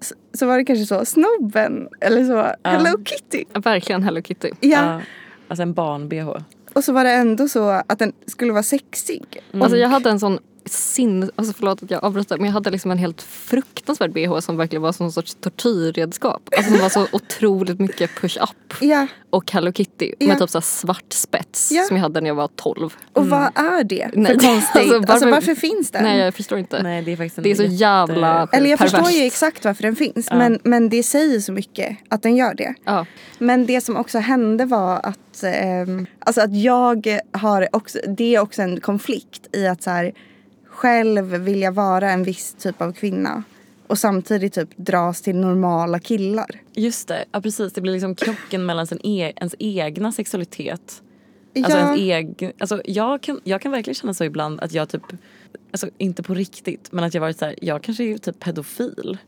[SPEAKER 2] s- så var det kanske så snobben eller så Hello Kitty.
[SPEAKER 3] verkligen Hello Kitty.
[SPEAKER 2] Ja,
[SPEAKER 1] ja, alltså en barn-bh.
[SPEAKER 2] och så var det ändå så att den skulle vara sexig.
[SPEAKER 1] Mm.
[SPEAKER 3] Alltså jag hade en sån sin... Alltså förlåt att jag avbryter men jag hade liksom en helt fruktansvärd bh som verkligen var som någon sorts tortyrredskap. Alltså som var så otroligt mycket push-up
[SPEAKER 2] Ja,
[SPEAKER 3] och Hello Kitty
[SPEAKER 2] Ja.
[SPEAKER 3] med typ så här svart spets
[SPEAKER 2] Ja.
[SPEAKER 3] som jag hade när jag var 12.
[SPEAKER 2] och vad är det
[SPEAKER 3] Nej,
[SPEAKER 2] för konstigt? Alltså
[SPEAKER 3] alltså,
[SPEAKER 2] varför,
[SPEAKER 3] varför-
[SPEAKER 2] finns den?
[SPEAKER 3] Nej jag förstår inte.
[SPEAKER 1] Nej det är faktiskt en
[SPEAKER 3] Det är så
[SPEAKER 1] jätte-
[SPEAKER 3] jävla
[SPEAKER 2] Eller jag förstår
[SPEAKER 3] perverst.
[SPEAKER 2] ju exakt varför den finns men, men det säger så mycket att den gör det.
[SPEAKER 3] Ja.
[SPEAKER 2] Men det som också hände var att, ehm, alltså att jag har också, det är också en konflikt i att så här, själv vilja vara en viss typ av kvinna och samtidigt typ dras till normala killar.
[SPEAKER 1] Just det, ja precis. Det blir liksom krocken mellan sin e- ens egna sexualitet. Alltså, ens egen, alltså jag, kan, jag kan verkligen känna så ibland att jag typ, alltså inte på riktigt men att jag varit så här, jag kanske är typ pedofil.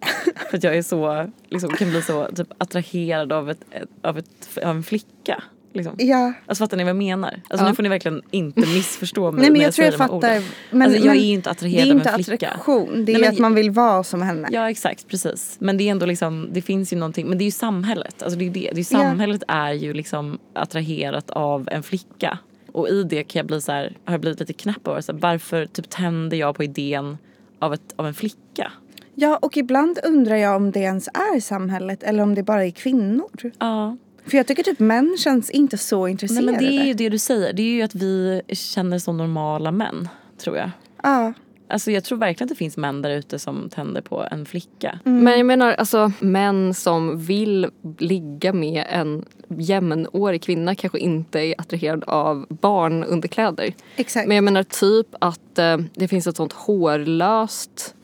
[SPEAKER 1] för att jag är så, liksom, kan bli så typ attraherad av, ett, ett- av, ett, av en flicka. Liksom.
[SPEAKER 2] ja.
[SPEAKER 1] Alltså fattar ni vad jag menar? Alltså
[SPEAKER 3] Ja.
[SPEAKER 1] nu får ni verkligen inte missförstå mig
[SPEAKER 2] Nej men
[SPEAKER 1] när
[SPEAKER 2] jag, tror jag
[SPEAKER 1] säger de här
[SPEAKER 2] fattar.
[SPEAKER 1] orden.
[SPEAKER 2] Men,
[SPEAKER 1] alltså, jag
[SPEAKER 2] men
[SPEAKER 1] är ju inte
[SPEAKER 2] Det är
[SPEAKER 1] attraherad av
[SPEAKER 2] inte
[SPEAKER 1] en flicka.
[SPEAKER 2] attraktion. Det är
[SPEAKER 1] Nej, men-
[SPEAKER 2] att man vill vara som henne.
[SPEAKER 1] Ja exakt precis. Men det är ändå liksom, det finns ju någonting, men det är ju samhället. Alltså det är ju det. Det är ju samhället är ju liksom attraherat av en flicka. Och i det kan jag bli så här, har jag blivit lite knäpp av så här, varför typ tänder jag på idén av, ett, av en flicka?
[SPEAKER 2] Ja, och ibland undrar jag om det ens är samhället eller om det bara är kvinnor.
[SPEAKER 1] Ja.
[SPEAKER 2] För jag tycker typ män känns inte så
[SPEAKER 1] Nej
[SPEAKER 2] intresserade.
[SPEAKER 1] men det är ju det du säger, det är ju att vi känner som normala män tror jag.
[SPEAKER 2] Ja,
[SPEAKER 1] Alltså jag tror verkligen att det finns män där ute som tänder på en flicka.
[SPEAKER 2] Mm.
[SPEAKER 3] Men jag menar alltså män som vill ligga med en jämnårig kvinna kanske inte är attraherad av barnunderkläder.
[SPEAKER 2] exakt.
[SPEAKER 3] Men jag menar typ att eh, det finns ett sånt hårlöst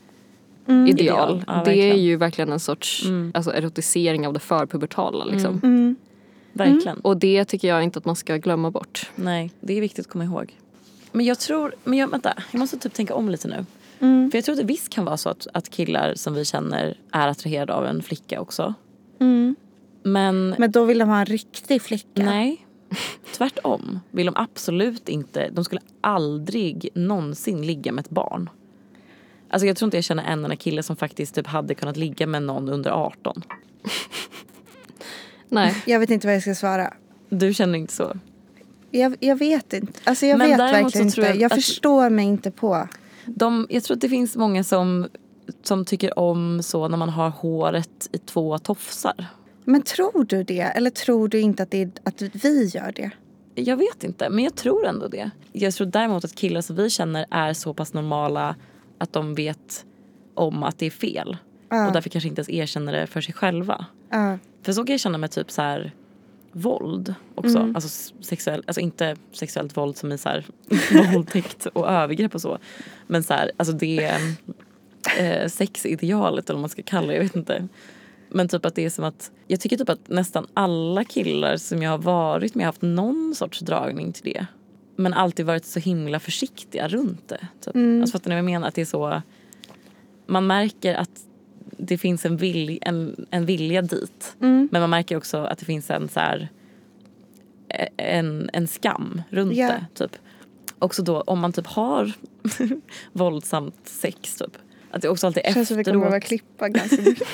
[SPEAKER 2] Mm.
[SPEAKER 3] ideal.
[SPEAKER 1] Ideal, ja,
[SPEAKER 3] det är
[SPEAKER 1] verkligen. Mm.
[SPEAKER 3] ju verkligen en sorts alltså, erotisering av det förpubertala. Liksom.
[SPEAKER 2] Mm.
[SPEAKER 1] Verkligen.
[SPEAKER 3] Och det tycker jag inte att man ska glömma bort.
[SPEAKER 1] Nej, det är viktigt att komma ihåg. Men jag tror, men jag, vänta, jag måste typ tänka om lite nu.
[SPEAKER 2] Mm.
[SPEAKER 1] För jag tror att det visst kan vara så att, att killar som vi känner är attraherade av en flicka också.
[SPEAKER 2] Mm.
[SPEAKER 1] Men,
[SPEAKER 2] Men då vill de ha en riktig flicka.
[SPEAKER 1] nej, tvärtom vill de absolut inte, de skulle aldrig någonsin ligga med ett barn. Alltså jag tror inte jag känner en enda kille som faktiskt typ hade kunnat ligga med någon under 18.
[SPEAKER 3] Nej.
[SPEAKER 2] Jag vet inte vad jag ska svara.
[SPEAKER 1] Du känner inte så?
[SPEAKER 2] Jag, jag vet inte. Alltså jag
[SPEAKER 1] Men
[SPEAKER 2] vet
[SPEAKER 1] däremot så
[SPEAKER 2] verkligen inte.
[SPEAKER 1] tror
[SPEAKER 2] Jag,
[SPEAKER 1] jag att-
[SPEAKER 2] förstår mig inte på.
[SPEAKER 1] De, jag tror att det finns många som, som tycker om så när man har håret i två tofsar.
[SPEAKER 2] Men tror du det? Eller tror du inte att, det är, att vi gör det?
[SPEAKER 1] Jag vet inte, men jag tror ändå det. Jag tror däremot att killar som vi känner är så pass normala att de vet om att det är fel.
[SPEAKER 2] Ja.
[SPEAKER 1] Och därför kanske inte ens erkänner det för sig själva.
[SPEAKER 2] Ja.
[SPEAKER 1] För så kan jag känna med typ så här våld också. Alltså, s- sexuell, alltså inte sexuellt våld som i så här, våldtäkt och övergrepp och så. Men så här, alltså det eh, sexidealet eller vad man ska kalla det, jag vet inte. Men typ att det är som att, jag tycker typ att nästan alla killar som jag har varit med har haft någon sorts dragning till det. Men alltid varit så himla försiktiga runt det. Typ.
[SPEAKER 2] Mm.
[SPEAKER 1] Alltså fattar ni vad jag menar? Att det är så, man märker att det finns en, vilj, en, en vilja dit.
[SPEAKER 2] Mm.
[SPEAKER 1] Men man märker också att det finns en så här, en, en skam runt
[SPEAKER 2] Ja.
[SPEAKER 1] det. Typ. Också då om man typ har våldsamt sex typ. Att det också alltid
[SPEAKER 2] Känns som vi kommer
[SPEAKER 1] efteråt
[SPEAKER 2] behöva klippa ganska mycket.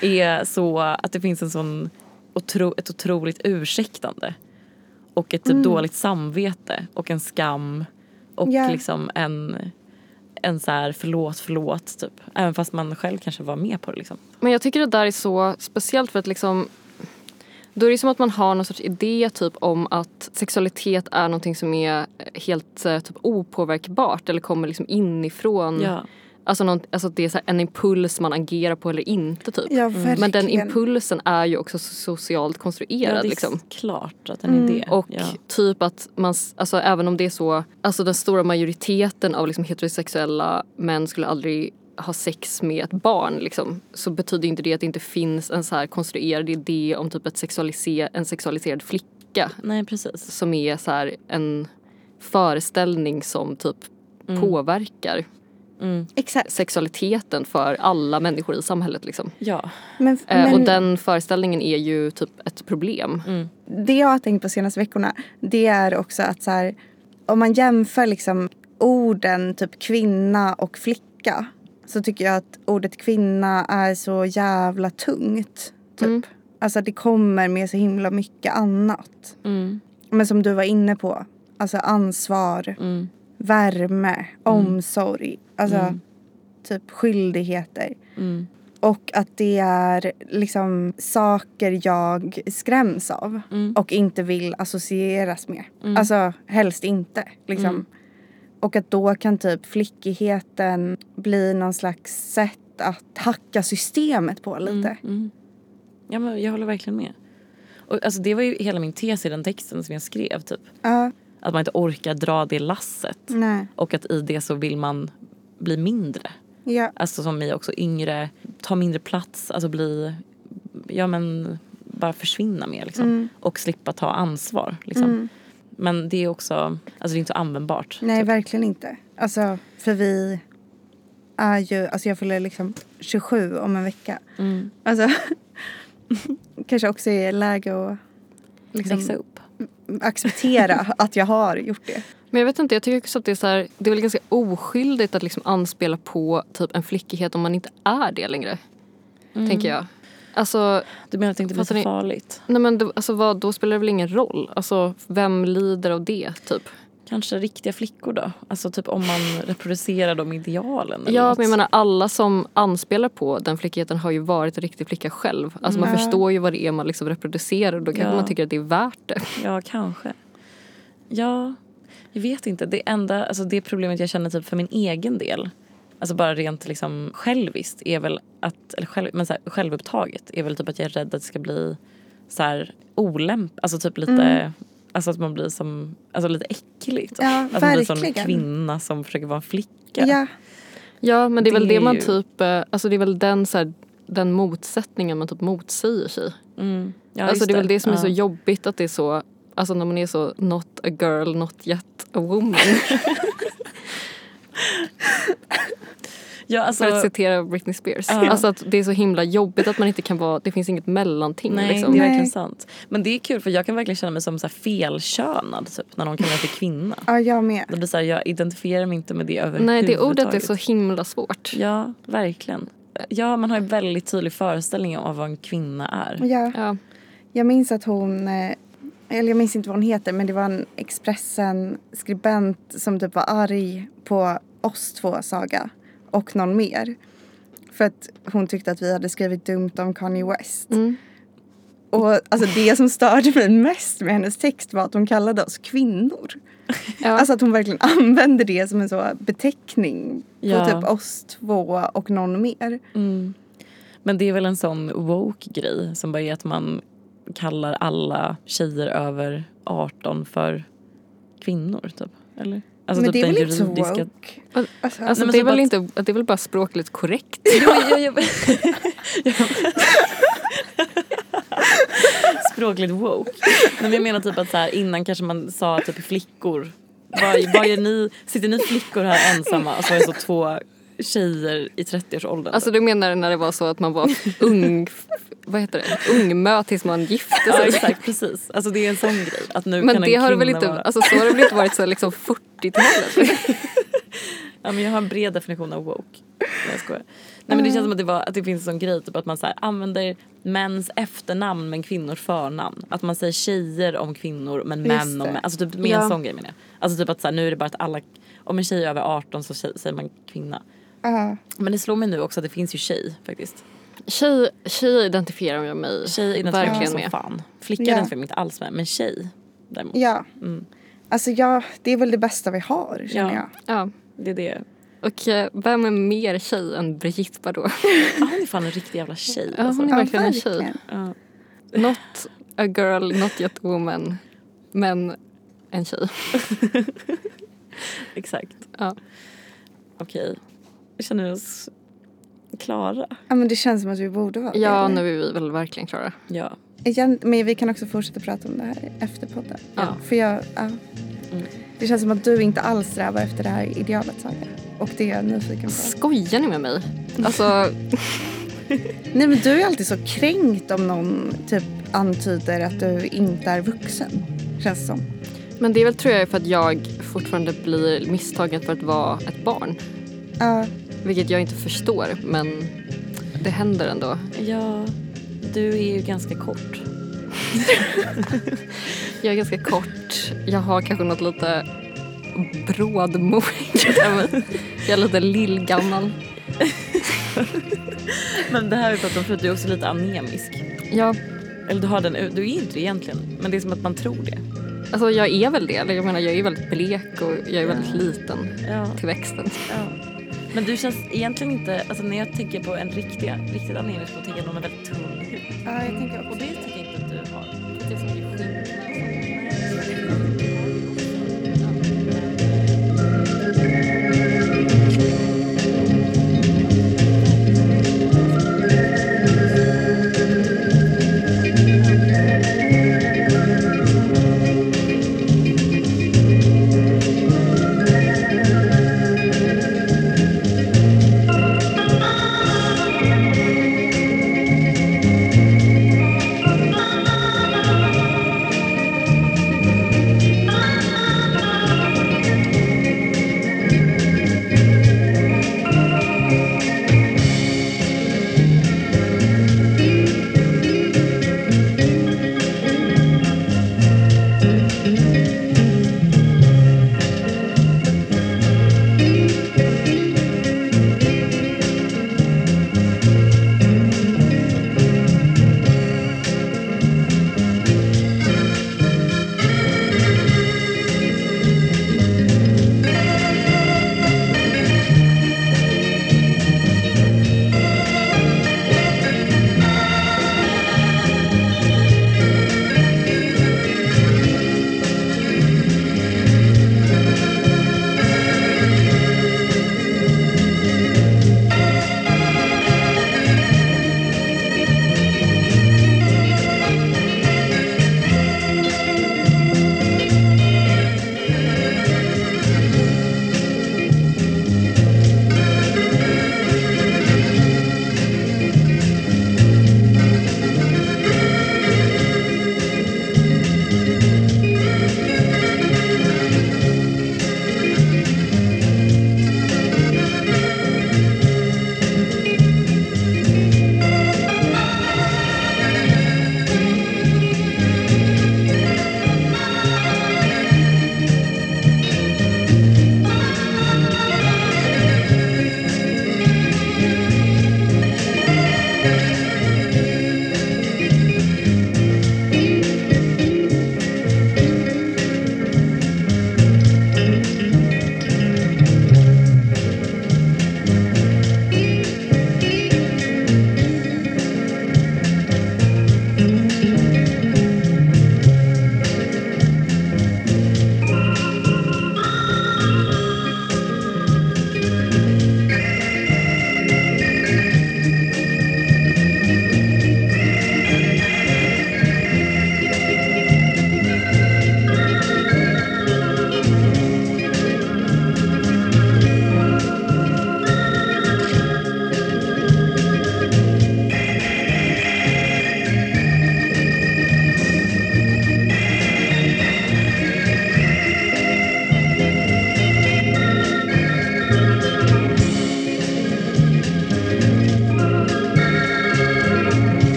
[SPEAKER 1] är så att det finns en sån otro, ett otroligt ursäktande och ett typ dåligt samvete och en skam och
[SPEAKER 2] Ja.
[SPEAKER 1] liksom en, en så här förlåt, förlåt typ. Även fast man själv kanske var med på det liksom.
[SPEAKER 3] Men jag tycker det där är så speciellt för att liksom då är det som att man har någon sorts idé typ om att sexualitet är någonting som är helt eh, typ, opåverkbart eller kommer liksom inifrån.
[SPEAKER 1] Ja.
[SPEAKER 3] Alltså, någon, alltså att det är så här en impuls man agerar på eller inte typ.
[SPEAKER 1] Mm.
[SPEAKER 2] Ja, verkligen.
[SPEAKER 3] Men den impulsen är ju också så socialt
[SPEAKER 1] Ja,
[SPEAKER 3] konstruerad.
[SPEAKER 1] det är
[SPEAKER 3] liksom.
[SPEAKER 1] klart att den är det.
[SPEAKER 3] Och
[SPEAKER 1] ja.
[SPEAKER 3] typ att man, s- alltså även om det är så, alltså den stora majoriteten av liksom heterosexuella män skulle aldrig ha sex med ett barn liksom, så betyder inte det att det inte finns en så här konstruerad idé om typ ett sexualise- en sexualiserad flicka
[SPEAKER 1] Nej precis.
[SPEAKER 3] som är så här en föreställning som typ
[SPEAKER 1] Mm.
[SPEAKER 3] påverkar
[SPEAKER 2] Exakt.
[SPEAKER 3] sexualiteten för alla människor i samhället liksom.
[SPEAKER 1] Ja.
[SPEAKER 2] Men,
[SPEAKER 3] Eh,
[SPEAKER 2] men
[SPEAKER 3] Och den föreställningen är ju typ ett problem.
[SPEAKER 2] det jag har tänkt på senaste veckorna det är också att så här, om man jämför liksom orden typ kvinna och flicka så tycker jag att ordet kvinna är så jävla tungt. Typ. Alltså det kommer med så himla mycket annat.
[SPEAKER 1] Mm.
[SPEAKER 2] Men som du var inne på, alltså ansvar, värme, omsorg, alltså typ skyldigheter. Och att det är liksom saker jag skräms av och inte vill associeras med. Alltså helst inte. Liksom. Och att då kan typ flickigheten bli någon slags sätt att hacka systemet på lite.
[SPEAKER 1] ja men jag håller verkligen med. Och, alltså, det var ju hela min tes i den texten som jag skrev typ.
[SPEAKER 2] Ja,
[SPEAKER 1] Att man inte orkar dra det lasset.
[SPEAKER 2] nej.
[SPEAKER 1] Och att i det så vill man bli mindre.
[SPEAKER 2] Ja,
[SPEAKER 1] Alltså som i också yngre, ta mindre plats, alltså bli, ja men bara försvinna mer liksom. Och slippa ta ansvar liksom. Men det är också, alltså det är inte så användbart.
[SPEAKER 2] nej, verkligen inte. Alltså, för vi är ju... Alltså jag fyller liksom 27 om en vecka. Alltså, kanske också är läge att
[SPEAKER 1] Liksom. Växa upp.
[SPEAKER 2] acceptera att jag har gjort det.
[SPEAKER 3] Men jag vet inte, jag tycker också att det är så här, det är väl ganska oskyldigt att liksom anspela på typ en flickighet om man inte är det längre. Tänker jag. Alltså,
[SPEAKER 1] Du menar att det inte blir
[SPEAKER 3] Fattar
[SPEAKER 1] så
[SPEAKER 3] ni?
[SPEAKER 1] farligt?
[SPEAKER 3] nej men det, alltså vad, då spelar det väl ingen roll? Alltså, vem lider av det typ?
[SPEAKER 1] Kanske riktiga flickor då? Alltså typ om man reproducerar de idealen eller
[SPEAKER 3] Ja,
[SPEAKER 1] något.
[SPEAKER 3] men jag menar alla som anspelar på den flickigheten har ju varit en riktig flicka själv. Alltså man förstår ju vad det är man liksom reproducerar och då kanske
[SPEAKER 1] Ja.
[SPEAKER 3] man tycker att det är värt det.
[SPEAKER 1] Ja, kanske. Ja, jag vet inte. Det enda, alltså det problemet jag känner typ för min egen del, alltså bara rent liksom själviskt, är väl att, eller själv, men så här, självupptaget, är väl typ att jag är rädd att det ska bli så här olämp, alltså typ lite, alltså att man blir som, alltså lite äcklig. Typ.
[SPEAKER 2] Mm. Ja,
[SPEAKER 1] att man blir som en
[SPEAKER 2] verkligen.
[SPEAKER 1] kvinna som försöker vara en flicka.
[SPEAKER 2] Ja.
[SPEAKER 3] Ja, men det är väl
[SPEAKER 1] Det
[SPEAKER 3] det
[SPEAKER 1] är
[SPEAKER 3] man
[SPEAKER 1] ju-
[SPEAKER 3] typ... eh, Alltså det är väl den, så här, den motsättningen man typ motsäger sig.
[SPEAKER 1] Mm. Ja,
[SPEAKER 3] alltså
[SPEAKER 1] just
[SPEAKER 3] det är väl det som är
[SPEAKER 1] Ja.
[SPEAKER 3] så jobbigt att det är så... Alltså när man är så not a girl, not yet a woman.
[SPEAKER 1] Ja,
[SPEAKER 3] För att
[SPEAKER 1] alltså,
[SPEAKER 3] citera Britney Spears.
[SPEAKER 1] Ja.
[SPEAKER 3] Alltså att det är så himla jobbigt att man inte kan vara... Det finns inget mellanting
[SPEAKER 1] nej,
[SPEAKER 3] liksom.
[SPEAKER 1] det är
[SPEAKER 2] Nej.
[SPEAKER 1] verkligen sant. Men det är kul för jag kan verkligen känna mig som så här felkönad typ, när någon kallar mig för kvinna.
[SPEAKER 2] Ja, jag med.
[SPEAKER 1] Det blir så här, jag identifierar mig inte med det
[SPEAKER 3] Nej,
[SPEAKER 1] överhuvudtaget.
[SPEAKER 3] det ordet är så himla svårt.
[SPEAKER 1] Ja, verkligen. Ja, man har en väldigt tydlig föreställning om vad en kvinna är.
[SPEAKER 2] Ja,
[SPEAKER 3] Ja.
[SPEAKER 2] jag minns att hon, eh, eller jag minns inte vad hon heter, men det var en Expressen-skribent som typ var arg på oss två, Saga, och någon mer. För att hon tyckte att vi hade skrivit dumt om Kanye West.
[SPEAKER 3] Mm.
[SPEAKER 2] Och alltså det som störde mig mest med hennes text var att hon kallade oss kvinnor.
[SPEAKER 3] Ja.
[SPEAKER 2] Alltså att hon verkligen använde det som en så beteckning på
[SPEAKER 1] Ja.
[SPEAKER 2] typ oss två och någon mer.
[SPEAKER 1] Mm. Men det är väl en sån woke-grej som bara är att man kallar alla tjejer över 18 för kvinnor, typ. Eller? Alltså typ
[SPEAKER 2] Men det är
[SPEAKER 1] den
[SPEAKER 2] väl inte så
[SPEAKER 1] juridiska-
[SPEAKER 2] woke? Alltså,
[SPEAKER 3] Alltså
[SPEAKER 1] men
[SPEAKER 3] det, är
[SPEAKER 1] typ
[SPEAKER 3] väl
[SPEAKER 1] att-
[SPEAKER 3] inte, det är väl bara språkligt korrekt?
[SPEAKER 1] Jo, jo, jo. Språkligt woke. Nej, men jag menar typ att så här, innan kanske man sa typ flickor. Vad, vad gör ni? Sitter ni flickor här ensamma? Alltså, Och så var det så två tjejer i 30-årsåldern.
[SPEAKER 3] Alltså du menar när det var så att man var ung... Vad heter det? Ungmö tills man gifte
[SPEAKER 1] ja,
[SPEAKER 3] sig.
[SPEAKER 1] exakt, precis. Alltså det är en sån grej. Att nu
[SPEAKER 3] Men
[SPEAKER 1] kan
[SPEAKER 3] det
[SPEAKER 1] en
[SPEAKER 3] har det väl
[SPEAKER 1] kvinna
[SPEAKER 3] inte,
[SPEAKER 1] vara...
[SPEAKER 3] alltså så har det väl inte varit sen liksom 40-talet?
[SPEAKER 1] Ja, men jag har en bred definition av woke. Nej, jag skojar. Nej, men det känns som att det, var, att det finns en sån grej typ, att man så här, använder mäns efternamn men kvinnors förnamn. Att man säger tjejer om kvinnor men
[SPEAKER 2] Just
[SPEAKER 1] män
[SPEAKER 2] det.
[SPEAKER 1] om män. Alltså typ med
[SPEAKER 2] Ja.
[SPEAKER 1] en sån grej menar jag. Alltså typ att så här, nu är det bara att alla, om en tjej är över 18 så tjej, säger man kvinna.
[SPEAKER 2] Ja.
[SPEAKER 1] Men det slår mig nu också att det finns ju tjej faktiskt.
[SPEAKER 3] Tjej, tjej identifierar jag mig
[SPEAKER 1] Tjej identifierar mig
[SPEAKER 3] verkligen
[SPEAKER 1] som
[SPEAKER 3] med.
[SPEAKER 1] fan. Flicka
[SPEAKER 2] Ja.
[SPEAKER 1] identifierar mig inte alls med men tjej däremot.
[SPEAKER 2] ja.
[SPEAKER 1] Mm.
[SPEAKER 2] Alltså ja, det är väl det bästa vi har känner
[SPEAKER 1] Ja.
[SPEAKER 2] jag.
[SPEAKER 3] Ja.
[SPEAKER 1] Det är det.
[SPEAKER 3] Och eh, vem är mer tjej än Brigitte Bardot?
[SPEAKER 1] Ja, Ah, hon är fan en riktig jävla tjej.
[SPEAKER 3] Ja,
[SPEAKER 1] Alltså.
[SPEAKER 3] hon är
[SPEAKER 2] Ja,
[SPEAKER 3] verkligen en tjej.
[SPEAKER 2] verkligen.
[SPEAKER 1] Ja.
[SPEAKER 3] Not a girl, not yet a woman. Men en tjej.
[SPEAKER 1] Exakt.
[SPEAKER 3] Ja.
[SPEAKER 1] Okej. Känner vi oss klara?
[SPEAKER 2] Ja men det känns som att vi borde vara det,
[SPEAKER 3] Ja,
[SPEAKER 2] eller?
[SPEAKER 3] nu är vi väl verkligen klara.
[SPEAKER 1] Ja.
[SPEAKER 2] Igen, men vi kan också fortsätta prata om det här efter podden.
[SPEAKER 3] Ja.
[SPEAKER 2] För jag, ja. Det känns som att du inte alls strävar efter det här idealet Saga. Och det är jag nyfiken på.
[SPEAKER 3] Skojar ni med mig? Alltså,
[SPEAKER 2] Nej men du är alltid så kränkt om någon typ antyder att du inte är vuxen. Känns det som.
[SPEAKER 3] men det är väl tror jag för att jag fortfarande blir misstagen för att vara ett barn.
[SPEAKER 2] Ja,
[SPEAKER 3] Vilket jag inte förstår, men det händer ändå.
[SPEAKER 1] ja. Du är ju ganska kort.
[SPEAKER 3] Jag är ganska kort. Jag har kanske något lite brådmodigt över mig. Jag är lite lillgammal.
[SPEAKER 1] Men det här har vi pratat om förut, du är också lite anemisk.
[SPEAKER 3] Ja,
[SPEAKER 1] Eller du har den, du är inte det egentligen. Men det är som att man tror det.
[SPEAKER 3] alltså jag är väl det. Eller Jag menar, jag är väldigt blek och jag är väldigt liten
[SPEAKER 1] Ja.
[SPEAKER 3] till växten.
[SPEAKER 1] ja. Men du känns egentligen inte, alltså när jag tänker på en riktig, riktigt anemisk, då tänker jag att de är väldigt tunn hud.
[SPEAKER 2] ja jag tänker
[SPEAKER 1] Och det är